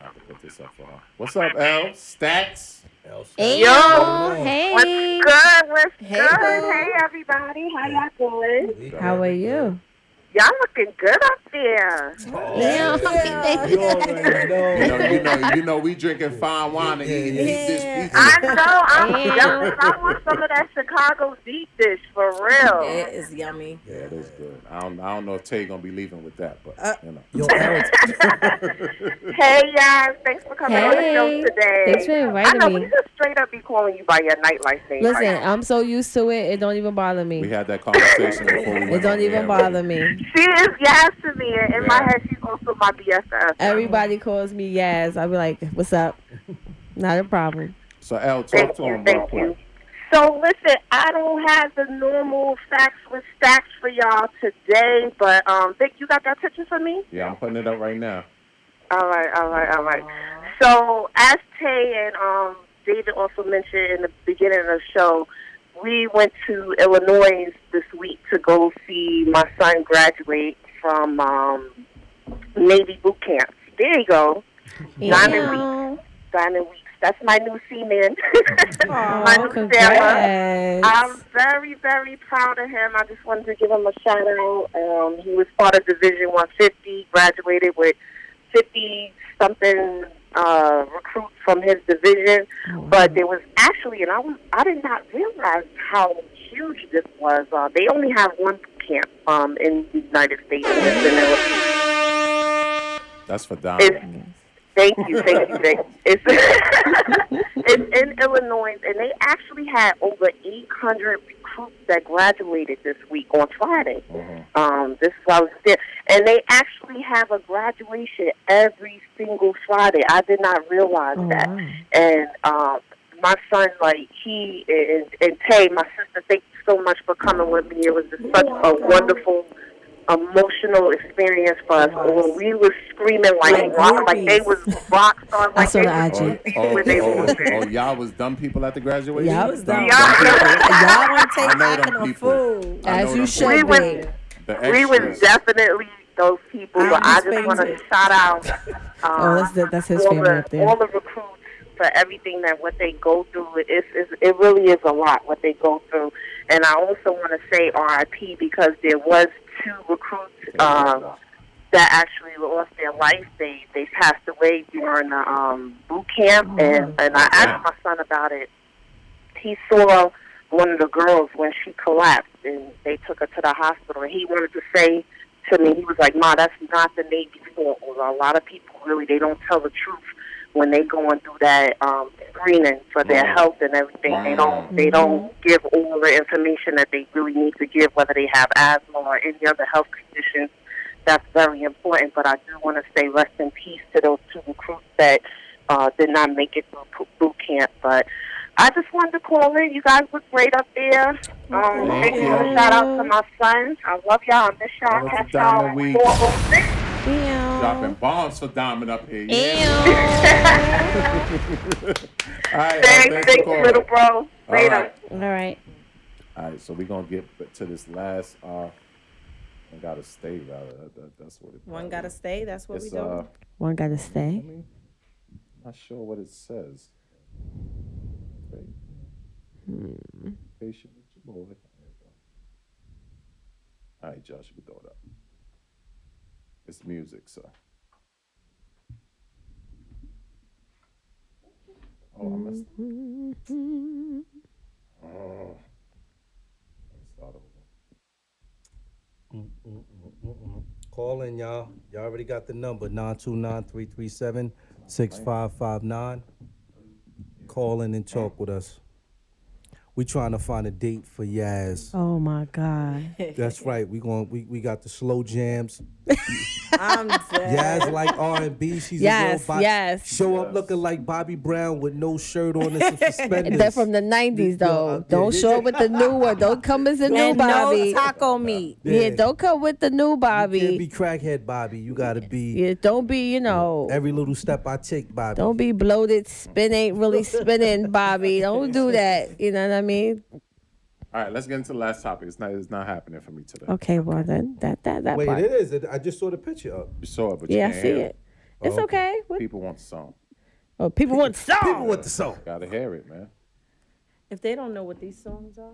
S3: I have to put this up for her. What's up, L? Stats?
S6: Hey,
S5: Yo.
S6: y'all.
S5: What's
S6: hey.
S5: good? What's
S2: Hey,
S5: good?
S2: boo.
S5: Hey, everybody. How y'all doing?
S6: How are you?
S5: Y'all looking good up there.
S6: Yeah.
S4: Oh, You already
S3: You
S4: know.
S3: know, you know, you know we drinking fine wine and eating this,
S2: Yeah.
S3: this pizza.
S5: I know. I'm
S6: Yeah.
S5: jealous. I want some of that Chicago deep dish for real.
S2: It is yummy.
S3: Yeah, it is good. I don't, I don't know if Tay gonna be leaving with that, but you know.
S4: Yo, L,
S5: Hey, y'all. Thanks for coming on the
S6: Hey.
S5: show today.
S6: Thanks for
S5: I know
S6: inviting
S5: we
S6: me.
S5: just straight up be calling you by your nightlife name.
S6: Listen,
S5: Like,
S6: I'm so used to it. It don't even bother
S3: We
S6: me.
S3: had that conversation before we went
S6: It don't
S3: on
S6: even
S3: air.
S6: bother me.
S5: she is yes to me. and In my head, she's also my BFF.
S6: Everybody calls me Yaz. I'll be like, "What's up?" Not a problem.
S3: So L, talk
S5: Thank
S3: to
S5: you,
S3: him real
S5: thank you.
S3: quick.
S5: So listen, I don't have the normal facts with stacks for y'all today, but um, Vic, you got that picture for me?
S3: Yeah, I'm putting it up right now.
S5: All right, all right, all right. So as Tay and um, David also mentioned in the beginning of the show, we went to Illinois this week to go see my son graduate from um, Navy boot camp. There you go, Diamond Week. Diamond Weeks. That's my new seaman. my
S6: Oh,
S5: new sailor.
S6: congrats.
S8: Um,
S5: I'm very, very proud of him. I just wanted to give him a shout out. Um, he was part of Division 150, graduated with 50 something uh, recruits from his division. But there was actually, and I was, I did not realize how huge this was. Uh, they only have one camp um, in the United States. and it's in Illinois.
S3: That's for Don.
S5: It's, thank you, thank you, thank you. It's, it's in Illinois, and they actually had over 800 recruits that graduated this week on Friday. Um, this is why I was there, and they actually have a graduation every single Friday. I did not realize that, and um, my son, like he and, and Tay, my sister, thank you so much for coming with me. It was just such a wonderful emotional experience for us. When we were screaming like
S2: Like
S5: rock, like they
S2: groupies.
S5: was rock stars.
S6: I
S5: Like
S6: saw
S5: they
S6: the
S5: was-
S6: IG.
S3: Oh, oh,
S5: When they
S3: oh,
S5: walked in.
S3: oh, y'all was dumb people at the graduation?
S6: Yup.
S2: I was down.
S5: Yeah.
S2: Y'all want to
S3: I know
S2: take back
S3: them
S2: on
S3: people.
S2: food.
S3: I know
S6: As you
S3: them
S6: should
S5: We
S6: be.
S3: people.
S5: went-
S3: The
S5: we was
S3: extras.
S5: definitely those people.
S2: I'm
S5: But I
S2: his
S5: just want to
S2: favorite.
S5: shout out. Um,
S6: Oh, that's the- that's his
S5: all
S6: family
S5: the,
S6: up there.
S5: All the recruits for everything that what they go through. It is it really is a lot what they go through. And I also want to say R.I.P. because there was two recruits. Um, that actually lost their life. They they passed away during the um, boot camp,
S6: Oh,
S5: and and I asked my son about it. He saw one of the girls when she collapsed, and they took her to the hospital. And he wanted to say to me, he was like, "Ma, that's not the Navy's fault." Well, a lot of people really they don't tell the truth when they going through that um, screening for their health and everything. They don't they don't give all the information that they really need to give, whether they have asthma or any other health conditions that's very important. But I do want to say rest in peace to those two recruits that uh, did not make it through po- boot camp. But I just wanted to call in. You guys look great up there. Um,
S3: Thank
S5: thank you.
S3: you.
S5: Shout out to my son. I love y'all. I miss
S3: Shout
S5: y'all.
S3: out to
S5: Catch
S3: Diamond Week.
S5: y'all. on 406.
S3: Dropping bombs for Diamond up here.
S6: Ew.
S3: Yeah. All right,
S5: Thanks,
S3: thanks for
S5: thanks, little
S3: calling.
S5: bro.
S3: All
S5: Later.
S3: right.
S6: All right.
S3: All right, so we're gonna get to this last. Uh, I gotta stay rather. That, that, that's what it.
S2: One
S3: probably
S2: gotta
S3: is.
S2: stay. That's what we
S3: It's
S2: do.
S3: uh,
S6: One gotta stay.
S3: not sure what it says. Right.
S6: Hmm.
S3: Patient with your boy. There you go. All right, Josh, we throw it up. It's music, so. Oh, I missed.
S6: Mm-hmm.
S3: Oh. Let's start over.
S4: Call in, y'all. Y'all already got the number 929 6559 Call in and talk with us. We trying to find a date for Yaz.
S6: Oh my God.
S4: That's right. We going. We, we got the slow jams.
S2: I'm dead.
S4: Yaz like R and B. She's
S6: Yes,
S4: a real bo-
S6: yes.
S4: Show up looking like Bobby Brown with no shirt on and some suspenders.
S6: They're from the '90s
S4: Yeah,
S6: though.
S4: yeah,
S6: Don't
S4: yeah.
S6: show up with the new one. Don't come as a new
S2: And no
S6: Bobby.
S2: taco meat.
S6: Yeah, don't come with the new
S4: You can't be
S6: Bobby.
S4: crackhead Bobby. You gotta be
S6: Yeah, don't be. You know.
S4: every little step I take, Bobby.
S6: Don't be bloated. Spin ain't really spinning, Bobby. Don't do that. You know what I mean?
S3: All right, let's get into the last topic. It's not. It's not happening for me today.
S6: Okay. Well then, that that that
S4: Wait,
S6: part.
S4: it is. It- I just saw the picture up.
S3: You saw it, but you
S6: Yeah, I
S3: can't
S6: see
S3: hear
S6: it. It's okay. What-
S3: People want the song.
S6: oh, people want song.
S4: People want the song.
S3: Gotta hear it, man.
S2: If they don't know what these songs are,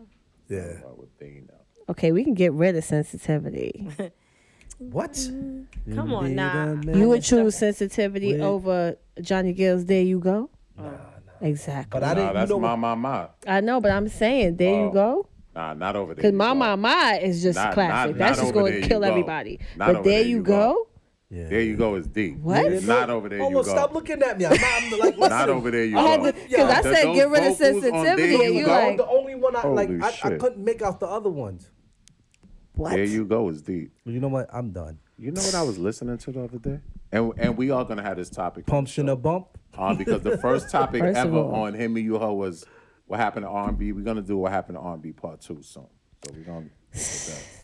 S4: Yeah.
S3: Why would they know?
S6: Okay, we can get rid of sensitivity.
S4: What?
S2: come on now.
S6: You would choose sensitivity
S4: With-
S6: over Johnny Gill's There You Go? Exactly.
S4: But I
S3: Nah,
S4: didn't.
S3: that's
S4: you know
S3: my
S4: what-
S3: my my.
S6: I know, but I'm saying There You
S3: Oh.
S6: Go.
S3: Nah, not over there.
S6: Because
S3: you
S6: My
S3: go.
S6: My My is just
S3: Not-
S6: classic.
S3: not-
S6: That's
S3: not
S6: just
S3: over
S6: going
S3: There
S6: to
S3: You
S6: kill
S3: Go.
S6: everybody.
S3: Not
S6: but
S3: over
S6: There You Go?
S3: There you go is D.
S6: What?
S4: Yeah,
S3: Not over there.
S4: Oh,
S3: you
S4: look,
S3: go.
S4: stop looking at me. I'm, I'm like, listen.
S3: Not over there. You
S6: I had
S3: go.
S6: to- 'cause I
S3: The-
S6: said
S3: those
S6: get rid of
S3: vocals on
S6: sensitivity,
S3: There
S6: and you
S3: Go,
S6: like-
S4: the only one I
S3: Holy
S4: like. I, I
S3: shit.
S4: couldn't make out the other ones.
S6: What?
S3: There you go is deep.
S4: You know what? I'm done.
S3: You know what I was listening to the other day, and and we are gonna have this topic. on the
S4: Pumps in a
S3: show.
S4: bump.
S3: Uh, because the first topic
S6: First of
S3: ever
S6: all.
S3: on him and you ho was what happened to R&B. We're gonna do what happened to R&B part two soon. So we're gonna.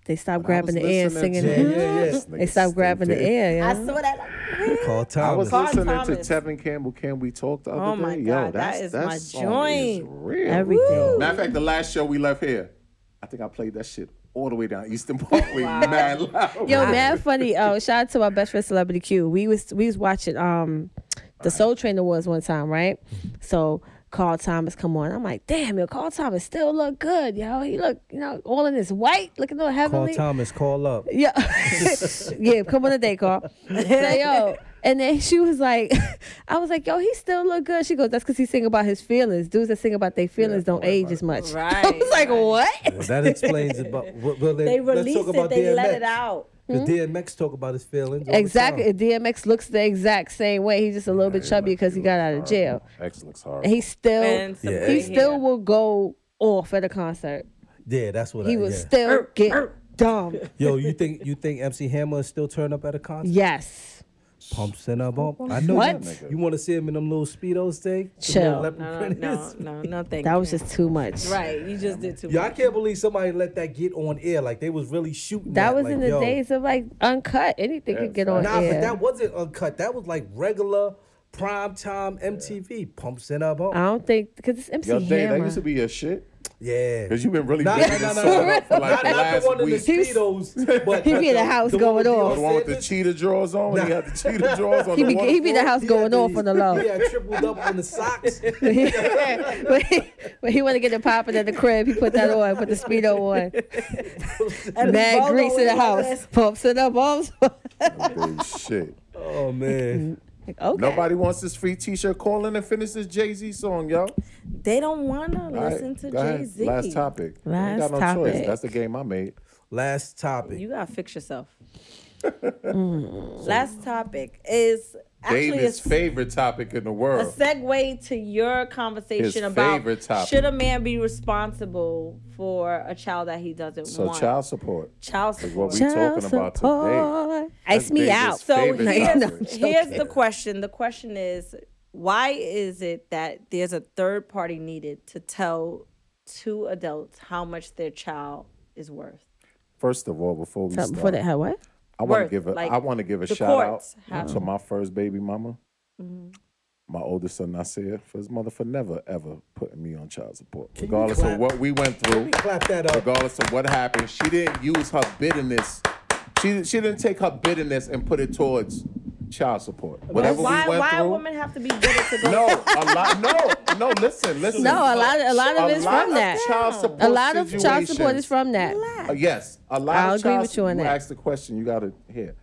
S6: They stop grabbing the air and singing.
S4: to- Yeah, yeah, yeah.
S6: They stop grabbing the air.
S2: I
S6: Yeah.
S2: saw that. Like, really?
S4: Call
S3: I was
S4: Thomas.
S3: listening
S2: Thomas.
S3: to Tevin Campbell. Can we talk the other
S2: Oh my
S3: day? Yo,
S2: God, that
S3: that's,
S2: is
S3: that
S2: my
S3: song is
S2: joint.
S3: real.
S6: Everything.
S3: Matter of fact, the last show we left here, I think I played that shit all the way down Eastern Parkway, mad loud.
S6: Yo, mad funny. Oh, shout out to my best friend Celebrity Q. We was we was watching um the Soul Train Awards one time, right? So Carl Thomas come on. I'm like, damn, yo, Carl Thomas still look good, yo. He look, you know, all in his white, looking all
S4: Call
S6: heavenly.
S4: Thomas. Call up.
S6: Yeah. yeah, come on a day, Carl. Say, yo. And then she was like, I was like, yo, he still look good. She goes, that's because he sing about his feelings. Dudes that sing about their feelings don't age as much. I
S2: Right,
S6: was like, what?
S4: That explains it. But well, well,
S2: They
S4: let's
S2: release
S4: talk
S2: it.
S4: about
S2: They let
S4: DMX.
S2: it out. Hmm?
S4: The DMX talk about his feelings. all the
S6: Exactly.
S4: time.
S6: DMX looks the exact same way. He's just a little bit chubby because he got out of jail.
S3: X looks hard.
S6: And he still,
S2: And some
S4: Yeah.
S6: he
S2: big
S6: still
S2: hair.
S6: will go off at a concert.
S4: Yeah, that's what I,
S6: He will
S4: yeah.
S6: still get dumb.
S4: Yo, you think you think MC Hammer is still turn up at a concert?
S6: Yes.
S4: Pumps in a bump. I know
S6: What?
S4: you, you want to see him in them little speedos thing. The
S6: Chill.
S4: little leopard
S2: No,
S4: print
S2: no,
S4: is-
S2: no, no, thank
S6: That
S2: you.
S6: was just too much.
S2: right. You just did too
S4: Yo, I
S2: much.
S4: can't believe somebody let that get on air. Like they was really shooting.
S6: That was
S4: like,
S6: in the
S4: yo.
S6: days of like uncut. Anything could get on
S4: Nah,
S6: air.
S4: but that wasn't uncut. That was like regular prime time MTV. Pumps in a bump.
S6: I don't think because it's MC
S3: Yo, Dave, that
S6: Hammer.
S3: used to be your shit.
S4: yeah.
S3: Because you've been really
S4: Nah,
S3: nah,
S4: nah,
S3: digging
S4: nah,
S3: this
S4: nah,
S3: song
S4: nah.
S3: up for like
S4: Not,
S3: the
S4: not the
S3: last
S4: one in the
S3: week.
S4: speedos, but
S6: He be in the house
S4: one with
S6: going off.
S3: the one with the
S4: Sanders.
S3: cheetah drawers on. He had the cheetah drawers on.
S6: he
S3: the
S6: be he be in the
S3: waterfall.
S6: house going off on the low.
S4: Yeah, triple double on the socks.
S6: when he, when he want to get it popping at the crib, he put that on, put the speedo on. Mad
S2: Bolo
S6: grease in the
S2: in his
S6: house, pumps it up, arms.
S3: Big shit.
S4: oh man.
S6: okay.
S3: Nobody wants this free T-shirt. Call in and finish this Jay Z song, yo.
S2: They don't wanna
S3: All right,
S2: listen to
S3: go ahead.
S2: Jay Z.
S3: Last topic. You ain't got no
S6: Last
S3: choice.
S6: topic.
S3: That's the game I made.
S4: Last topic.
S2: You gotta fix yourself. Last topic is actually
S3: David's
S2: it's
S3: favorite topic in the
S2: a
S3: world.
S2: segue to your conversation
S3: His
S2: about
S3: favorite topic.
S2: should a man be responsible for a child that he doesn't
S3: So
S2: want?
S3: child support.
S2: child
S3: Is what
S2: support.
S3: we
S6: Child
S3: talking about today.
S6: support. Ice me
S3: David's
S6: out.
S2: so
S3: favorite
S2: here's,
S6: No, I'm
S3: topic.
S2: here's the question. The question is, why is it that there's a third party needed to tell two adults how much their child is worth?
S3: First of all, before we
S6: Something for
S3: start,
S6: that. How what?
S3: I want to
S2: Worth,
S3: give a I
S2: like,
S3: want to give a
S2: the
S3: shout
S2: courts
S3: out
S2: have- Mm-hmm.
S3: to my first baby mama, my oldest son Nasir, for his mother for never ever putting me on child support,
S4: you
S3: regardless of
S4: clap?
S3: what we went through,
S4: Clap that up.
S3: regardless of what happened. She didn't use her bitterness. She she didn't take her bitterness and put it towards child support. Whatever
S2: why
S3: we went
S2: why
S3: through.
S2: women have to be bitter to go?
S3: no, a lot. No, no. Listen, listen.
S6: No, a lot. A lot of
S3: A
S6: it's
S3: lot
S6: from
S3: of
S6: that.
S3: child support
S6: A lot of child support
S3: situations-
S6: is from that.
S3: Uh, yes, a lot.
S6: I'll
S3: of
S6: agree
S3: child,
S6: with you on that.
S3: Ask the question. You got to hear.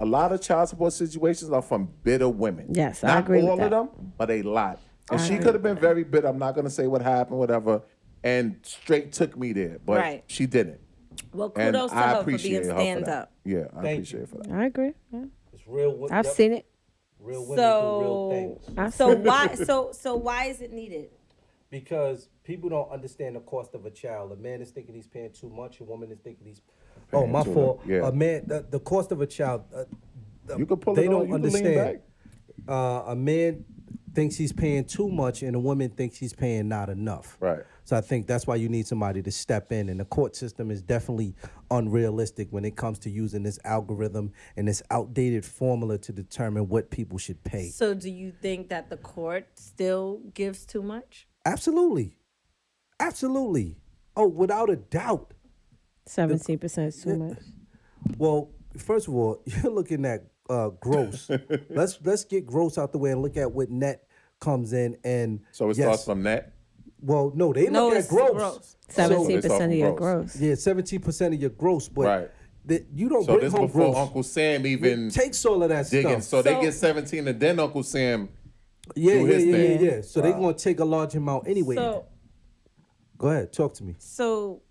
S3: A lot of child support situations are from bitter women.
S6: Yes, I
S3: not
S6: agree with
S3: all
S6: that.
S3: of them, but a lot. And she could have been very bitter. I'm not going to say what happened, whatever. And straight took me there, but
S2: Right.
S3: she didn't.
S2: Well,
S3: And
S2: kudos to
S3: I
S2: her for
S3: appreciate
S2: being
S3: her
S2: stand
S3: for that.
S2: up.
S3: Yeah, I
S4: you.
S3: appreciate it for that.
S6: I agree. Yeah.
S4: It's real. wo-
S6: I've
S4: yep,
S6: seen it.
S4: real women do real
S2: So,
S4: things
S6: I've
S2: so
S6: seen it.
S2: why so so why is it needed?
S4: because people don't understand the cost of a child. A man is thinking he's paying too much. A woman is thinking he's. Oh, my
S3: too
S4: fault.
S3: much, yeah.
S4: A man. The, the cost of a child. Uh, the-
S3: You can pull
S4: they
S3: it
S4: don't
S3: on. You
S4: understand.
S3: can lean back.
S4: uh, a man thinks he's paying too much and a woman thinks he's paying not enough.
S3: Right.
S4: So I think that's why you need somebody to step in. And the court system is definitely unrealistic when it comes to using this algorithm and this outdated formula to determine what people should pay.
S2: So do you think that the court still gives too much?
S4: Absolutely. Absolutely. Oh, without a doubt.
S6: Seventeen percent is too much.
S4: Well, first of all, you're looking at uh, gross. let's let's get gross out the way and look at what net comes in. And
S3: So it
S4: yes,
S3: starts from net.
S4: Well, no, they
S2: No,
S4: look at
S2: it's
S4: gross.
S2: gross.
S6: Seventeen
S3: it's off
S6: percent of your
S3: gross.
S6: gross.
S4: Yeah, seventeen percent of your gross, but
S3: Right.
S4: that you don't
S3: So
S4: bring
S3: this
S4: home
S3: before
S4: gross.
S3: Uncle Sam
S4: It
S3: even
S4: takes all of that
S3: digging.
S4: stuff.
S3: So, they
S2: So-
S3: get 17 and then Uncle Sam.
S4: yeah,
S3: do
S4: yeah,
S3: his
S4: yeah, yeah,
S3: thing.
S4: yeah. So they're gonna take a large amount anyway.
S2: So
S4: Go ahead, talk to me.
S2: so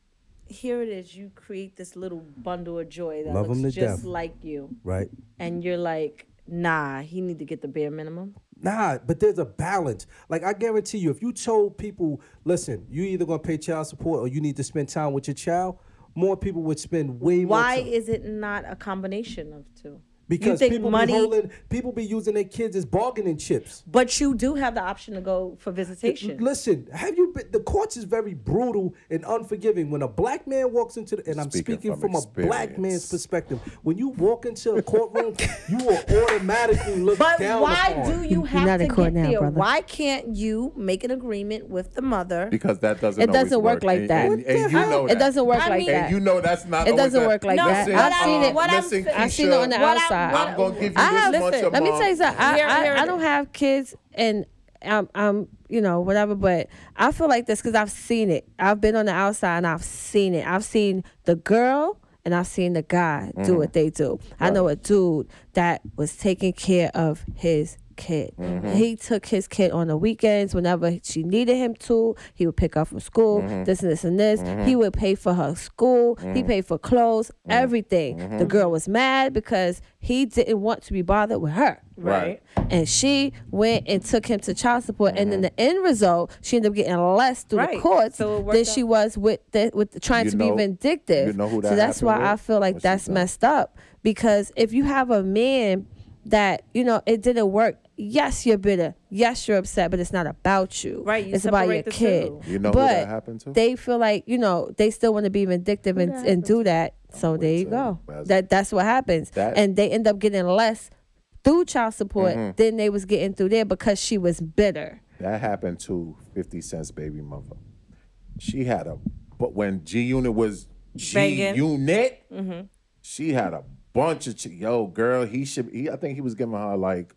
S2: here it is. You create this little bundle of joy that
S4: Love 'em
S2: looks
S4: to
S2: just
S4: death.
S2: like you,
S4: Right.
S2: and you're like, nah, he need to get the bare minimum.
S4: Nah, but there's a balance. Like I guarantee you, if you told people, listen, you either gonna pay child support or you need to spend time with your child, more people would spend way more.
S2: Why
S4: time.
S2: is it not a combination of two? you
S4: because
S2: think
S4: people
S2: money-
S4: be holding, people be using their kids as bargaining chips.
S2: But you do have the option to go for visitation.
S4: Listen, have you been? The courts is very brutal and unforgiving. When a black man walks into the, and I'm
S3: Speaking
S4: speaking
S3: from
S4: from, a black man's
S3: experience.
S4: perspective, when you walk into a courtroom, you are automatically looked
S2: But
S4: down
S2: why
S4: upon.
S2: do you
S6: not
S2: have to
S6: in court
S2: get
S6: now,
S2: there?
S6: brother.
S2: Why can't you make an agreement with the mother?
S3: Because that doesn't.
S6: It
S3: always
S6: doesn't work like
S3: And-
S6: that.
S3: And,
S6: What
S3: and
S6: the
S3: you
S6: hell?
S3: know
S6: It
S3: that.
S6: doesn't work
S2: I
S6: like
S2: mean-
S6: that.
S3: And you know that's not.
S6: It
S3: always
S6: doesn't
S3: that.
S6: work like
S2: No,
S6: that.
S2: what
S6: I've
S2: I'm-
S6: seen it.
S2: what I'm
S3: Listen,
S2: saying-
S6: I've seen it on the
S3: Keisha,
S6: outside.
S3: I'm gonna give you
S6: I have.
S3: this much a
S6: let me
S3: month.
S6: tell you something. I,
S2: Here-
S6: I,
S2: here it
S6: I don't
S2: is.
S6: have kids, and I'm, I'm, you know, whatever. But I feel like this because I've seen it. I've been on the outside and I've seen it. I've seen the girl and I've seen the guy
S3: Mm-hmm.
S6: do what they do. I know a dude that was taking care of his kid.
S3: Mm-hmm.
S6: He took his kid on the weekends whenever she needed him to. He would pick her up from school,
S3: Mm-hmm.
S6: this and this and this. He would pay for her school. He paid for clothes,
S3: Mm-hmm.
S6: everything. The girl was mad because he didn't want to be bothered with her.
S3: Right. Mm-hmm.
S6: And she went and took him to child support, and then the end result, she ended up getting less through
S2: Right.
S6: the courts
S2: So it worked
S6: than she was with the, with the, trying
S3: You
S6: to
S3: know-
S6: be vindictive.
S3: you know who that
S6: so that's why
S3: happened
S6: I
S3: with?
S6: feel like
S3: What she
S6: that's
S3: done.
S6: messed up because if you have a man that you know it didn't work, yes you're bitter, yes you're upset, but it's not about you.
S2: Right, you
S6: it's about
S2: separate
S6: your
S2: the
S6: kid.
S2: two.
S3: You know who
S6: but
S3: that happened to?
S6: They feel like you know they still want to be vindictive and, and do that. So there you
S3: till-
S6: go.
S3: That's-
S6: That that's what happens,
S3: That- Mm-hmm.
S6: and they end up getting less through child support than they was getting through there because she was bitter.
S3: That happened to 50 Cent's baby mother. She had a, but when G Unit was G
S2: Banging. Mm-hmm.
S3: Unit, she had a bunch of, ch- yo, girl, he should, he, I think he was giving her like,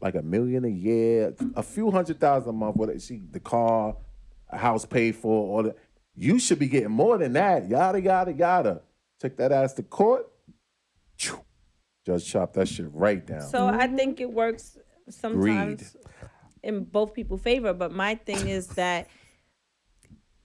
S3: like a million a year, a few hundred thousand a month. What she, the car, a house paid for, all that. You should be getting more than that. Yada, yada, yada. Took that ass to court. Phew. Judge chopped that shit right down.
S2: So I think it works sometimes in both people's favor. But my thing is that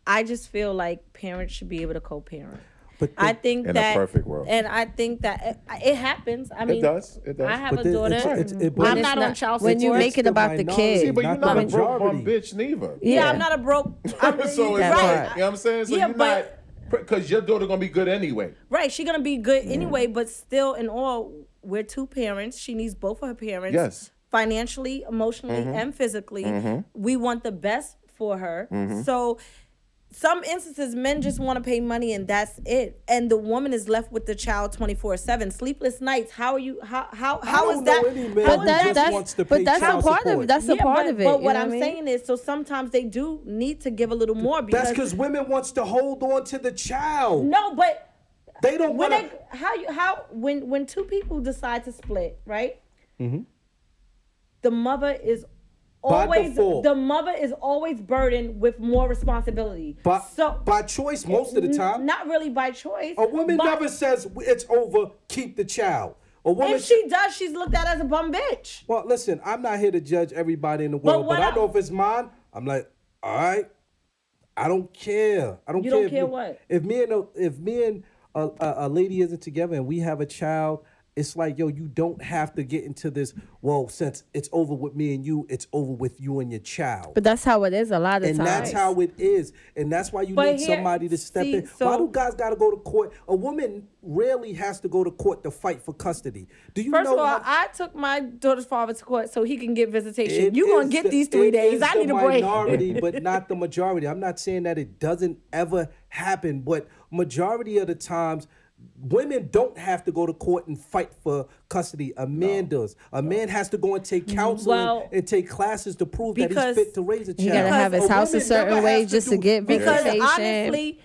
S2: I just feel like parents should be able to co-parent.
S4: But
S2: I think
S3: In a
S2: that
S3: perfect world.
S2: and I think that it, it happens. I mean,
S3: does, it does.
S2: I have
S4: But
S2: a
S4: the-
S2: daughter.
S4: it's- it's- it- but
S2: I'm
S4: it's
S2: not, on
S6: not-
S2: child
S6: when
S2: support.
S6: you make it about the kid.
S3: See, but you're
S4: not
S3: not
S4: the
S3: a broke bum
S4: majority.
S3: bitch neither.
S2: yeah. I'm not a broke. I'm,
S3: so it's
S6: that
S3: like,
S6: part.
S3: you know what I'm saying? So
S2: Yeah,
S3: you're
S2: but-
S3: not, because your daughter gonna be good anyway.
S2: Right, she gonna be good anyway, but still, in all, we're two parents. She needs both of her parents.
S3: Yes.
S2: Financially, emotionally,
S4: Mm-hmm.
S2: and physically. We want the best for her.
S4: Mm-hmm.
S2: So, some instances, men just want to pay money and that's it, and the woman is left with the child twenty four seven, sleepless nights. How are you? How how how
S4: don't
S2: is
S4: know
S2: that?
S4: any man who
S2: how
S6: But
S2: is
S4: that-
S6: that's
S4: just
S6: that's
S4: wants to pay
S6: but that's
S4: child
S6: a part of
S4: support.
S6: it. That's a
S2: Yeah,
S6: part
S2: but,
S6: of it.
S2: But
S6: you
S2: what
S6: know
S2: I'm
S6: I mean?
S2: saying is, so sometimes they do need to give a little more because
S4: That's because women wants to hold on to the child.
S2: no, but
S4: They don't
S2: when
S4: want
S2: they,
S4: to.
S2: how you how when when two people decide to split, right? The mother is
S4: Mm-hmm. By
S2: always
S4: default.
S2: the mother is always burdened with more responsibility.
S4: By,
S2: so
S4: by choice, most of the time.
S2: n- not really by choice.
S4: a woman
S2: but
S4: never says it's over. Keep the child. A woman.
S2: If she does, she's looked at as a bum bitch.
S4: well, listen. I'm not here to judge everybody in the world, but,
S2: what
S4: I
S2: I-
S4: know if it's mine, I'm like, all right. I don't care. I don't
S2: You
S4: care.
S2: don't
S4: if
S2: care
S4: me-
S2: what?
S4: If me and a, if me and a, a, a lady isn't together and we have a child, it's like yo, you don't have to get into this. Well, since it's over with me and you, it's over with you and your child.
S6: But that's how it is a lot of
S4: and
S6: times.
S4: that's how it is. And that's why you
S2: But
S4: need
S2: here-
S4: somebody to step
S2: see,
S4: in.
S2: so-
S4: why do guys got to go to court? A woman rarely has to go to court to fight for custody. Do you
S2: First
S4: know
S2: of all,
S4: how-
S2: I took my daughter's father to court so he can get visitation.
S4: It
S2: you gonna
S4: is
S2: get
S4: the-
S2: these three
S4: it
S2: days.
S4: is
S2: I
S4: the
S2: need a break.
S4: Minority, but not the majority. I'm not saying that it doesn't ever happen, but majority of the times. Women don't have to go to court and fight for custody. A man does. A man has to go and take counseling
S2: Mm, Well,
S4: and take classes to prove that he's
S2: because
S4: fit to raise a child.
S6: gotta have his
S4: A
S6: house a
S4: woman
S6: certain
S4: never
S6: way
S4: has
S6: just to
S4: do-
S6: get
S2: because
S6: Vacation.
S2: honestly,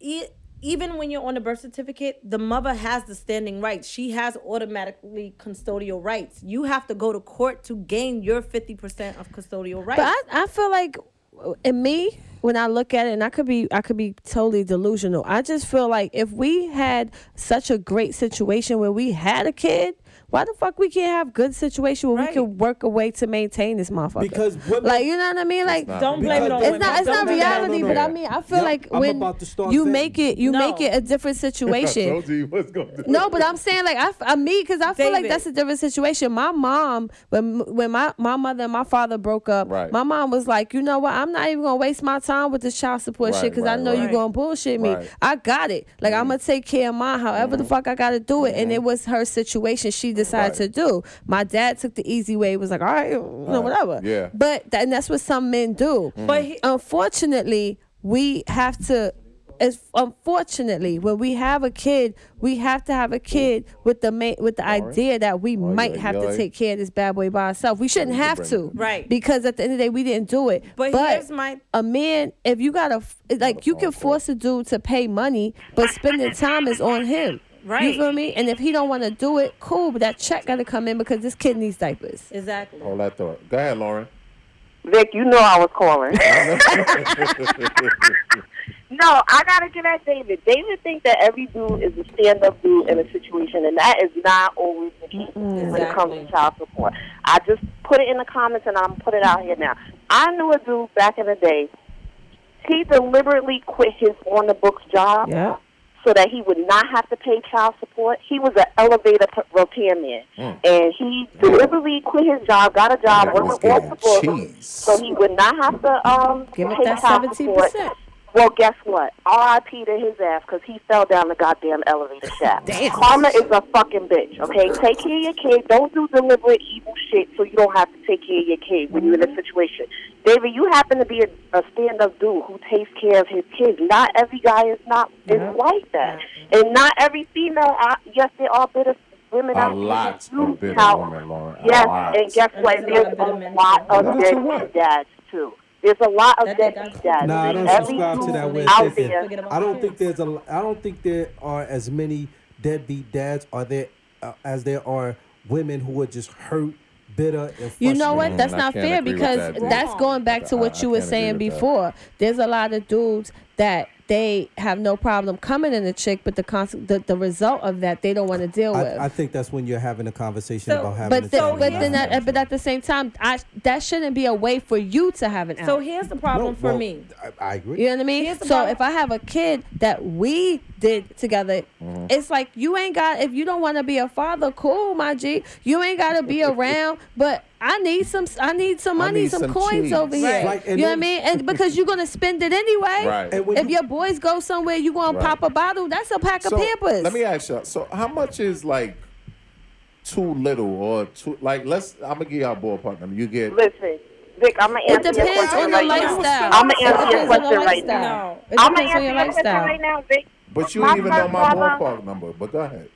S2: e- even when you're on the birth certificate, the mother has the standing rights. She has automatically custodial rights. You have to go to court to gain your 50% of custodial rights.
S6: But I, I feel like uh, in me when I look at it, and I could be I could be totally delusional. I just feel like if we had such a great situation where we had a kid, why the fuck we can't have good situation where we
S2: Right.
S6: can work a way to maintain this motherfucker?
S4: Because women-
S6: like you know what I mean? Like
S2: don't blame it on
S6: it's not it's
S2: Don't
S6: not
S2: blame it on
S6: reality,
S3: no,
S6: but
S3: no.
S6: I mean I feel
S4: Yup,
S6: like
S4: I'm
S6: when
S4: about to start
S6: you
S4: venting.
S6: make it you make
S2: No.
S6: it a different
S3: I
S6: situation.
S3: told you you was gonna do it.
S6: No, but I'm saying like I, f- I mean because I feel like
S2: David.
S6: that's a different situation. My mom when when my, my mother and my father broke up,
S3: Right.
S6: my mom was like, you know what? I'm not even gonna waste my time with this child support
S3: Right,
S6: shit because I
S3: right,
S6: know
S3: right.
S6: you're gonna bullshit me.
S3: Right. Mm-hmm.
S6: I got it. Like I'm gonna take care of mine, however the fuck I gotta do it. And it was her situation she decided
S3: Right.
S6: to do. My dad took the easy way. Was like, all right, you know,
S3: Right.
S6: whatever.
S3: Yeah.
S6: But that, and that's what some men do.
S2: But he-
S6: unfortunately, we have to. It's unfortunately when we have a kid, we have to have a kid with the ma- with the idea that we might
S3: yeah,
S6: have
S3: yeah.
S6: to take care of this bad boy by ourselves. We shouldn't
S3: can
S6: have
S3: bring
S6: to,
S3: it.
S2: Right.
S6: Because at the end of the day, we didn't do it.
S2: But here's my-
S6: a man. If you got a f- like, you can force a dude to pay money, but spending time is on him.
S2: Right.
S6: You feel me? And if he don't want to do it, cool. But that check got to come in because this kid needs diapers.
S2: exactly.
S3: All that thought. Go ahead, Lauren.
S8: Vic, you know I was calling. no, I gotta get at David. David thinks that every dude is a stand-up dude in a situation, and that is not always the case when it comes to child support. I just put it in the comments, and I'm put it out here now. I knew a dude back in the day. He deliberately quit his on the books job
S6: Yeah.
S8: so that he would not have to pay child support. He was an elevator p- repairman, and he deliberately quit his job, got a job,
S3: Mm. That was
S8: working off the
S3: getting
S8: books,
S3: cheese.
S8: so he would not have to um
S6: Give it
S8: pay
S6: that
S8: child
S6: 17%.
S8: support. Well, guess what? R.I.P. to his ass because he fell down the goddamn elevator shaft. Karma is a fucking bitch. Okay, take care of your kid. Don't do deliberate evil shit so you don't have to take care of your kid when you're in
S2: Mm-hmm.
S8: a situation. David, you happen to be a, a stand-up dude who takes care of his kids. Not every guy is not is like that, and not every female. I, yes, there are bitter women
S3: A
S8: out there that
S3: lot
S8: do
S3: of bitter
S8: tout-
S3: women, Lauren. A
S8: Yes,
S3: lot.
S8: and guess what?
S2: And
S8: There's
S2: there's a lot of
S8: a
S3: men.
S2: bitter
S8: lot of
S3: That's a
S8: deadbeat
S3: what?
S8: dads too. There's a lot of
S2: That-
S8: deadbeat
S2: that- Nah,
S8: dads.
S4: Nah, I
S8: There's
S4: don't
S8: every
S4: subscribe to
S8: dude
S4: that way of
S8: out
S4: thinking.
S8: there.
S2: Forget about
S4: I don't
S2: the
S4: think there's a. I don't think there are as many deadbeat dads are there uh, as there are women who are just hurt, bitter, and
S6: You know what?
S3: Mm,
S6: That's
S3: I
S6: not
S3: can't
S6: fair
S3: agree with
S6: because
S3: that, dude.
S6: that's going back to
S3: I-
S6: what
S3: I
S6: you were
S3: can't agree
S6: saying
S3: with that.
S6: before. There's a lot of dudes that they have no problem coming in a chick, but the cons- the, the result of that they don't want to deal with.
S4: I, I think that's when you're having a conversation
S2: So-
S4: about having.
S6: but
S4: a
S6: the,
S4: child
S6: but
S4: and
S6: then
S4: not
S6: that, but at the same time, I that shouldn't be a way for you to have an out.
S2: So here's the
S4: having-
S2: problem
S4: No,
S2: for
S4: well,
S2: me.
S4: I, I agree.
S6: You know what I mean?
S2: Here's the
S6: So
S2: problem.
S6: if I have a kid that we did together,
S3: Mm-hmm.
S6: it's like you ain't got if you don't want to be a father, cool, my G. You ain't got to be around, but I need some I need some
S3: I
S6: money,
S3: need
S6: some,
S3: some
S6: coins
S3: cheese.
S6: over here.
S4: Right,
S6: you
S4: and
S6: know what I
S4: then-
S6: mean? And because you're going to spend it anyway.
S3: Right.
S4: And when
S6: If
S4: you-
S6: your boys go somewhere, you going
S3: Right.
S6: to pop a bottle. That's a pack
S3: So,
S6: of Pampers.
S3: Let me ask y'all. So how much is like too little or too like let's I'm gonna give y'all a ballpark number. You get
S8: Listen, Vic, I'm gonna
S6: it
S8: answer your
S6: depends
S8: question
S6: on the
S8: right
S6: lifestyle.
S8: now. I'm gonna
S6: It
S8: answer your
S6: depends on the
S8: question right
S6: lifestyle.
S8: now.
S6: It
S8: I'm gonna
S6: depends on
S8: answer
S6: your
S8: your question
S6: lifestyle.
S8: right now, Vic.
S3: but you
S8: My
S3: don't even know
S8: first
S3: my
S8: brother-
S3: ballpark number, but go ahead.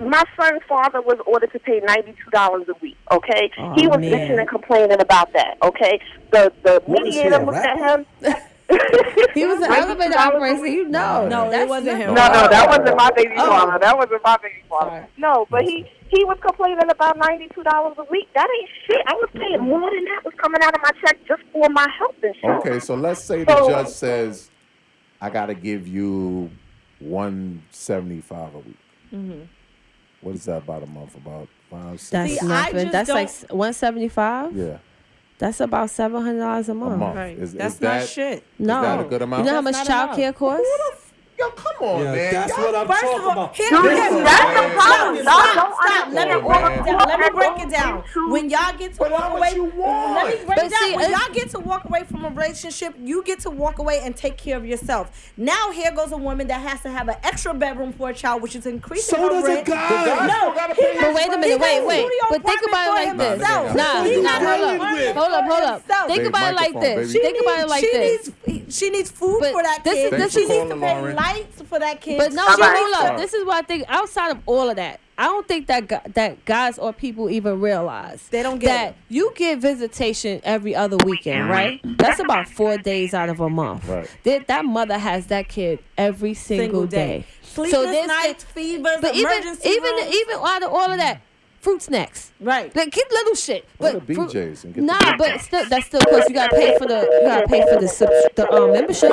S8: My son's father was ordered to pay ninety two dollars a week. Okay, he was
S6: Oh, man.
S8: bitching and complaining about that. Okay, the the
S4: What is he,
S8: mediator
S4: a
S8: looked
S4: rat?
S8: at him.
S6: He was an elevator operator, so you know.
S2: No,
S6: That's
S2: it wasn't
S6: not-
S2: him.
S8: No, no, that wasn't my baby
S3: Oh.
S8: father. That wasn't my baby father. No, but he he was complaining about ninety two dollars a week. That ain't shit. I was paying more than that was coming out of my check just for my health insurance.
S3: Okay, so let's say the
S8: So-
S3: judge says I gotta give you one seventy five a week. What is that about a month? About five,
S6: Mm-hmm.
S3: six
S6: That's
S2: See, I
S6: nothing.
S2: just
S6: That's like
S2: don't-
S6: one seventy five.
S3: yeah.
S6: That's about seven hundred dollars a
S3: A
S6: month.
S3: month.
S2: Right.
S3: Is,
S2: That's
S3: is
S2: not
S3: that,
S2: shit.
S6: No,
S3: Is that a good amount?
S6: you know how
S2: That's
S6: much
S2: not
S6: child
S2: enough.
S6: care costs?
S3: Yo, come on,
S4: Yeah,
S3: Oh, man.
S4: that's
S3: Y'all-
S4: what I'm
S2: First
S4: talking
S2: of all,
S4: about.
S2: here,
S8: Dude,
S2: here-
S8: that's the
S2: no,
S8: problem. Y'all
S2: Stop,
S8: don't
S2: stop. Let me
S8: understand.
S2: break it down. Let me break it down.
S8: Into-
S2: When y'all get to
S3: But how
S2: walk
S3: much
S2: away,
S3: you want?
S2: let me break
S6: But
S2: it down.
S6: see,
S2: when
S6: it's-
S2: y'all get to walk away from a relationship, you get to walk away and take care of yourself. Now here goes a woman that has to have an extra bedroom for a child, which is increasing.
S4: So
S2: her
S4: does a
S2: rent.
S4: guy. The guy
S2: No,
S3: still gotta
S2: he
S3: pay
S2: got-
S6: But wait a minute,
S2: he got
S6: wait, wait.
S2: studio
S6: But think about it like
S2: apartment
S6: this.
S2: for himself.
S6: Nah,
S2: He
S6: nah,
S2: got
S6: hold up,
S2: money for
S6: hold up, hold up.
S2: himself.
S6: Think
S3: Babe,
S6: about it like
S3: microphone,
S6: this.
S3: baby.
S6: Think about it like
S2: she
S6: this.
S2: Needs, she needs food
S6: But
S2: for that
S6: this is-
S2: kid.
S6: this
S2: she
S6: is-
S2: needs to pay
S3: Lauren.
S2: lights for that kid.
S6: But no,
S2: she
S6: but
S2: needs
S6: hold
S2: to-
S6: up. This is what I think. Outside of all of that, I don't think that gu- that guys or people even realize
S2: They don't get
S6: that
S2: it.
S6: you get visitation every other weekend, right? That's about four days out of a month.
S3: Right.
S6: That that mother has that kid every single,
S2: Single day.
S6: day.
S2: Sleepless
S6: there's-
S2: nights, fevers,
S6: but even
S2: emergency
S6: even
S2: rooms.
S6: even out of all of that, fruit snacks.
S2: Right.
S6: Like get little shit. But
S3: Go to
S6: fruit-
S3: BJ's and get the
S6: nah, but still, that's still close. You gotta pay for the you gotta pay for the subs- the um, membership.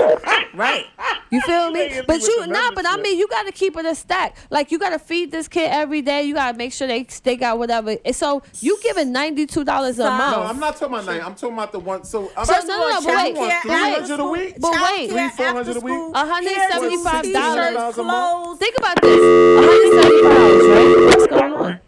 S2: Right.
S6: You feel
S3: They hit
S6: me?
S3: me
S6: But
S3: with
S6: you
S3: the
S6: nah, but I
S3: membership.
S6: mean you gotta keep it a stack. Like you gotta feed this kid every day. You gotta make sure they they got whatever. And so you giving ninety two dollars a
S2: Stop.
S3: No, I'm
S6: month.
S3: not talking about nine. I'm talking about the one. So I'm
S6: So no, no, no, but wait,
S3: want
S6: but
S3: three
S6: wait,
S3: hundred a week?
S6: but wait,
S3: Three, four hundred a week?
S6: $175
S2: T-shirts,
S3: a month?
S2: clothes.
S6: Think about this. One hundred seventy five dollars, right? What's going on?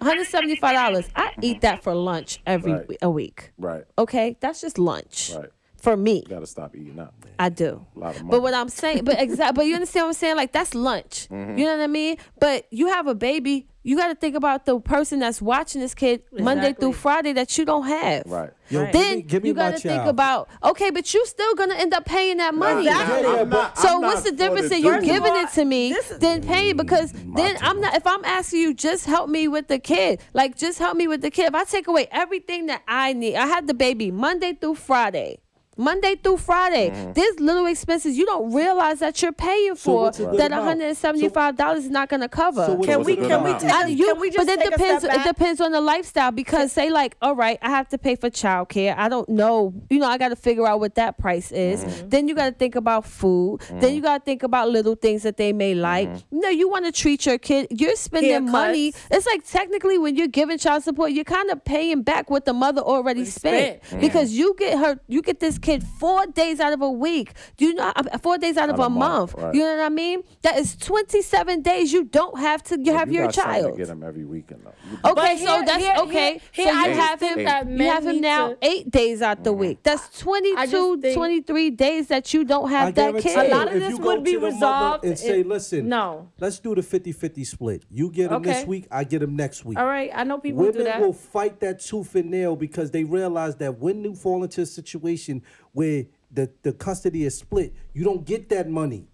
S6: One hundred seventy five dollars. I eat that for lunch every
S3: Right.
S6: we- a week.
S3: Right.
S6: Okay, that's just lunch
S3: Right.
S6: for me.
S3: Gotta stop eating out.
S6: I do.
S3: lot of money. Mm-hmm.
S6: But what I'm saying, but exactly, but you understand what I'm saying? Like that's lunch. You know what I mean? But you have a baby. You got to think about the person that's watching this kid Monday through Friday that you don't have.
S3: Right.
S4: Yo, give
S6: Then
S4: me- give me
S6: you
S4: my
S6: got to think
S4: child.
S6: about okay, but you still gonna end up paying that money.
S2: Exactly.
S3: Nah, I'm not-
S6: So
S3: I'm
S6: what's
S3: not
S6: the
S3: for
S6: difference
S3: the
S6: in you
S3: dirty.
S6: giving
S2: all,
S6: it to me
S2: this is-
S6: then paying because then I'm not if I'm asking you just help me with the kid like just help me with the kid if I take away everything that I need I had the baby Monday through Friday Monday through Friday
S2: Mm.
S6: there's little expenses you don't realize that you're paying for
S4: what's the
S6: that
S4: amount?
S6: $175 is not going to cover
S4: So what's
S2: Can
S4: the
S2: we
S4: good
S2: can we
S4: amount?
S2: take
S6: I-
S2: a-
S6: Uh, you-
S2: can we just
S6: but it
S2: take
S6: depends.
S2: a step back?
S6: It depends on the lifestyle because say like, all right, I have to pay for childcare. I don't know. You know, I got to figure out what that price is. Then you got to think about food. Then you got to think about little things that they may like. You know, you want to treat your kid. You're spending money.
S2: Haircuts.
S6: It's like technically when you're giving child support, you're kind of paying back what the mother already spent, because you get her, you get this kid four days out of a week. Do you know uh, four days out of
S3: Out
S6: a,
S3: of a
S6: month?
S3: month, right.
S6: You know what I mean? That is 27 days you don't have to you have
S3: You
S6: your
S3: got something
S6: child.
S3: To get them every weekend though. You-
S6: Okay,
S2: But
S6: so
S2: here-
S6: that's
S2: here-
S6: okay.
S2: here-
S6: so
S2: here I
S6: you
S2: just
S6: have
S2: think
S6: him.
S2: that
S6: You
S2: men
S6: have him
S2: need
S6: now
S2: to-
S6: eight days out
S3: Mm.
S6: the week. That's 22,
S2: think-
S6: 23 days that you don't have that kid.
S4: guarantee you,
S2: A lot of
S4: if
S2: this
S4: you go
S2: would
S4: to
S2: be
S4: the mother
S2: resolved
S4: And say,
S2: if-
S4: listen,
S2: No.
S4: let's do the 50 50 split. You get him
S2: Okay.
S4: this week, I get him next week.
S2: All right, I know people do
S4: Women
S2: that.
S4: will fight that tooth and nail because they realize that when you fall into a situation where the, the custody is split, you don't get that money.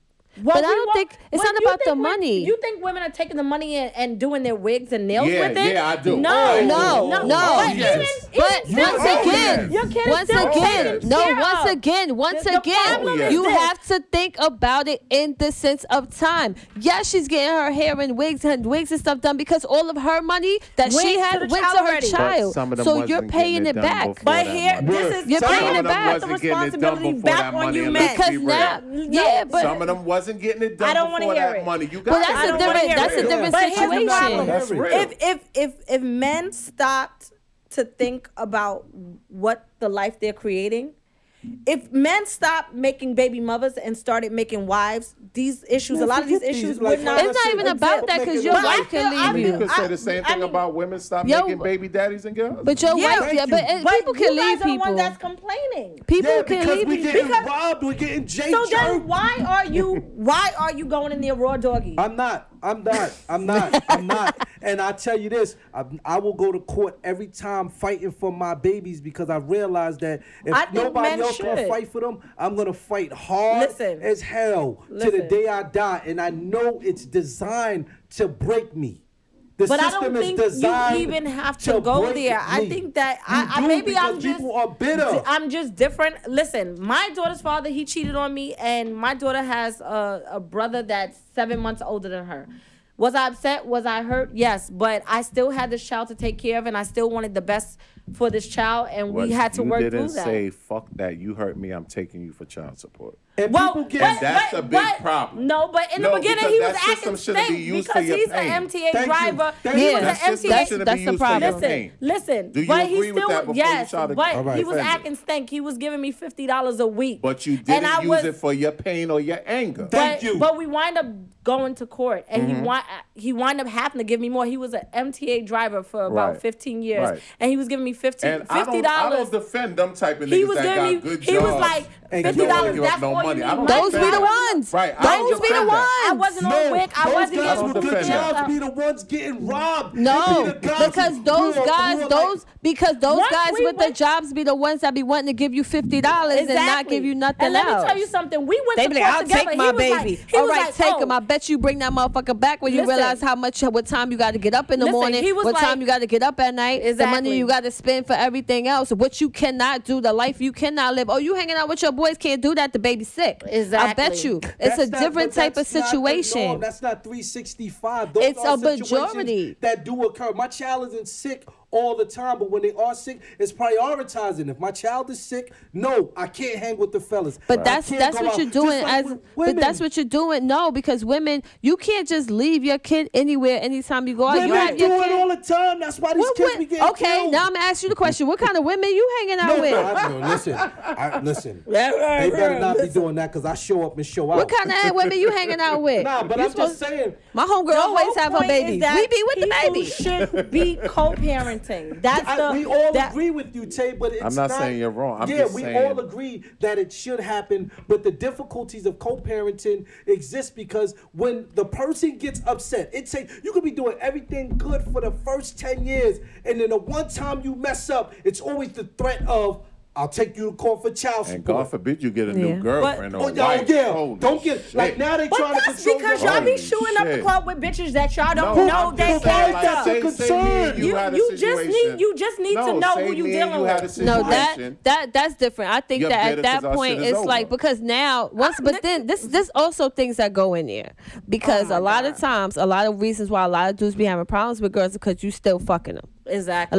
S2: Well,
S6: But I
S2: we
S6: don't
S2: want-
S6: think- it's
S2: well,
S6: not
S2: you
S6: about the
S2: think wo-
S6: money.
S2: You think women are taking the money and, and doing their wigs and nails
S3: Yeah,
S2: with it?
S3: yeah, I do.
S2: No,
S3: Oh,
S6: No,
S2: no,
S6: no,
S2: But
S3: oh, yes.
S2: even, even
S6: But
S2: still,
S6: once
S3: Oh,
S6: again,
S3: yes.
S2: your kid is
S6: once
S2: still
S6: again,
S2: taken
S6: no,
S2: care
S6: once
S2: of.
S6: again, once
S2: The- the
S6: again,
S2: problem
S3: is
S6: you
S2: this.
S6: have to think about it in the sense of time. Yes, she's getting her hair and wigs and wigs and stuff done because all of her money that
S2: Went
S6: she
S2: to
S6: had
S2: the
S6: went
S2: child
S6: to her
S2: already. But
S6: child.
S3: some of them
S6: So
S3: wasn't
S6: you're
S3: getting
S6: paying it
S3: it done
S6: back.
S3: before
S2: But
S3: that
S2: here,
S3: money.
S2: this is
S6: You're
S3: Some
S6: paying
S3: of
S6: it
S3: them
S6: back.
S3: wasn't getting it done
S2: Responsibility
S3: before
S2: back
S3: that
S2: on
S3: money
S2: you
S3: and
S2: men.
S3: let's
S6: Because
S3: be real.
S6: now, yeah, but
S3: Some of them wasn't getting it done
S2: I don't wanna
S3: before
S2: hear
S3: that
S2: it.
S3: money. You got
S6: Well,
S3: it.
S6: that's
S3: I
S6: a
S3: don't
S6: different-
S3: wanna hear
S6: that's a
S3: it.
S6: different
S2: But here's the
S6: situation.
S2: problem.
S3: That's real.
S2: If if if if men stopped to think about what the life they're creating, if men stopped making baby mothers and started making wives, these issues,
S4: Man,
S2: a lot of these
S4: forget these,
S2: issues
S4: like,
S2: would not.
S4: It's
S6: not even about that 'cause your
S2: But I
S6: wife can
S2: feel- I
S6: leave
S3: You
S2: feel-
S3: could
S2: I-
S3: say the same
S2: I
S3: thing
S2: mean,
S3: about women stop
S6: Yo,
S3: making baby daddies and girls.
S6: but your
S2: Yeah.
S6: wife,
S4: Thank
S6: yeah,
S4: you.
S6: but, uh,
S2: But
S6: people can
S2: you guys
S6: leave
S2: are the one that's
S6: people.
S2: complaining.
S6: People
S4: Yeah,
S6: can
S4: because
S6: leave
S4: we
S6: people.
S4: getting
S2: Because-
S4: robbed, we're getting J
S2: So then, why are you? Why are you going in there raw doggy?
S4: I'm not. I'm not. I'm not. I'm not. And I tell you this, I, I will go to court every time fighting for my babies because I realize that if
S2: I think men
S4: nobody else
S2: should.
S4: can fight for them, I'm gonna fight hard
S2: Listen.
S4: as hell to the
S2: Listen.
S4: day I die. And I know it's designed to break me. The
S2: But I
S4: system
S2: don't
S4: is
S2: think
S4: designed
S2: you even have to, go
S4: break
S2: there. I
S4: me.
S2: think that I,
S4: You
S2: I
S4: do
S2: maybe
S4: because
S2: I'm just
S4: people are bitter.
S2: I'm just different. Listen, my daughter's father he cheated on me, and my daughter has a, a brother that's seven months older than her. Was I upset? Was I hurt? Yes, but I still had this child to take care of, and I still wanted the best for this child, and
S3: What
S2: we had to
S3: you
S2: work
S3: didn't
S2: through that.
S3: say fuck that. You hurt me. I'm taking you for child support.
S4: and
S2: Well,
S4: people get
S2: but-
S3: That's
S2: but-
S3: a big
S2: but-
S3: problem.
S2: No, but in
S3: No,
S2: the beginning
S3: because
S2: he was
S3: that
S2: acting
S3: system shouldn't be
S2: stank
S3: used to
S2: because
S3: your
S2: he's
S3: pain.
S2: an MTA
S4: Thank you.
S2: driver.
S4: Thank
S2: He
S6: you.
S2: was
S6: That
S2: an
S3: system
S2: MTA.
S3: shouldn't
S6: that's
S3: be
S6: the
S3: used for your
S6: problem.
S2: Listen,
S3: pain.
S2: listen.
S3: Do you
S2: but he
S3: agree
S2: still
S3: with that
S2: was,
S3: before you
S2: yes,
S3: try to
S2: but
S4: Alright,
S2: he was
S4: fair.
S2: acting stank. He was giving me fifty dollars a week.
S3: But you
S2: And
S3: didn't
S2: I
S3: use
S2: was-
S3: it for your pain or your anger.
S4: Thank
S2: but,
S4: you.
S2: But we wind up going to court, and
S3: Mm-hmm.
S2: he wind he wind up having to give me more. He was an MTA driver for about
S3: Right.
S2: fifteen years,
S3: Right.
S2: and he was giving me 15
S3: and I
S2: 50
S3: don't, I
S2: dollars.
S3: don't defend them type of
S2: He
S3: niggas
S2: was
S3: that got
S2: giving me.
S3: good
S2: He
S3: jobs.
S2: was like
S4: And
S2: fifty
S4: don't
S2: dollars.
S3: give up
S2: That's
S3: no
S2: all
S3: money. I don't
S6: Those be
S3: defend
S6: the
S3: that.
S6: ones.
S3: Right, I don't
S6: Those be the
S3: defend
S6: ones.
S3: that.
S2: I wasn't on Wick. I
S4: those
S2: wasn't
S4: guys
S3: on
S4: with good
S3: defend that.
S4: jobs be the ones getting robbed. They
S6: No,
S4: be the guys
S6: because
S4: who-
S6: those
S4: who are-
S6: guys,
S4: who are like-
S6: those because those
S2: Once
S6: guys
S2: we
S6: with the
S2: went-
S6: jobs be the ones that be wanting to give you fifty dollars and not give you nothing
S2: And let
S6: else.
S2: me tell you something. We went
S6: They
S2: to
S6: be
S2: court
S6: like, I'll
S2: together.
S6: take
S2: He
S6: my
S2: was like-
S6: baby.
S2: he
S6: All
S2: was
S6: right,
S2: like,
S6: take
S2: oh,
S6: him. I bet you bring that motherfucker back when you
S2: Listen.
S6: realize how much, what time you got to get up in the
S2: Listen,
S6: morning,
S2: he was
S6: what
S2: like-
S6: time you got to get up at night, the money
S2: Exactly.
S6: you got to spend for everything else, what you cannot do, the life you cannot live. Oh, you hanging out with your boys can't do that. The baby's sick. I bet
S2: Exactly.
S6: you it's
S4: That's
S6: a
S4: not-
S6: different
S4: but
S6: type of
S4: that's not the norm.
S6: situation.
S4: That's not 365. Those
S6: It's
S4: are
S6: a
S4: situations
S6: majority.
S4: that do occur. My child isn't sick all the time, but when they are sick, it's prioritizing. If my child is sick, no, I can't hang with the fellas.
S6: But
S4: I
S6: that's
S4: can't
S6: that's
S4: go
S6: what
S4: out.
S6: you're
S4: Just
S6: doing
S4: like
S6: as
S4: with
S6: but
S4: women.
S6: that's what you're doing. No, because women, you can't just leave your kid anywhere anytime you go out.
S4: women
S6: You have
S4: do
S6: your
S4: it all
S6: kid.
S4: the time. That's why these
S6: What-
S4: kids
S6: what-
S4: be getting
S6: okay,
S4: killed.
S6: now I'm gonna ask you the question: What kind of women you hanging out
S4: no,
S6: with?
S4: I, no, listen, I, listen. They better not be doing that because I show up and show out.
S6: What kind of women you hanging out with?
S4: Nah, but
S6: You
S4: I'm
S6: supposed-
S4: just saying.
S6: My homegirl
S2: The
S6: always
S2: whole
S6: have her
S2: point is
S6: baby.
S2: that
S6: We be with the
S2: people
S6: baby.
S2: Should be co-parenting. That's
S4: I-
S2: the.
S4: we all
S2: that-
S4: agree with you, Tay, but it's
S3: I'm not saying you're wrong. I'm
S4: yeah,
S3: just
S4: we
S3: saying-
S4: all agree that it should happen, but the difficulties of co-parenting exist because when the person gets upset, it takes you could be doing everything good for the first ten years, and then the one time you mess up, it's always the threat of I'll take you to court for child
S3: And
S4: support.
S3: God forbid you get a new
S6: Yeah.
S3: girlfriend
S4: Oh,
S3: or
S4: yeah, oh,
S3: wife.
S4: yeah.
S3: Holy
S4: Don't get like
S3: shit.
S4: now they
S2: But
S4: trying to
S2: that's
S4: control
S2: because
S4: your
S2: y'all be
S3: Holy
S2: shooting up the
S3: shit.
S2: club with bitches that y'all don't
S3: No,
S2: know
S3: I'm
S2: they
S3: just saying,
S2: can't
S4: character.
S3: like, say-
S2: up.
S3: say me and
S4: You-
S3: had a
S2: you just need-
S3: situation.
S2: you just need to
S3: No,
S2: know
S3: say
S2: who you
S3: me and
S2: dealing
S3: had a
S2: with.
S6: No, that
S3: situation.
S6: that that's different. I think
S3: You're
S6: that
S3: bitter
S6: at
S3: 'cause
S6: that
S3: our shit
S6: point
S3: is
S6: it's
S3: over.
S6: like because now once but then this this also things that go in there because a lot of times a lot of reasons why a lot of dudes be having problems with girls because you still fucking them.
S2: Exactly.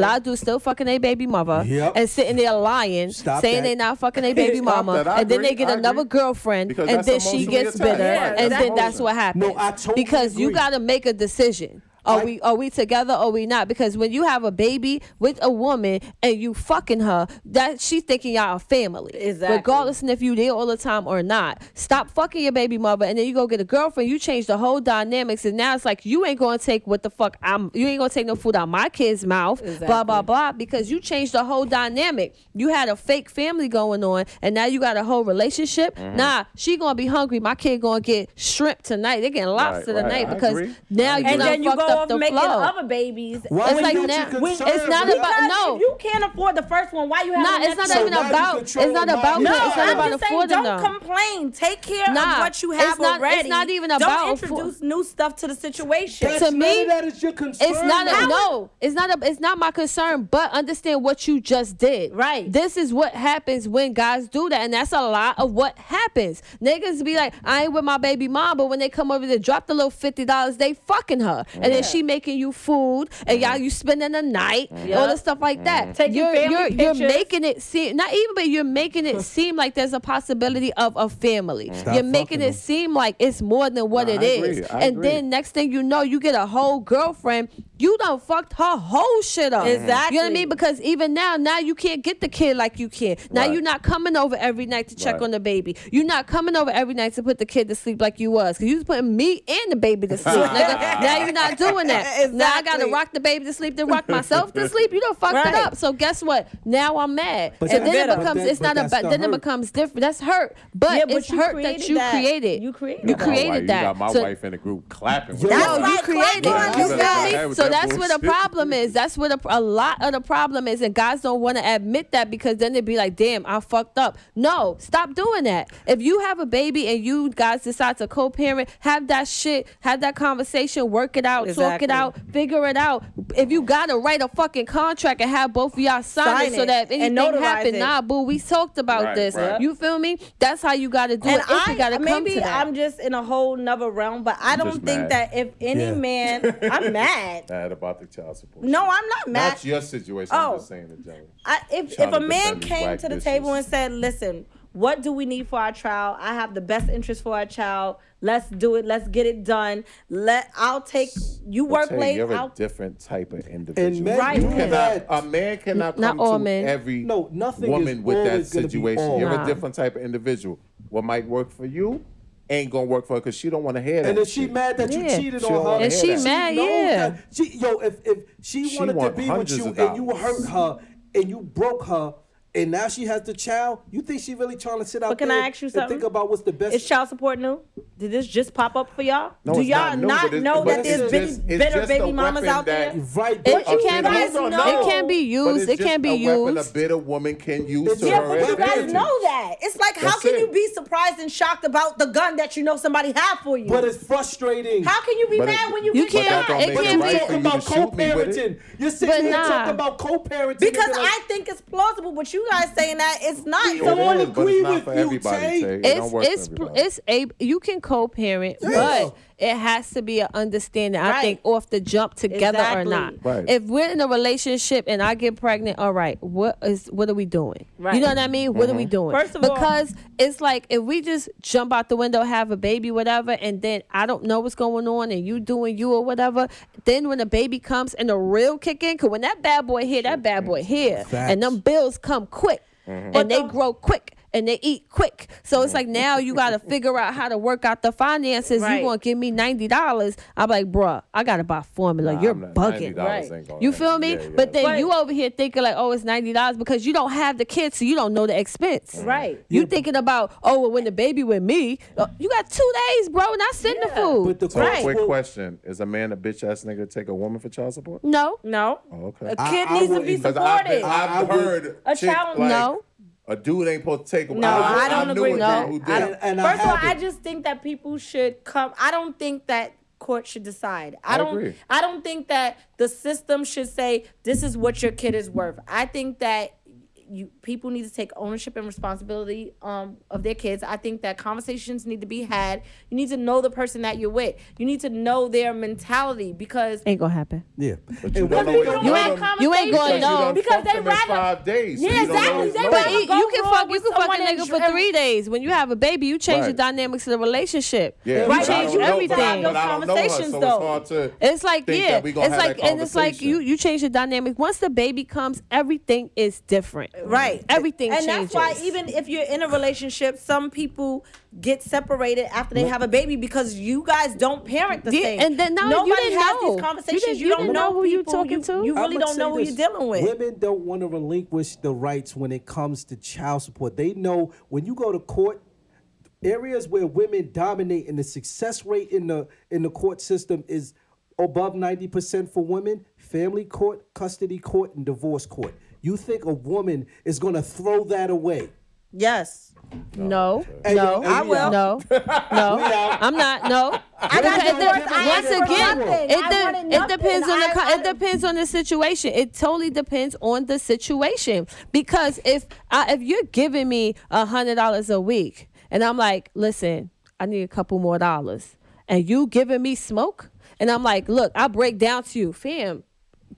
S6: A lot of dudes still fucking their baby mother
S4: Yep.
S6: and sitting there lying,
S4: Stop
S6: saying
S4: that.
S6: they not fucking their baby
S3: Stop
S6: mama,
S3: that. I
S6: and then they
S3: agree.
S6: get
S3: I
S6: another
S3: agree.
S6: girlfriend,
S3: Because
S6: and
S3: that's
S6: then she
S3: emotionally
S6: gets
S3: attached.
S6: bitter,
S2: Yeah,
S6: and
S2: that's
S6: then that's
S3: emotional.
S6: what happens.
S4: No, I totally
S6: because you
S4: agree.
S6: gotta make a decision. Are
S4: I-
S6: we are we together or we not? Because when you have a baby with a woman and you fucking her, that she's thinking y'all a family.
S2: Exactly.
S6: Regardless if you there all the time or not. Stop fucking your baby mother and then you go get a girlfriend. You change the whole dynamics and now it's like you ain't gonna take what the fuck I'm you ain't gonna take no food out my kid's mouth. Blah blah blah. Because you changed the whole dynamic. You had a fake family going on and now you got a whole relationship. Nah, she gonna be hungry. My kid gonna get shrimp tonight. They getting lobster
S3: right.
S6: tonight
S3: I
S6: because
S3: agree.
S6: now you
S3: I agree.
S2: and
S6: done
S2: then you
S6: fucked
S2: go
S6: up
S2: off
S6: the
S2: making
S6: flow.
S2: other babies.
S4: Why
S6: It's
S4: would
S6: like
S4: you
S6: now-
S4: be
S6: it's
S4: concerned
S6: not
S4: with
S6: about-
S4: that?
S2: Because
S6: no.
S2: if you can't afford the first one, why you have
S6: Nah,
S2: the
S6: it's not
S2: next
S4: So
S2: one?
S6: even
S4: now you
S6: about. It's
S4: control
S6: not
S4: my
S6: about.
S4: life.
S2: No,
S6: that. It's not
S2: I'm
S6: about
S2: just saying,
S6: affording
S2: don't
S6: them.
S2: complain. Take care
S6: Nah,
S2: of what you
S6: it's
S2: have
S6: not- it's
S2: already.
S6: not even about
S2: Don't
S6: affo-
S2: introduce new stuff to the situation.
S4: That's
S6: To
S4: none
S6: me,
S4: of that is your concern.
S6: It's not a
S4: now.
S6: no. It's not a. It's not my concern. But understand what you just did.
S2: Right.
S6: This is what happens when guys do that, and that's a lot of what happens. Niggas be like, I ain't with my baby mom, but when they come over to drop the little fifty dollars, they fucking her, and then she making you food, and y'all you spending the night, all the stuff like that.
S2: Taking
S6: you're
S2: family
S6: you're, you're
S2: pictures.
S6: making it seem not even, but you're making it seem like there's a possibility of a family. you're making
S4: fucking
S6: it
S4: them.
S6: seem like it's more than what
S3: Nah,
S6: it
S3: I
S6: is,
S3: agree. I
S6: and
S3: agree.
S6: then next thing you know, you get a whole girlfriend. You done fucked her whole shit up. You know what I
S2: Exactly.
S6: mean? Because even now, now you can't get the kid like you can. Now
S3: Right.
S6: you're not coming over every night to check
S3: Right.
S6: on the baby. You're not coming over every night to put the kid to sleep like you was. Cause you was putting me and the baby to sleep. nigga. Now you're not doing that. Now I gotta
S2: Exactly.
S6: rock the baby to sleep, then rock myself to sleep. You done fucked it
S2: Right.
S6: up. So guess what? Now I'm mad.
S4: But
S6: and
S4: that-
S6: then it
S4: but
S6: becomes
S4: that-
S6: it's
S4: but
S6: not
S4: that's
S6: about
S4: the
S6: then it
S4: hurt.
S6: becomes different. That's hurt. But
S2: Yeah, but
S6: it's
S2: you
S6: hurt that
S2: created
S6: you
S2: that.
S6: created.
S2: You created
S6: you
S2: that.
S6: created
S3: my wife,
S6: that.
S3: You got my
S6: So-
S3: wife in the group clapping.
S4: Yo,
S6: no,
S4: That's
S6: you
S2: like
S6: created
S2: clockwork,
S6: it. You
S2: you guys.
S6: feel me? So that's where the problem is. That's where the, a lot of the problem is, and guys don't want to admit that because then they'd be like, "Damn, I fucked up." No, stop doing that. If you have a baby and you guys decide to co-parent, have that shit, have that conversation, work it out, talk it
S2: Exactly.
S6: out, figure it out. If you gotta write a fucking contract and have both of y'all sign,
S2: Sign
S6: it, so
S2: it
S6: that if
S2: and
S6: anything
S2: notarize
S6: happen,
S2: it.
S6: nah, boo, we talked about
S3: Right,
S6: this.
S3: right.
S6: You feel me? That's how you gotta do
S2: and
S6: it. if
S2: I uh,
S6: you gotta come
S2: maybe
S6: to that.
S2: I'm just in a whole nother realm, but I don't
S3: just
S2: think
S3: mad.
S2: that if any
S4: Yeah.
S2: man, I'm mad.
S3: Mad about the child support.
S2: No, I'm not mad.
S3: That's your situation. I'm
S2: Oh.
S3: just saying in general.
S2: I, if
S3: Trying
S2: if a
S3: to
S2: man
S3: defend these
S2: came
S3: white
S2: to the
S3: bitches.
S2: table and said, "Listen, what do we need for our child? I have the best interest for our child. Let's do it. Let's get it done. Let I'll take you
S3: But
S2: work
S3: Tay,
S2: late.
S3: You're
S2: I'll
S3: a different type of individual.
S4: And men
S2: Right.
S3: You
S2: do
S3: cannot,
S4: that.
S3: a man cannot
S6: Not
S3: come
S6: all
S3: to
S6: men.
S3: every
S4: No, nothing
S3: woman
S4: is
S3: with that
S4: always gonna be
S3: situation.
S4: all.
S3: You're
S6: Nah.
S3: a different type of individual. What might work for you ain't gonna work for her because she don't want to hear that.
S4: And if she
S3: shit.
S4: mad that
S6: Yeah.
S4: you cheated
S3: She don't
S4: on
S3: wanna
S4: her,
S3: If hear she that.
S6: mad,
S4: knows
S6: yeah.
S4: that- She, yo, if if she,
S3: She
S4: wanted to
S3: want
S4: be with
S3: hundreds
S4: you
S3: of
S4: and you
S3: dollars.
S4: hurt her and you broke her and now she has the child. You think she really trying to sit out
S2: But can I
S4: there
S2: ask you
S4: and
S2: something?
S4: think about what's the best?
S2: Is child support new? Did this just pop up for y'all?
S3: No,
S2: Do
S3: it's
S2: y'all
S3: not new, but it's-
S2: know
S3: but
S2: that
S4: it's
S2: there's
S3: just-
S2: big-
S3: it's
S2: better
S3: just a
S2: baby mamas
S3: weapon
S2: out there?
S3: that-
S4: right,
S6: It,
S4: but-
S6: it can
S2: you
S6: be, it
S2: guys know.
S6: can be
S3: But
S6: used.
S3: it's
S6: It
S3: just
S6: can be
S3: a weapon
S6: used.
S3: A bitter woman can use to
S4: It's just-
S2: Yeah,
S3: her
S2: but you guys
S3: advantage.
S2: know that. It's like, how
S3: That's
S2: can
S3: it.
S2: you be surprised and shocked about the gun that you know somebody had for you?
S4: But it's frustrating.
S2: how can you be
S3: But it-
S2: mad when you,
S6: You
S2: get your
S6: can't-
S2: gun?
S6: it
S3: make
S6: can't
S3: right
S6: be-
S3: for
S4: talking
S3: you to
S4: about
S3: shoot me with it.
S4: co-parenting? You're
S6: But
S4: sitting here
S6: nah.
S4: talking about co-parenting
S2: Because
S4: and you're
S2: I think it's plausible, but you guys saying that it's not.
S3: It
S2: So-
S4: Someone
S3: is, but
S4: agree
S3: it's not
S4: with
S3: for
S4: you,
S3: everybody,
S4: Tay.
S3: Tay. It
S6: It's
S3: don't work
S6: it's
S3: for
S6: pr-
S3: everybody.
S6: it's a you can co-parent,
S4: Yes.
S6: but it has to be an understanding. I
S2: Right.
S6: think off the jump together
S2: Exactly.
S6: or not.
S3: Right.
S6: If we're in a relationship and I get pregnant, all right, what is what are we doing?
S2: Right.
S6: You know what I mean? What are we
S3: Mm-hmm.
S6: doing?
S2: First of all-
S6: because it's like if we just jump out the window, have a baby, whatever, and then I don't know what's going on, and you doing you or whatever. Then when the baby comes and the real kick in, cause when that bad boy here, that bad boy here, and them bills come quick,
S3: Mm-hmm.
S6: and they grow quick and they eat quick. So it's like now you got to figure out how to work out the finances.
S2: Right.
S6: You gonna give me ninety dollars? I'm like, bruh, I gotta buy formula.
S3: Nah,
S6: You're
S3: I'm not-
S6: bugging.
S3: $90 ain't
S2: Right.
S3: gonna
S6: You
S3: happen.
S6: feel me?
S3: Yeah, yeah.
S6: But then
S2: But-
S6: you over here thinking like, oh, it's ninety dollars because you don't have the kids, so you don't know the expense.
S3: Mm-hmm.
S2: Right.
S6: You thinking about, oh, well, when the baby with me, uh, you got two days, bro, and I send the food.
S4: But the
S3: So,
S4: Right.
S3: quick
S4: Well-
S3: question: Is a man a bitch ass nigga to take a woman for child support?
S6: no,
S2: no.
S3: Oh, okay.
S2: Mm. A kid
S4: I
S2: needs to
S4: wouldn't,
S2: be
S4: 'cause
S3: Because I've,
S2: supported.
S3: been, I've
S4: I would-
S3: heard
S2: A
S3: chick,
S2: child-
S3: like,
S6: No.
S3: A dude ain't supposed to take.
S2: No, I don't
S3: knew a
S2: agree with
S3: dude
S6: that.
S3: who
S6: I
S3: did.
S4: don't- and I
S2: First of all, I
S4: haven't.
S2: just think that people should come. I don't think that court should decide. I,
S3: I
S2: don't.
S3: agree.
S2: I don't think that the system should say this is what your kid is worth. I think that you people need to take ownership and responsibility um, of their kids. I think that conversations need to be had. You need to know the person that you're with. You need to know their mentality because
S6: ain't gonna happen.
S4: yeah.
S3: But you
S4: And
S3: don't
S4: what
S3: know
S4: if
S3: what
S2: you
S6: You
S3: know
S6: ain't-
S2: ain't
S3: them
S6: you ain't going
S3: because you
S6: no.
S3: done
S2: because
S3: fucked
S2: they
S3: them in
S2: rather
S3: five days.
S2: Yeah,
S3: so you don't know
S2: exactly.
S3: his
S2: They
S3: motive.
S6: But
S2: rather
S6: you
S2: go
S6: can
S2: wrong
S6: fuck you
S2: with
S6: can fuck a
S2: someone and
S6: nigga for
S2: dr-
S6: three days. When you have a baby, you change the
S3: Right.
S6: dynamics of the relationship.
S3: Yeah,
S6: you
S3: but I
S2: Right,
S6: change
S3: don't know
S2: have to
S6: everything.
S2: have those
S3: but I don't know her, so
S2: conversations,
S3: it's
S2: though.
S3: hard to
S6: It's like
S3: think
S6: yeah,
S3: that we
S6: it's
S3: gonna have
S6: like
S3: that
S6: and it's like you
S3: conversation.
S6: you change the dynamic. Once the baby comes, everything is different.
S2: Right.
S6: Mm-hmm. Everything
S2: and
S6: changes.
S2: that's why even if you're in a relationship, some people get separated after they have a baby because you guys don't parent the
S6: Yeah,
S2: same.
S6: and then now you
S2: nobody
S6: didn't
S2: has
S6: know.
S2: these
S6: You
S2: conversations. You,
S6: didn't- you
S2: don't
S6: didn't
S2: know
S6: know who you
S2: people.
S6: talking to.
S2: You
S6: I
S2: really
S4: I'ma
S2: don't
S4: say
S2: know who
S4: this.
S2: you're dealing with.
S4: Women don't want to relinquish the rights when it comes to child support. They know when you go to court, areas where women dominate and the success rate in the in the court system is above 90% for women, family court, custody court, and divorce court. You think a woman is gonna throw that away.
S2: Yes.
S6: No,
S4: Hey,
S6: no,
S4: yo, hey, I we will. out.
S6: No, no, I'm not. No, I
S4: got divorced. I
S6: once
S4: asked for
S6: again,
S4: nothing.
S6: it,
S2: I
S6: de-
S2: wanted
S6: it
S2: nothing.
S6: depends on the
S2: I-
S6: co-
S2: I-
S6: it depends on the situation. It totally depends on the situation because if I, if you're giving me a hundred dollars a week and I'm like, listen, I need a couple more dollars, and you giving me smoke, and I'm like, look, I break down to you, fam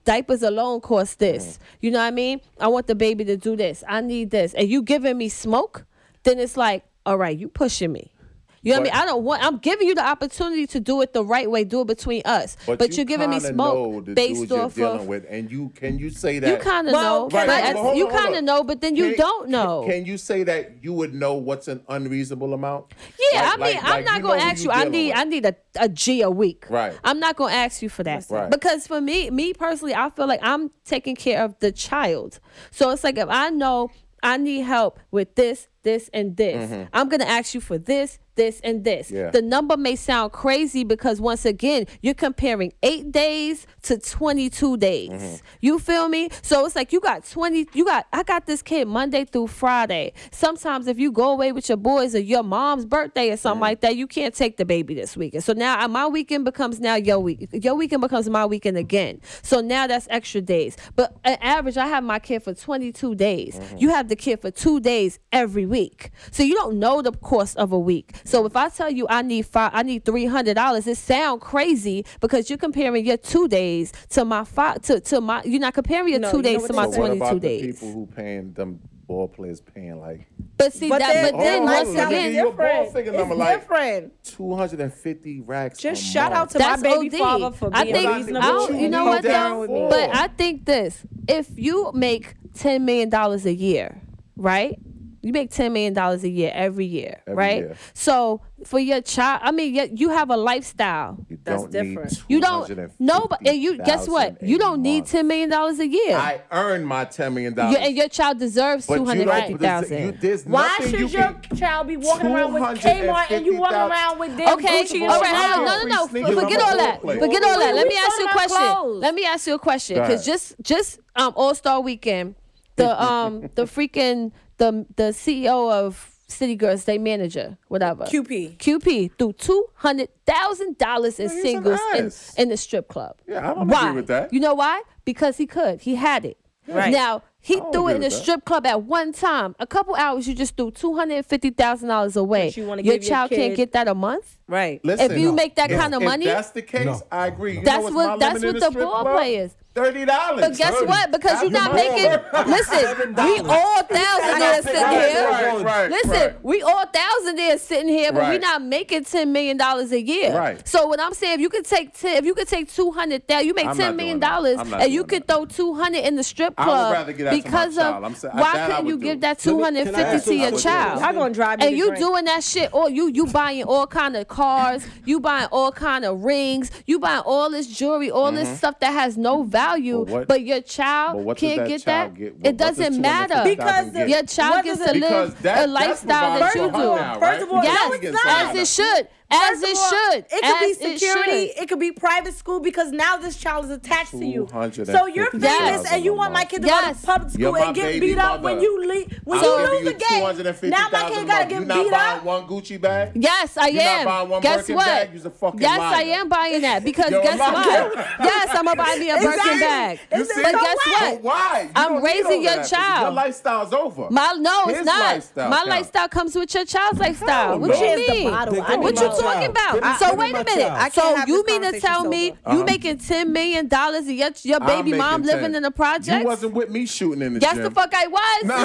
S6: diapers alone cost this. You know what I mean? I want the baby to do this. I need this. And you giving me smoke, then it's like, all right, you pushing me. You know what I mean? I don't want. I'm giving you the opportunity to do it the right way. Do it between us. But, you're giving me
S3: kinda know
S6: smoke
S3: the dude
S6: based
S3: you're
S6: off
S3: dealing
S6: of.
S3: with, and you can you say that
S6: You kind of
S2: Well,
S6: know,
S2: can
S6: but
S2: I-
S6: at-
S3: but hold on,
S6: you
S3: hold
S6: kind of
S3: on.
S6: know, but then you
S3: Can-
S6: don't
S3: can-
S6: know.
S3: Can you say that you would know what's an unreasonable amount?
S6: Yeah,
S3: Like-
S6: I mean,
S3: like-
S6: I'm
S3: like
S6: not
S3: you know
S6: gonna
S3: who
S6: ask
S3: you
S6: you. I
S3: dealing
S6: need,
S3: with.
S6: I need a, a G a week.
S3: Right.
S6: I'm not gonna ask you for that
S3: Right.
S6: because for me, me personally, I feel like I'm taking care of the child. So it's like if I know I need help with this, this, and this, I'm gonna ask you for this, this, and this.
S3: Mm-hmm. Yeah.
S6: The number may sound crazy because once again, you're comparing eight days to 22 days.
S3: Mm-hmm.
S6: You feel me? So it's like you got 20, you got, I got this kid Monday through Friday. Sometimes if you go away with your boys or your mom's birthday or something like that, you can't take the baby this weekend. So now I- my weekend becomes now your week. Your weekend becomes my weekend again. So now that's extra days. But on average, I have my kid for 22 days. You have the kid for two days every week. So you don't know the course of a week. So if I tell you I need five, I need three hundred dollars, it sound crazy because you're comparing your two days to my five to, to my. You're not comparing your
S2: No,
S6: two
S2: you know
S6: days
S2: what
S6: to
S2: they
S6: my
S3: But what
S6: 22
S3: about the
S6: days.
S3: people who paying them ball players paying like
S6: But see
S2: But
S6: that.
S2: then-
S6: But then
S2: Hold on,
S6: once
S3: hold on,
S6: again,
S3: nigga, your ball
S2: different.
S3: figure
S2: It's
S3: number like
S2: different.
S3: two hundred and fifty racks.
S2: Just
S3: a
S2: shout
S3: month.
S2: out to
S6: That's
S2: my baby
S6: OD.
S2: father for
S6: I
S2: being
S6: think,
S2: reasonable.
S6: I don't- you
S2: and
S6: know what
S2: co-parent
S6: though?
S2: with me.
S6: But I think this: if you make ten million dollars a year, right? you make ten million dollars a year every year,
S3: Every
S6: right?
S3: year.
S6: So for your child, I mean, yeah, you have a lifestyle.
S3: You
S2: That's
S3: don't
S2: different.
S3: Need
S6: You don't no, but and you guess what? You don't need ten million dollars a year.
S3: I earn my ten million dollars.
S6: You- and your child deserves
S3: But
S6: two
S3: you
S6: hundred
S3: don't-
S6: fifty
S3: you-
S6: thousand.
S3: There's
S2: Why
S3: nothing
S2: should
S3: you
S2: your
S3: can-
S2: child be walking around with Kmart and you walking
S3: $250,000
S2: around with damn
S6: Okay,
S2: Gucci and
S6: all right,
S2: Chanel?
S6: hold on. No, no, no.
S3: Free sneakers,
S6: Forget
S3: I'm
S6: all
S3: a
S6: that.
S3: whore.
S6: Forget all that. Let
S2: We
S6: me ask you a
S2: talking about
S6: question.
S2: clothes.
S6: Let me ask you a question.
S3: Go
S6: Because
S3: ahead.
S6: just just um All Star Weekend, the um the freaking the the CEO of City Girls, they manager, whatever.
S2: QP.
S6: QP threw two hundred thousand dollars in
S3: he's an
S6: singles in,
S3: ass.
S6: in the strip club.
S3: Yeah, I don't agree
S6: why?
S3: with that.
S6: You know why? Because he could. He had it.
S2: Right.
S6: Now he
S3: don't
S6: threw it
S3: agree
S6: in a
S3: with that.
S6: strip club at one time. A couple hours, you just threw two hundred and fifty thousand dollars away.
S2: But you wanna
S6: your
S2: give your
S6: child can't
S2: kid-
S6: get that a month.
S2: Right.
S3: Listen,
S6: If you make that
S3: if-
S6: kind of
S3: if
S6: money-
S3: that's the case.
S4: No.
S3: I agree. You
S6: That's
S3: know what's
S6: what-
S3: my
S6: that's
S3: limit in
S6: what
S3: the
S6: the
S3: strip
S6: ball
S3: club?
S6: play is.
S3: Thirty dollars.
S6: But guess what? Because you're not making. Listen, we all thousandaires sitting
S3: Right,
S6: here.
S3: right, right,
S6: Listen,
S3: right.
S6: we all thousandaires sitting here, but we're
S3: Right.
S6: not making ten million dollars a year.
S3: Right.
S6: So what I'm saying, if you could take ten, if you could take two hundred thousand, you make
S3: I'm
S6: ten
S3: not
S6: million
S3: doing that.
S6: dollars,
S3: I'm not
S6: and you
S3: doing
S6: could throw two hundred in the strip
S3: I would
S6: club
S3: rather give that to my
S6: because
S3: child. I'm
S6: of
S3: sa-
S6: why
S3: that I
S6: couldn't you
S3: would do.
S6: give that
S4: Let
S6: two
S4: me- can I
S6: hundred fifty
S4: ask
S6: to
S4: you
S6: your
S4: something?
S6: child?
S2: Y'all gonna drive me
S6: and
S2: to
S6: you
S2: drink.
S6: doing that shit all you you buying all kind of cars you buying all kind of rings you buying all this jewelry all this stuff that has no value
S3: Mm-hmm. But what-
S6: but your child
S3: but what does
S6: can't
S3: that
S6: get
S3: child
S6: that
S3: get? What-
S6: it
S3: what does
S6: doesn't
S3: 250,000
S6: matter
S2: Because
S3: get?
S6: your
S2: What
S6: child gets
S2: does
S6: to
S2: it-
S3: Because
S6: live
S3: that,
S6: a lifestyle
S3: that's
S6: that
S3: what
S6: you
S3: bothers
S6: do
S3: her now,
S2: First of all,
S3: right?
S2: no,
S3: Now
S6: yes
S3: we getting
S2: it's
S3: somewhere
S2: not.
S6: as
S3: now.
S6: it should as
S2: First of
S6: it
S2: all,
S6: should
S2: It
S6: as
S2: could be
S6: it
S2: security.
S6: should.
S2: It, could be private school because now this child is attached to you. So you're
S3: $250,000
S2: famous and you want my kid to
S6: Yes.
S2: go to public school
S3: You're my
S2: and get
S3: baby
S2: beat up
S3: mother.
S2: when you leave. When
S3: I'll
S6: you
S3: give
S2: you lose the game, now my
S3: $250,000
S2: kid gotta
S3: You
S2: get
S3: not
S2: beat
S3: buying
S2: up.
S3: one Gucci bag?
S6: Yes, I
S3: You're not
S6: am.
S3: buying one
S6: guess
S3: Birkin
S6: what?
S3: bag? You's a fucking
S6: yes, I
S3: liar.
S6: am buying that because
S3: Yo,
S6: guess
S3: I'm
S6: what?
S3: not-
S6: yes, I'm gonna buy me a Birkin
S2: Exactly.
S6: bag.
S3: You
S2: It's
S3: see?
S6: But guess
S3: But
S6: what?
S3: why? You
S6: I'm
S3: don't need
S6: raising
S3: all
S6: your
S3: that because Your
S6: child.
S3: lifestyle's over.
S6: My no, it's
S3: His
S6: not.
S3: lifestyle
S6: My
S3: counts.
S6: lifestyle comes with your child's lifestyle.
S3: no.
S6: what you
S3: Here's
S2: the
S6: mean?
S2: bottle.
S4: They
S2: I
S4: don't
S2: need
S6: What
S4: my
S6: you
S4: child.
S6: talking about?
S4: They don't
S6: so
S4: give me
S6: wait
S4: my
S6: a minute.
S4: child.
S5: I can't
S6: So
S5: have
S6: you
S5: this
S6: mean to
S5: conversation
S6: tell
S5: sober.
S6: me you making ten million dollars and your, your
S3: I'm
S6: baby
S3: making
S6: mom
S3: 10.
S6: living in a project?
S3: You wasn't with me shooting in the
S6: yes,
S3: gym.
S6: the fuck I was.
S3: Nah.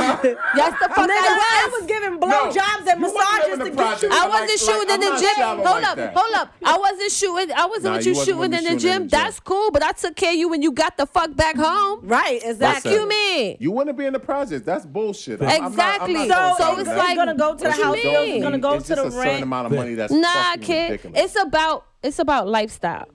S6: yes, the fuck
S2: Nigga,
S6: I
S2: I
S6: was.
S2: was giving
S3: No,
S2: blowjobs and
S3: you wasn't
S2: massages
S3: living
S2: to
S3: the
S2: get you.
S3: project.
S6: I
S3: Like-
S6: wasn't
S3: like,
S6: shooting
S3: I'm
S6: in the
S3: not
S6: gym.
S3: shallow
S6: Hold
S3: like
S6: up,
S3: that.
S6: hold up. I wasn't shooting. I wasn't
S3: Nah,
S6: with
S3: you
S6: you,
S3: wasn't
S6: shooting
S3: with me
S6: in the
S3: shooting in
S6: gym.
S3: the gym.
S6: That's cool, but I took care of you when you got the fuck back home.
S2: Right,
S6: Fuck
S2: exactly.
S6: you, mean?
S3: You want to be in the project. That's bullshit. I'm- I'm not- I'm
S6: Exactly.
S3: not
S6: So-
S3: gonna
S6: so
S3: sign
S6: it's
S3: that.
S6: like-
S2: you're gonna go to the
S6: What you
S2: house bills,
S6: mean?
S2: you're gonna go
S3: it's
S2: to the
S3: just a certain
S2: rent.
S3: amount of money that's
S6: Nah,
S3: fucking
S6: kid.
S3: ridiculous.
S6: It's about it's about lifestyle.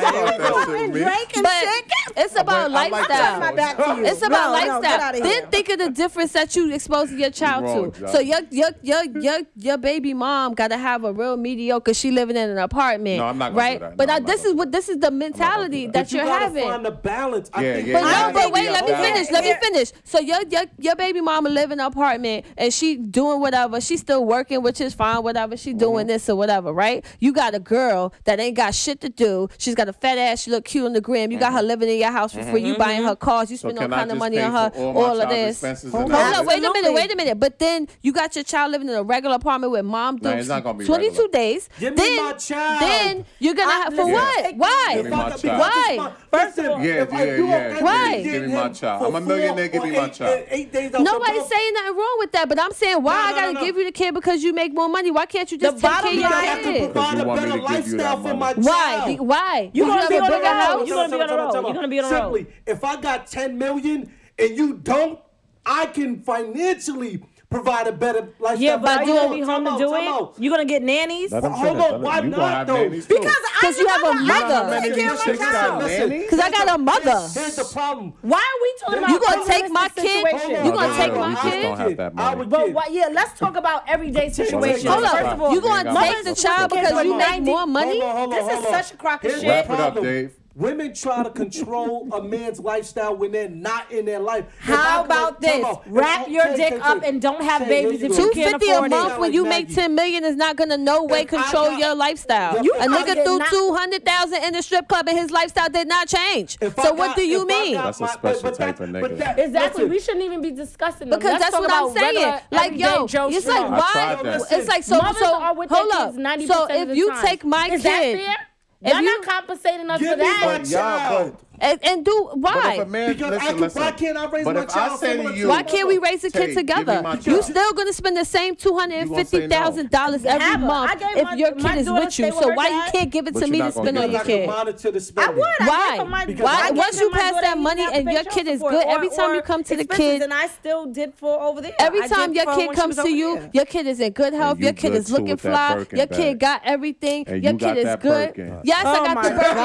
S2: Drake and
S6: But
S2: shit.
S6: it's about
S3: I like
S6: lifestyle.
S3: that.
S2: back to you.
S6: It's about
S2: No, no, get
S6: lifestyle.
S2: outta here.
S6: then think of the difference that you exposing your child
S3: wrong,
S6: to.
S3: Josh.
S6: So your your your your your baby mom gotta have a real mediocre. She living in an apartment.
S3: No, I'm not gonna do
S6: right.
S3: that. No,
S6: But I,
S3: I'm not
S6: this
S3: gonna
S6: is
S3: do
S6: what this is the mentality
S3: that.
S6: that
S4: you
S6: you're
S4: gotta
S6: having.
S4: Find the balance. I
S3: Yeah,
S4: think
S3: yeah,
S6: But
S3: But
S6: no,
S3: I
S6: but
S3: think
S6: wait,
S3: we
S6: let me
S3: allowed-
S6: finish. Let me finish. So your your your baby mama live in an apartment and she doing whatever. She still working, which is fine, whatever. She
S3: Uh-huh.
S6: doing this or whatever, right? You got a girl that ain't got shit to do. She's got a fat ass. She look cute on the gram. You got her living in your house for free. You buying her cars. You
S3: Uh-huh. Mm-hmm. So
S6: spend all
S3: can I
S6: kind of
S3: just
S6: money
S3: pay
S6: on her.
S3: for all my
S6: All of
S3: child's
S6: this.
S3: expenses
S6: Hold
S3: and
S6: up, wait a minute,
S2: Absolutely.
S6: wait a minute. But then you got your child living in a regular apartment with mom
S3: No,
S6: doing
S3: it's not gonna be
S6: 22
S3: regular.
S6: days.
S4: Give me
S6: then,
S4: my child.
S6: Then you're gonna
S2: I-
S6: have for
S2: listen,
S6: what?
S2: take-
S6: Why?
S3: Give me my
S4: Fuck up,
S3: child.
S4: because
S6: Why?
S4: it's my- First of all,
S3: Yeah,
S4: if I
S3: yeah,
S4: do
S3: yeah,
S4: okay,
S6: Why?
S4: then
S6: give
S3: me my
S4: him
S3: child.
S4: for
S3: I'm a millionaire,
S4: four
S3: give me
S4: or
S3: my
S4: eight-
S3: child.
S4: Eight days. out the
S6: Nobody's
S4: month.
S6: saying nothing wrong with that, but I'm saying why
S4: No,
S6: I
S4: no,
S6: gotta
S4: no, no.
S6: give you the kid because you make more money. Why can't you just
S2: The
S6: take
S2: bottom
S6: care
S2: line-
S6: of
S4: I
S6: your
S4: have to
S6: kid?
S3: Because
S4: provide
S3: you
S4: a
S3: want me
S4: better
S3: to give you that
S4: lifestyle for
S3: money.
S4: my child.
S6: Why? The- Why?
S2: You gonna
S6: have
S2: be
S6: a
S2: on the
S6: bigger
S2: road.
S6: house?
S2: You gonna be on the road.
S4: Simply,
S2: You gonna be on the road.
S4: Simply, if I got 10 million and you don't, I can financially provide a better lifestyle.
S2: Yeah, but
S4: for my
S2: are you gonna
S4: child.
S2: be home
S4: Time
S2: to do
S4: out, time out.
S2: it? You gonna get nannies?
S3: Let him
S4: Hold
S3: finish.
S4: on,
S3: Let
S4: why
S3: him- you gonna
S4: not,
S3: have
S4: though?
S3: nannies too.
S2: Because I
S6: Because you have a
S2: I- I
S6: mother.
S2: take
S3: Take
S2: care
S3: your
S2: of my
S3: chicks
S2: child.
S3: out, man.
S4: Listen,
S6: 'Cause I got a
S4: here's-
S6: mother.
S4: Here's the problem.
S2: Why are we talking about
S6: You gonna
S2: unrealistic
S6: take my kid?
S2: situations?
S6: You gonna
S3: No,
S6: take
S3: no,
S6: my
S3: we just
S6: kid?
S3: don't have that
S4: I
S3: money.
S4: would
S2: But
S4: kid.
S2: why, yeah, let's talk about everyday situations.
S3: Hold up.
S2: First of all,
S6: you
S3: gonna
S6: going to
S3: Mothers
S6: take the
S3: with
S6: child
S2: kids
S6: because
S2: with
S6: you make
S2: 90
S6: more money?
S4: Hold on, hold on,
S2: This is
S4: hold on.
S2: such a crock of
S4: Here's
S2: shit.
S4: the
S3: Wrap it up,
S4: problem.
S3: Dave.
S4: Women try to control a man's lifestyle when they're not in their life. If
S2: How
S4: I could-
S2: about
S4: time
S2: this?
S4: out. If
S2: Wrap
S4: I-
S2: your
S4: take,
S2: dick
S4: take,
S2: up
S4: take.
S2: and don't have
S4: Take,
S2: babies
S4: there you
S2: if
S4: go.
S2: you
S6: Two
S2: can't
S6: fifty a
S2: afford it.
S6: month when you
S4: Like
S6: make
S4: Maggie.
S6: ten million is not gonna no way
S4: If I
S6: control
S4: got-
S6: your lifestyle.
S4: You
S6: a nigga
S2: probably
S6: threw
S2: not-
S6: two hundred thousand in the strip club and his lifestyle did not change.
S4: If I
S6: so what
S4: got-
S6: do you
S4: if I
S6: mean?
S4: got
S3: That's a
S4: my-
S3: special
S4: but- but
S3: type
S4: that-
S3: of
S4: but
S3: nigga.
S4: that-
S2: Exactly.
S4: listen.
S2: We shouldn't even be discussing them.
S6: Because
S2: Let's
S6: that's
S2: talk
S6: what I'm
S2: about
S6: saying.
S2: regular,
S6: like yo,
S2: everyday Joe
S6: it's
S2: Schmo.
S6: like why?
S3: tried that.
S6: It's like so.
S2: Mothers
S6: so
S2: are with their
S6: hold
S2: kids
S6: up.
S2: 90%
S6: So
S2: of
S6: if
S2: the
S6: you
S2: time.
S6: take my
S2: is
S6: kid,
S2: that fair?
S6: if
S2: Y'all
S6: you-
S2: not compensating us
S4: Give
S2: for
S4: me
S2: that.
S4: my
S3: Y'all,
S4: child.
S3: but
S6: And, and do
S3: But
S6: why?
S3: if a man,
S4: Because I
S3: listen,
S4: can-
S3: listen.
S4: why can't I raise
S3: But
S4: my
S3: if
S4: child
S3: I say
S4: similar
S3: to
S4: to-
S3: you,
S6: why can't we raise a
S3: Tay,
S6: kid
S3: give me
S6: together?
S3: my
S6: You
S3: child.
S6: still gonna spend the same two hundred and
S3: You gonna say
S6: fifty
S3: no.
S6: thousand dollars every
S2: Have her. I
S6: month
S2: gave
S6: if
S2: my-
S6: your
S2: my
S6: kid is
S2: daughter
S6: with
S2: stay
S6: you.
S2: with
S6: So
S2: her
S6: why you
S2: dad.
S6: can't give it
S3: But
S6: to
S3: you're
S6: me
S3: not
S6: to
S3: gonna
S6: spend
S3: give
S6: on
S3: it
S6: your
S3: to
S6: kid?
S4: monitor the
S2: I
S4: spending.
S2: would. I
S6: Why?
S2: gave him my,
S6: Why-
S2: I gave
S6: once
S2: him
S6: you
S2: my
S6: pass
S2: daughter,
S6: that
S2: he
S6: money
S2: didn't have
S6: and
S2: pay
S6: your
S2: child
S6: kid is
S2: support
S6: good,
S2: or-
S6: every time you
S2: or
S6: come to the
S2: expenses,
S6: kid-
S2: and I still did for over there. I
S6: Every
S2: did
S6: time your
S2: for her
S6: kid
S2: when she
S6: comes
S2: was
S6: to
S2: over
S6: you,
S2: there.
S6: your kid is in good health.
S3: you
S6: your kid
S3: good
S6: is
S3: too
S6: looking
S3: with that
S6: fly.
S3: Birkin
S6: Your
S3: bag.
S6: kid got everything.
S3: And
S6: your
S3: you
S6: kid
S3: got
S6: is
S3: that
S6: good.
S3: Birkin.
S6: Yes,
S2: Oh
S6: I got
S2: my
S6: the Birkin.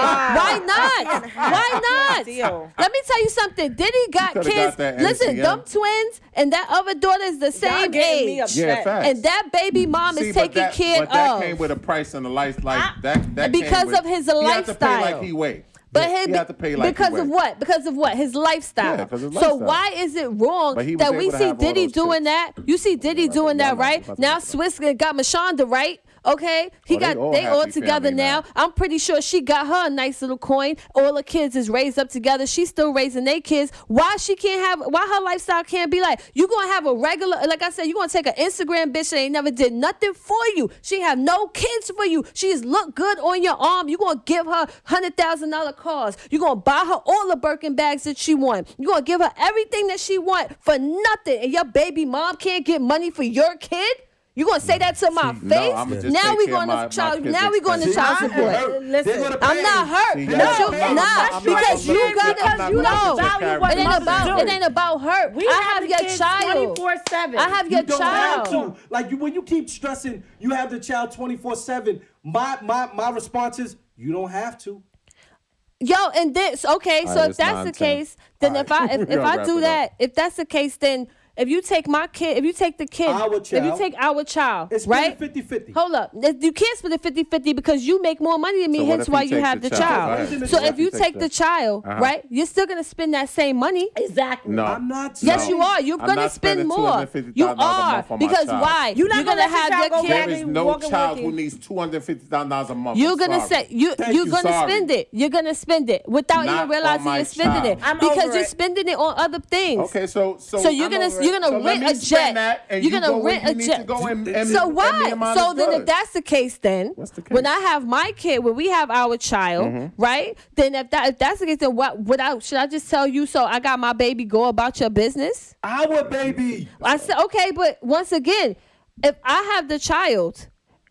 S2: God.
S6: Why not? Why
S2: Deal.
S6: not? Let me tell you something. Diddy got
S3: coulda
S6: kids.
S3: got that
S6: Listen,
S3: NCM.
S6: them twins and that other daughter is the
S2: Y'all
S6: same
S2: getting me
S6: age.
S2: upset.
S3: Yeah, facts.
S6: And that baby mom
S3: See,
S6: is
S3: but
S6: taking
S3: that-
S6: care
S3: but that
S6: of.
S3: came with a price and a life like that. that
S6: Because
S3: came with-
S6: of his
S3: He had to pay
S6: lifestyle.
S3: like he weigh.
S6: But
S3: he,
S6: his,
S3: had to pay like he
S6: because
S3: weigh.
S6: of what? Because of what? His lifestyle.
S3: Yeah, 'cause his
S6: So
S3: lifestyle.
S6: why is it wrong
S3: But he was
S6: that we
S3: able to
S6: see
S3: have all
S6: Diddy
S3: those
S6: doing
S3: chicks.
S6: that? You see Diddy
S3: that's
S6: doing
S3: what
S6: that,
S3: y'all
S6: right?
S3: like.
S6: Now Swiss got Mashonda, right? Okay, he
S3: Oh, they
S6: got
S3: all
S6: they
S3: happy
S6: all together
S3: family
S6: now.
S3: now.
S6: I'm pretty sure she got her a nice little coin. All her kids is raised up together. She's still raising their kids. Why she can't have? Why her lifestyle can't be like? You gonna have a regular? Like I said, you gonna take an Instagram bitch that ain't never did nothing for you. She have no kids for you. She just look good on your arm. You gonna give her hundred thousand dollar cars. You gonna buy her all the Birkin bags that she want. You gonna give her everything that she want for nothing, and your baby mom can't get money for your kid. You gonna say that to my face?
S3: No, I'ma just
S6: now
S3: take
S6: we
S3: care of
S6: going
S3: my-
S6: to
S3: my
S6: child.
S3: kids'
S6: Now we going to
S3: expenses.
S6: child
S3: See,
S6: support.
S2: hurt. Listen,
S6: I'm not hurt.
S3: See,
S6: but
S3: that's
S6: you,
S3: the thing. I'm
S6: nah,
S3: not
S6: because
S3: gonna
S6: you
S3: look
S6: got
S3: at- I'm
S6: to
S3: not
S6: you
S3: gonna
S6: know.
S3: look at character.
S6: It ain't
S3: Mothers
S6: about
S3: do.
S6: it ain't about her.
S2: We
S6: I
S2: have
S6: have
S2: the
S6: your
S2: kids
S6: child.
S2: 24/7.
S6: I have
S4: You
S6: your
S4: don't
S6: child.
S4: have to. Like you, when you keep stressing, you have the child twenty four seven. My my my response is, you don't have to.
S6: Yo, and this okay.
S3: All
S6: so
S3: right,
S6: if
S3: it's
S6: that's the
S3: 9:10.
S6: case, then
S3: All
S6: if I
S3: right.
S6: if,
S3: We
S6: if
S3: gonna
S6: I
S3: wrap
S6: do
S3: it
S6: that,
S3: up.
S6: if that's the case, then if you take my kid, if you take the kid,
S4: Our
S6: if you
S4: child.
S6: take our child,
S4: It's
S6: right?
S4: 50-50.
S6: Hold up, you can't split it 50 50 because you make more money than me.
S3: So what
S6: hence
S3: if he
S6: why you
S3: takes
S6: have the
S3: the
S6: child.
S3: child?
S4: Right.
S6: So
S4: What
S6: if
S4: if
S3: he
S6: you
S3: takes
S6: take the
S3: the-
S6: child,
S3: Uh-huh.
S6: right, you're still gonna spend that same money.
S2: Exactly.
S3: No,
S4: I'm not
S6: Yes,
S4: saying-
S6: you are. You're
S3: I'm
S6: gonna
S3: not
S6: spend
S3: spending
S6: more.
S3: $250,000
S6: You
S3: a
S6: are
S3: month on my
S6: because
S3: child.
S6: why?
S2: You're not
S6: You're
S2: gonna
S6: gonna
S2: let your
S6: have
S2: child
S6: your
S2: go
S3: There
S2: back
S6: kid.
S2: Daddy
S3: is no
S2: walking
S3: child
S2: with
S3: who
S2: you.
S3: needs two hundred fifty dollars a month.
S6: You're
S3: I'm
S6: gonna
S3: sorry.
S6: say you
S4: Thank
S6: you're
S4: you,
S6: gonna
S3: sorry.
S6: spend it. You're gonna spend it without
S3: Not
S6: even
S3: on
S6: realizing
S3: my
S6: you're spending
S3: child.
S6: it
S2: I'm
S6: because
S2: over
S6: you're
S2: it.
S6: spending it on other things.
S3: Okay, so so
S6: So you're
S3: I'm
S6: gonna
S3: over it.
S6: you're gonna
S3: So let
S6: rent
S3: me
S6: a
S3: spend
S6: jet.
S3: that and
S6: you're
S3: you
S6: gonna
S3: go where
S6: rent
S3: you
S6: a
S3: need
S6: jet.
S3: to go and- and-
S6: so
S3: and
S6: why?
S3: minimize
S6: So
S3: the
S6: then, if
S3: good.
S6: that's the case, then
S3: What's the
S6: when I
S3: case? Mm-hmm.
S6: have my kid, when we have our child, right? Then if that if that's the case, then what would I should I just tell you? So I got my baby. Go about your business.
S4: Our baby.
S6: I said, okay, but once again, if I have the child,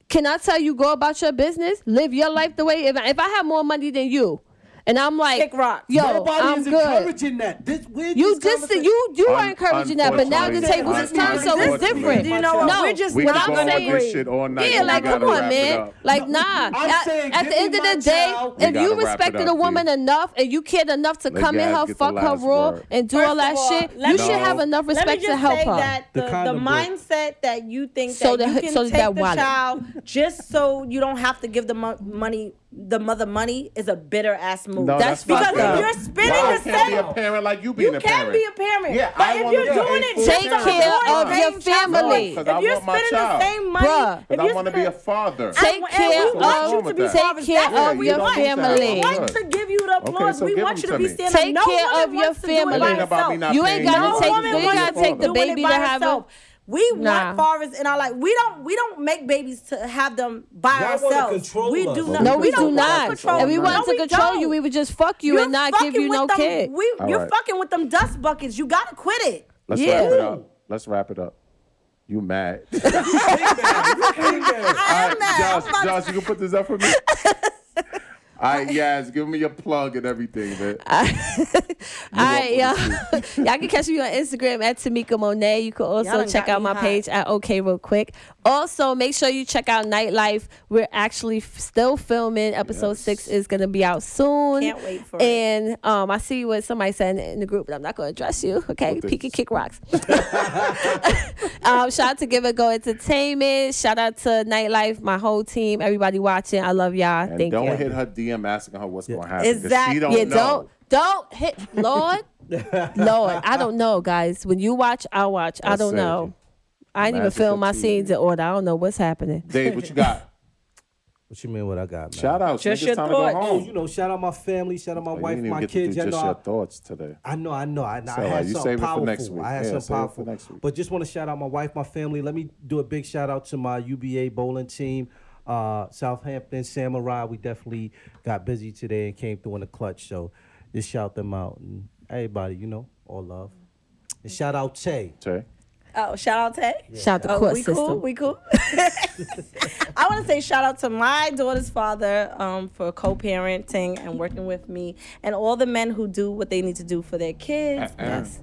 S6: can I tell you go about your business, live your life the way? If I, if I have more money than you, and I'm like,
S2: Kick rocks.
S6: yo,
S4: Nobody
S6: I'm
S4: is
S6: good.
S4: encouraging that. This we're
S6: You
S4: this
S6: just
S4: conversa-
S6: you you are
S3: Un-
S6: encouraging that, but now the tables
S3: unfortunately,
S6: is turned, so it's
S3: unfortunately,
S6: different.
S2: You know what?
S6: No,
S2: We're just
S3: We
S2: what
S3: could
S2: I'm
S3: go on
S2: saying.
S3: this shit all night.
S6: Yeah,
S3: but we
S6: like
S3: gotta
S6: come on,
S3: wrap it
S6: man.
S3: up.
S6: Like nah.
S4: I'm
S6: At,
S4: saying
S6: at
S4: give
S6: the
S4: me
S6: end of
S4: my
S6: the day,
S4: child. We
S6: if
S3: gotta
S6: you
S3: wrap it
S6: respected
S3: up,
S6: a woman
S3: G.
S6: enough and you cared enough to
S3: Let
S6: come in
S3: guys
S6: her,
S3: get the
S6: fuck her
S3: last
S6: raw,
S3: word.
S6: and do
S2: First
S6: all that
S2: of all,
S6: shit,
S2: let
S6: you
S2: me
S6: should
S2: just-
S6: have enough
S2: Let
S6: respect
S2: me
S6: to
S2: just
S6: help
S2: say
S6: her.
S2: that
S4: The
S2: the, the,
S4: condom book.
S2: mindset that you think
S6: So
S2: that
S6: the-
S2: you can
S6: so
S2: take
S6: that
S2: the
S6: wallet.
S2: child just so you don't have to give the mo- money, the mother money, is a bitter ass move.
S3: No,
S6: That's
S3: that's,
S6: fucked up.
S3: not fair.
S2: Oh, because if you're spinning
S3: Why I
S2: yourself,
S3: can't be a parent like you being
S2: you
S3: a
S2: can
S3: parent.
S2: be a parent.
S3: Yeah,
S2: but
S3: I
S2: if
S3: wanna
S2: you're
S3: be a
S2: doing it
S3: full
S2: just
S6: Take care
S2: to
S6: of
S2: avoid
S6: your
S2: paying child
S6: family.
S2: support,
S3: No, 'cause I
S2: if you're
S3: want my
S2: spending the
S3: child.
S2: same money,
S6: Bruh.
S2: if
S3: Because
S2: you're
S3: I want to be a
S2: spending-
S3: father.
S6: Take
S2: and
S6: care
S2: we want
S6: of-
S2: you to be
S3: take
S2: fathers.
S6: care
S2: That's
S6: of
S2: what
S6: your
S2: we want.
S6: family.
S2: We want to give you the applause.
S3: Okay, so
S2: we
S3: give
S2: want you
S3: them
S2: to
S3: to
S2: be
S3: me.
S2: standing.
S6: Take
S2: no
S6: care
S2: woman
S6: of your
S2: wants to do it
S6: family.
S2: by
S3: It ain't about me
S2: herself.
S3: not
S6: You
S3: paying
S6: ain't
S3: you.
S6: gotta
S2: no
S6: take-
S2: woman
S6: you ain't
S2: wants
S6: gotta
S2: to
S6: take the
S2: do it
S6: baby
S2: by
S6: to have
S2: herself. We
S6: Nah.
S2: want fathers in our life. We don't. We don't make babies to have them by
S4: Y'all wanna
S2: ourselves.
S4: control
S2: we
S4: us.
S2: do
S4: No,
S2: not.
S6: No, we, do
S2: don't wanna
S6: not.
S2: Control.
S6: If we
S2: No,
S6: wanted
S2: we
S6: to control
S2: don't.
S6: you, we would just fuck you
S2: You're
S6: and not
S2: fucking
S6: give you
S2: with
S6: no
S2: them,
S6: kid.
S2: We,
S3: All
S2: you're
S3: right.
S2: fucking with them dust buckets. You gotta quit it.
S3: Let's
S6: Yeah.
S3: wrap it up. Let's wrap it up. You mad? All
S4: Hey, man.
S3: right, Josh, Josh, you can put this up for me. All right, yes, give me your plug and everything, man.
S6: All right, y'all. y'all can catch me on Instagram at Tamika Monet. You can
S2: Y'all
S6: also
S2: done
S6: check
S2: got
S6: out
S2: me
S6: my
S2: hot.
S6: page at OK Real Quick. Also, make sure you check out Nightlife. We're actually f- still filming. Episode six is gonna be out soon.
S2: Can't wait for it.
S6: and, And um, I see what somebody said in- in the group, but I'm not gonna address you. Okay,
S3: Well,
S6: peek and
S3: thanks.
S6: kick rocks. um, shout out to Give It Go Entertainment. Shout out to Nightlife, my whole team, everybody watching. I love y'all.
S3: And
S6: Thank
S3: don't
S6: you.
S3: hit her DM asking her what's going to happen. 'cause She
S2: Exact-
S3: don't
S6: yeah,
S3: know.
S6: don't don't hit Lord. Lord, I don't know, guys. When you watch, I watch. I
S3: That's
S6: don't
S3: it.
S6: know. I didn't even
S3: Magic
S6: film my
S3: fatigue.
S6: scenes in order. I don't know what's happening.
S3: Dave, what you got?
S4: What you mean? What I got? Man?
S3: Shout out.
S2: Just
S3: Niggas
S2: your
S3: time to go
S2: thoughts.
S3: home.
S4: Oh, you know, shout out my family. Shout out my
S3: Oh, you
S4: wife,
S3: didn't even
S4: my
S3: get to do
S4: kids. Y'all
S3: just
S4: know.
S3: your
S4: I-
S3: thoughts today.
S4: I know, I know. I, I
S3: all
S4: had
S3: right. You
S4: something
S3: save it for
S4: powerful.
S3: next week.
S4: I had
S3: Yeah, save
S4: something
S3: it for
S4: powerful.
S3: next week.
S4: But just want to shout out my wife, my family. Let me do a big shout out to my UBA bowling team, uh, Southampton Samurai. We definitely got busy today and came through in the clutch. So just shout them out and everybody, you know, all love. And shout out Che.
S3: Tay?
S2: Oh, shout out Tay.
S6: Shout out to
S2: Oh,
S6: court
S2: we
S6: system.
S2: cool. We cool. I want to say shout out to my daughter's father um, for co-parenting and working with me, and all the men who do what they need to do for their kids.
S3: Uh,
S2: Yes.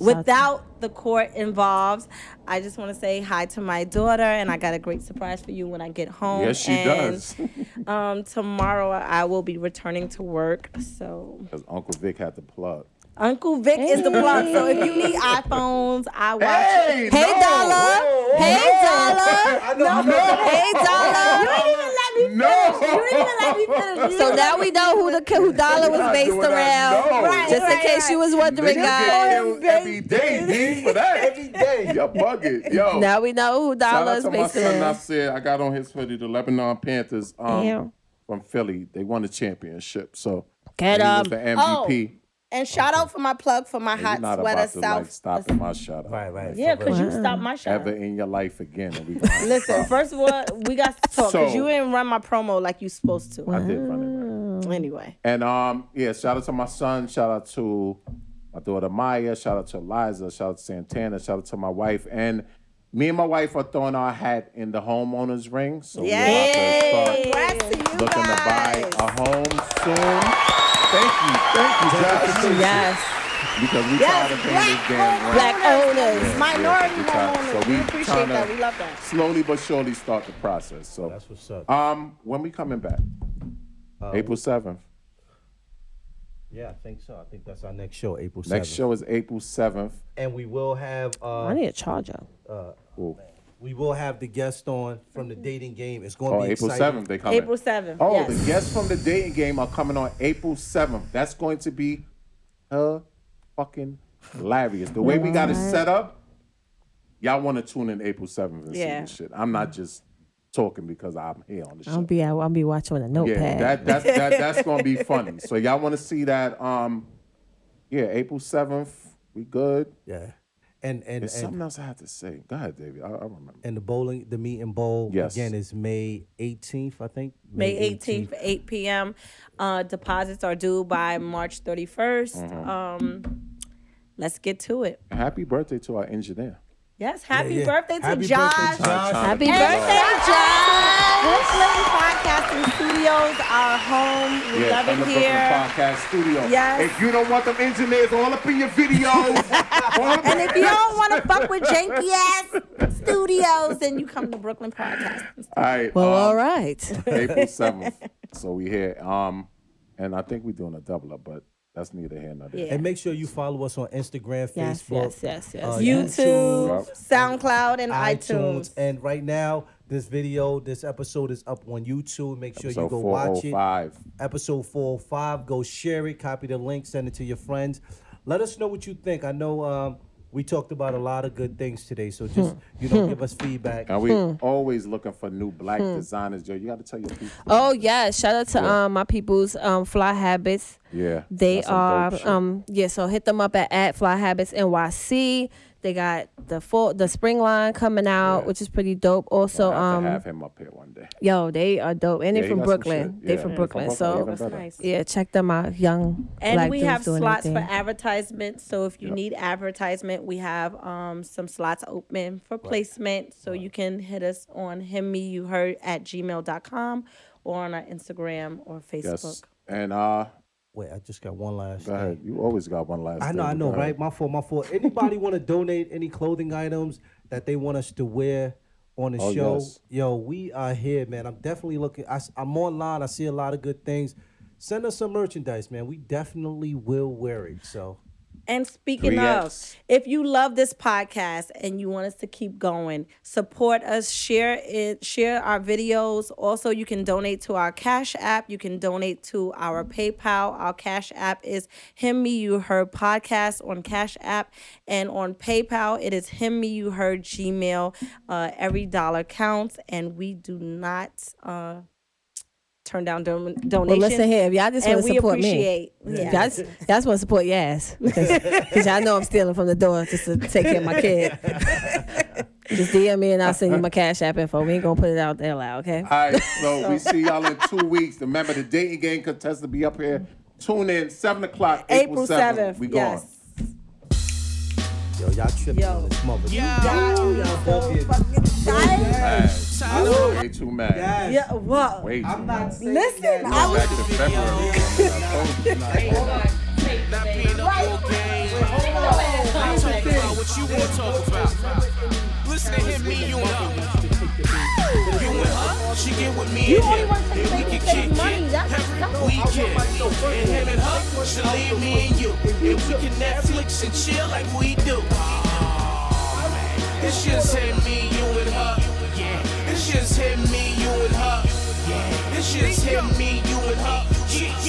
S2: Without the court involved, I just want to say hi to my daughter, and I got a great surprise for you when I get home.
S3: Yes, she
S2: and,
S3: does.
S2: Um, tomorrow I will be returning to work, so
S3: Because Uncle Vic had to plug.
S2: Uncle Vic is the plug. So if you need iPhones, I watch.
S3: Hey,
S2: Hey,
S3: no.
S2: dollar.
S3: Whoa,
S2: hey,
S3: whoa.
S2: dollar.
S3: know-
S2: No,
S3: No.
S2: hey, dollar. You didn't even let me finish.
S3: No.
S2: You didn't even let me finish. You
S5: So
S2: didn't
S5: now
S2: let me
S5: we know who the ki- who dollar was
S3: Y'all
S5: based
S3: doing that?
S5: around.
S3: No.
S2: Right,
S5: Just in
S2: right,
S5: case
S2: right.
S5: you was wondering,
S3: Niggas get
S5: guys.
S3: killed every day, D, for that. every day. You're bugging. Yo.
S5: Now we know who
S3: Shout
S5: dollar
S3: out
S5: is
S3: to my
S5: based
S3: son. I
S5: around.
S3: said I got on his hoodie, the Lebanon Panthers um,
S6: Damn.
S3: from Philly. They won the championship, so
S6: Get
S3: he was
S6: him.
S3: the
S2: Oh,
S3: MVP.
S2: And shout out for my plug for my
S3: And you're
S2: hot
S3: not
S2: sweater
S3: about to like
S2: South.
S3: stop at my shout out
S4: right.
S2: yeah, because you stopped my shot.
S3: ever in your life again. And we gonna
S2: Listen,
S3: stop.
S2: first of all, we got to talk because
S3: So-
S2: you didn't run my promo like you supposed to.
S3: I did run it right.
S2: Anyway,
S3: And um, yeah, shout out to my son. Shout out to my daughter Maya. Shout out to Eliza. Shout out to Santana. Shout out to my wife. And me and my wife are throwing our hat in the homeowners ring. So we're about to start
S2: congrats to you
S3: looking to buy
S2: guys.
S3: a home soon. Thank you, thank you, Josh.
S2: Yes,
S3: Because we
S2: yes,
S3: tired of paying this
S2: black,
S3: damn rent.
S2: black owners, minority
S3: we tired.
S2: homeowners.
S3: So
S2: we
S3: we
S2: appreciate
S3: tryna-
S2: that. We love that.
S3: Slowly but surely start the process. So
S4: That's what's up.
S3: um, when we coming back? April seventh.
S4: yeah, I think so. I think that's our next show, April 7th.
S3: Next show is April seventh.
S4: And we will have uh,
S6: I need a charger.
S4: we will have the guest on from the dating game. It's going
S3: Oh,
S4: to be
S3: April
S4: exciting.
S3: seventh they coming.
S2: April 7th.
S3: Oh,
S2: yes.
S3: the guests from the dating game are coming on April 7th. That's going to be her fucking hilarious. The way we got it set up, y'all want to tune in April 7th and
S2: Yeah.
S3: see this shit. I'm not just talking because I'm here on the show.
S6: I'll be out. I'll be watching with a notepad.
S3: yeah, that, that, that, that's going to be funny. So y'all want to see that. Um, Yeah, April 7th, we good.
S4: Yeah. And and
S3: There's something
S4: and,
S3: else I have to say. Go ahead, David. I, I remember.
S4: and the bowling, the meet and bowl
S3: Yes.
S4: again is May 18th, I think.
S2: May 18th, 8 p.m. Uh, deposits are due by March 31st.
S4: Mm-hmm.
S2: Um, let's get to it.
S3: Happy birthday to our engineer.
S2: Yes, happy
S4: yeah.
S2: birthday to
S4: Happy birthday,
S2: Josh.
S4: Josh.
S6: Happy
S2: Happy
S6: birthday.
S2: birthday, Josh. Brooklyn Podcasting Studios, our home. We
S3: Yeah,
S2: love
S3: from the
S2: it
S3: Brooklyn
S2: here.
S3: Podcast Studio.
S2: Yes.
S3: If you don't want them engineers all up in your videos, all up
S2: And
S3: in-
S2: if you don't want to fuck with janky ass studios, then you come to Brooklyn Podcast.
S3: all right.
S5: Well,
S3: um,
S5: all right.
S3: April seventh. so we here. Um, and I think we're doing a double up, but that's neither here nor there.
S2: Yeah.
S4: And make sure you follow us on Instagram,
S6: Yes,
S4: Facebook,
S6: yes, yes, yes.
S4: uh,
S2: YouTube, SoundCloud, and
S4: iTunes.
S2: iTunes.
S4: And right now, this video, this episode is up on YouTube. Make sure
S3: So
S4: you go watch it.
S3: 405.
S4: episode 405. Go share it, copy the link, send it to your friends. Let us know what you think. I know um, we talked about a lot of good things today, so just you know, give us feedback.
S3: And we
S2: Hmm.
S3: always looking for new black designers, Joe. You got to tell your people.
S6: Oh yeah, shout out to um my people's um fly habits.
S3: Yeah,
S6: They
S3: that's some
S6: are
S3: dope shit.
S6: um yeah, so hit them up at, at Fly Habits NYC. They got the full the spring line coming out, which is pretty dope. Also,
S3: I have to
S6: um
S3: have him up here one day.
S6: yo, they are dope. And
S3: Yeah,
S6: they
S3: he
S6: from
S3: got some
S6: Brooklyn.
S3: shit.
S6: They
S3: Yeah,
S6: from
S3: he
S6: Brooklyn.
S3: even
S6: So
S3: better.
S6: yeah, check them out, young.
S2: and
S6: black
S2: we
S6: dudes
S2: have
S6: doing
S2: slots
S6: their
S2: for
S6: thing.
S2: advertisement so if you need advertisement we have um some slots open for placement so you can hit us on him me you heard at gmail.com or on our instagram or facebook
S3: Yes. And uh,
S4: Wait, I just got one last.
S3: go ahead.
S4: Thing.
S3: You always got one last.
S4: I know,
S3: thing.
S4: I know,
S3: Go ahead.
S4: right? My fault, my fault. Anybody want to donate any clothing items that they want us to wear on the
S3: Oh,
S4: show?
S3: yes.
S4: Yo, we are here, man. I'm definitely looking. I, am online. I see a lot of good things. Send us some merchandise, man. We definitely will wear it. So
S2: And speaking
S3: 3X.
S2: of, if you love this podcast and you want us to keep going, support us, share it, share our videos. Also, you can donate to our Cash App. You can donate to our PayPal. Our Cash App is Him Me You Heard Podcast on Cash App. And on PayPal, it is Him Me You Heard Gmail. Uh, every dollar counts, and we do not uh, turn down don-
S6: Well,
S2: donations.
S6: listen here, if y'all just
S2: and
S6: want to
S2: we
S6: support
S2: appreciate.
S6: me,
S2: Yeah.
S6: if y'all just, y'all just want to support your ass, because y'all know I'm stealing from the door just to take care of my kid. just DM me and I'll send you my cash app info. We ain't gonna put it out there loud, okay?
S3: All right, so we see y'all in two weeks. Remember, the dating game contestant be up here Tune in seven o'clock,
S2: April
S3: April, 7th.
S2: 7th.
S3: We gone.
S2: yes.
S4: Yo, y'all tripping
S2: Yo.
S4: on this mother.
S1: Yeah.
S4: You
S2: I'm
S4: got
S2: so
S4: y'all bucket.
S2: fucking tired.
S3: Mad.
S1: Tired of
S3: Way too mad.
S4: Yes.
S2: Yeah, well,
S3: Way too
S4: I'm
S3: mad.
S4: not saying
S2: Listen,
S4: that.
S2: I was-
S3: Back to February.
S1: not being no more game. I'm talking about what you want to talk about. Listen to him, me, you and her. You and her, she get with me and him. And we can kick it every weekend. And him and her, she leave me and you. And we can Netflix and chill like we do. It's just him, me, you and her. Yeah. It's just him, me, you and her. Yeah. It's just him, me, you and her. Yeah,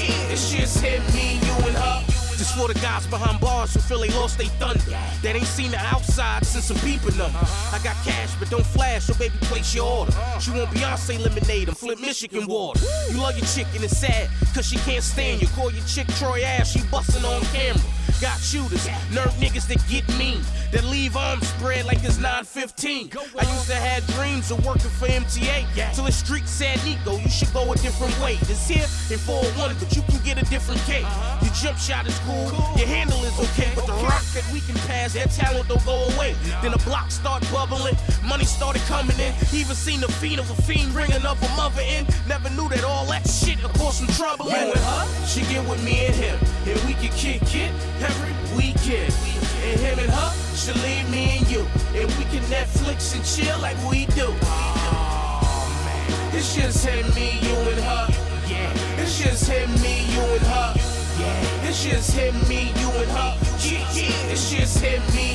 S1: yeah. It's just him, me, you and her. Just for the guys behind bars who feel they lost they thunder. That ain't seen the outside since some peeping them. I got cash, but don't flash, so baby, place your order. She want Beyonce lemonade and flip Michigan water. You love your chicken, it's sad, cause she can't stand you. Call your chick Troy ass, she bustin' on camera. Got shooters, nerve niggas that get mean, that leave arms spread like it's 915. I used to have dreams of working for MTA. Till the street said, Nico, you should go a different way. This here in 401, but you can get a different cake. Your jump shot is Uh-huh. cool, your handle is okay, but the rock that we can pass, that talent don't go away. Then the block start bubbling, money started coming in. Even seen the fiend of a fiend ringing up a mother in. Never knew that all that shit would cause some trouble. You and her, she get with me and him, and we can kick it every weekend. And him and her, she leave me and you, and we can Netflix and chill like we do. It's just him, me, you and her. Yeah. It's just him, me, you and her. Yeah. It's just him, me, you and her. Yeah, yeah. It's just him, me,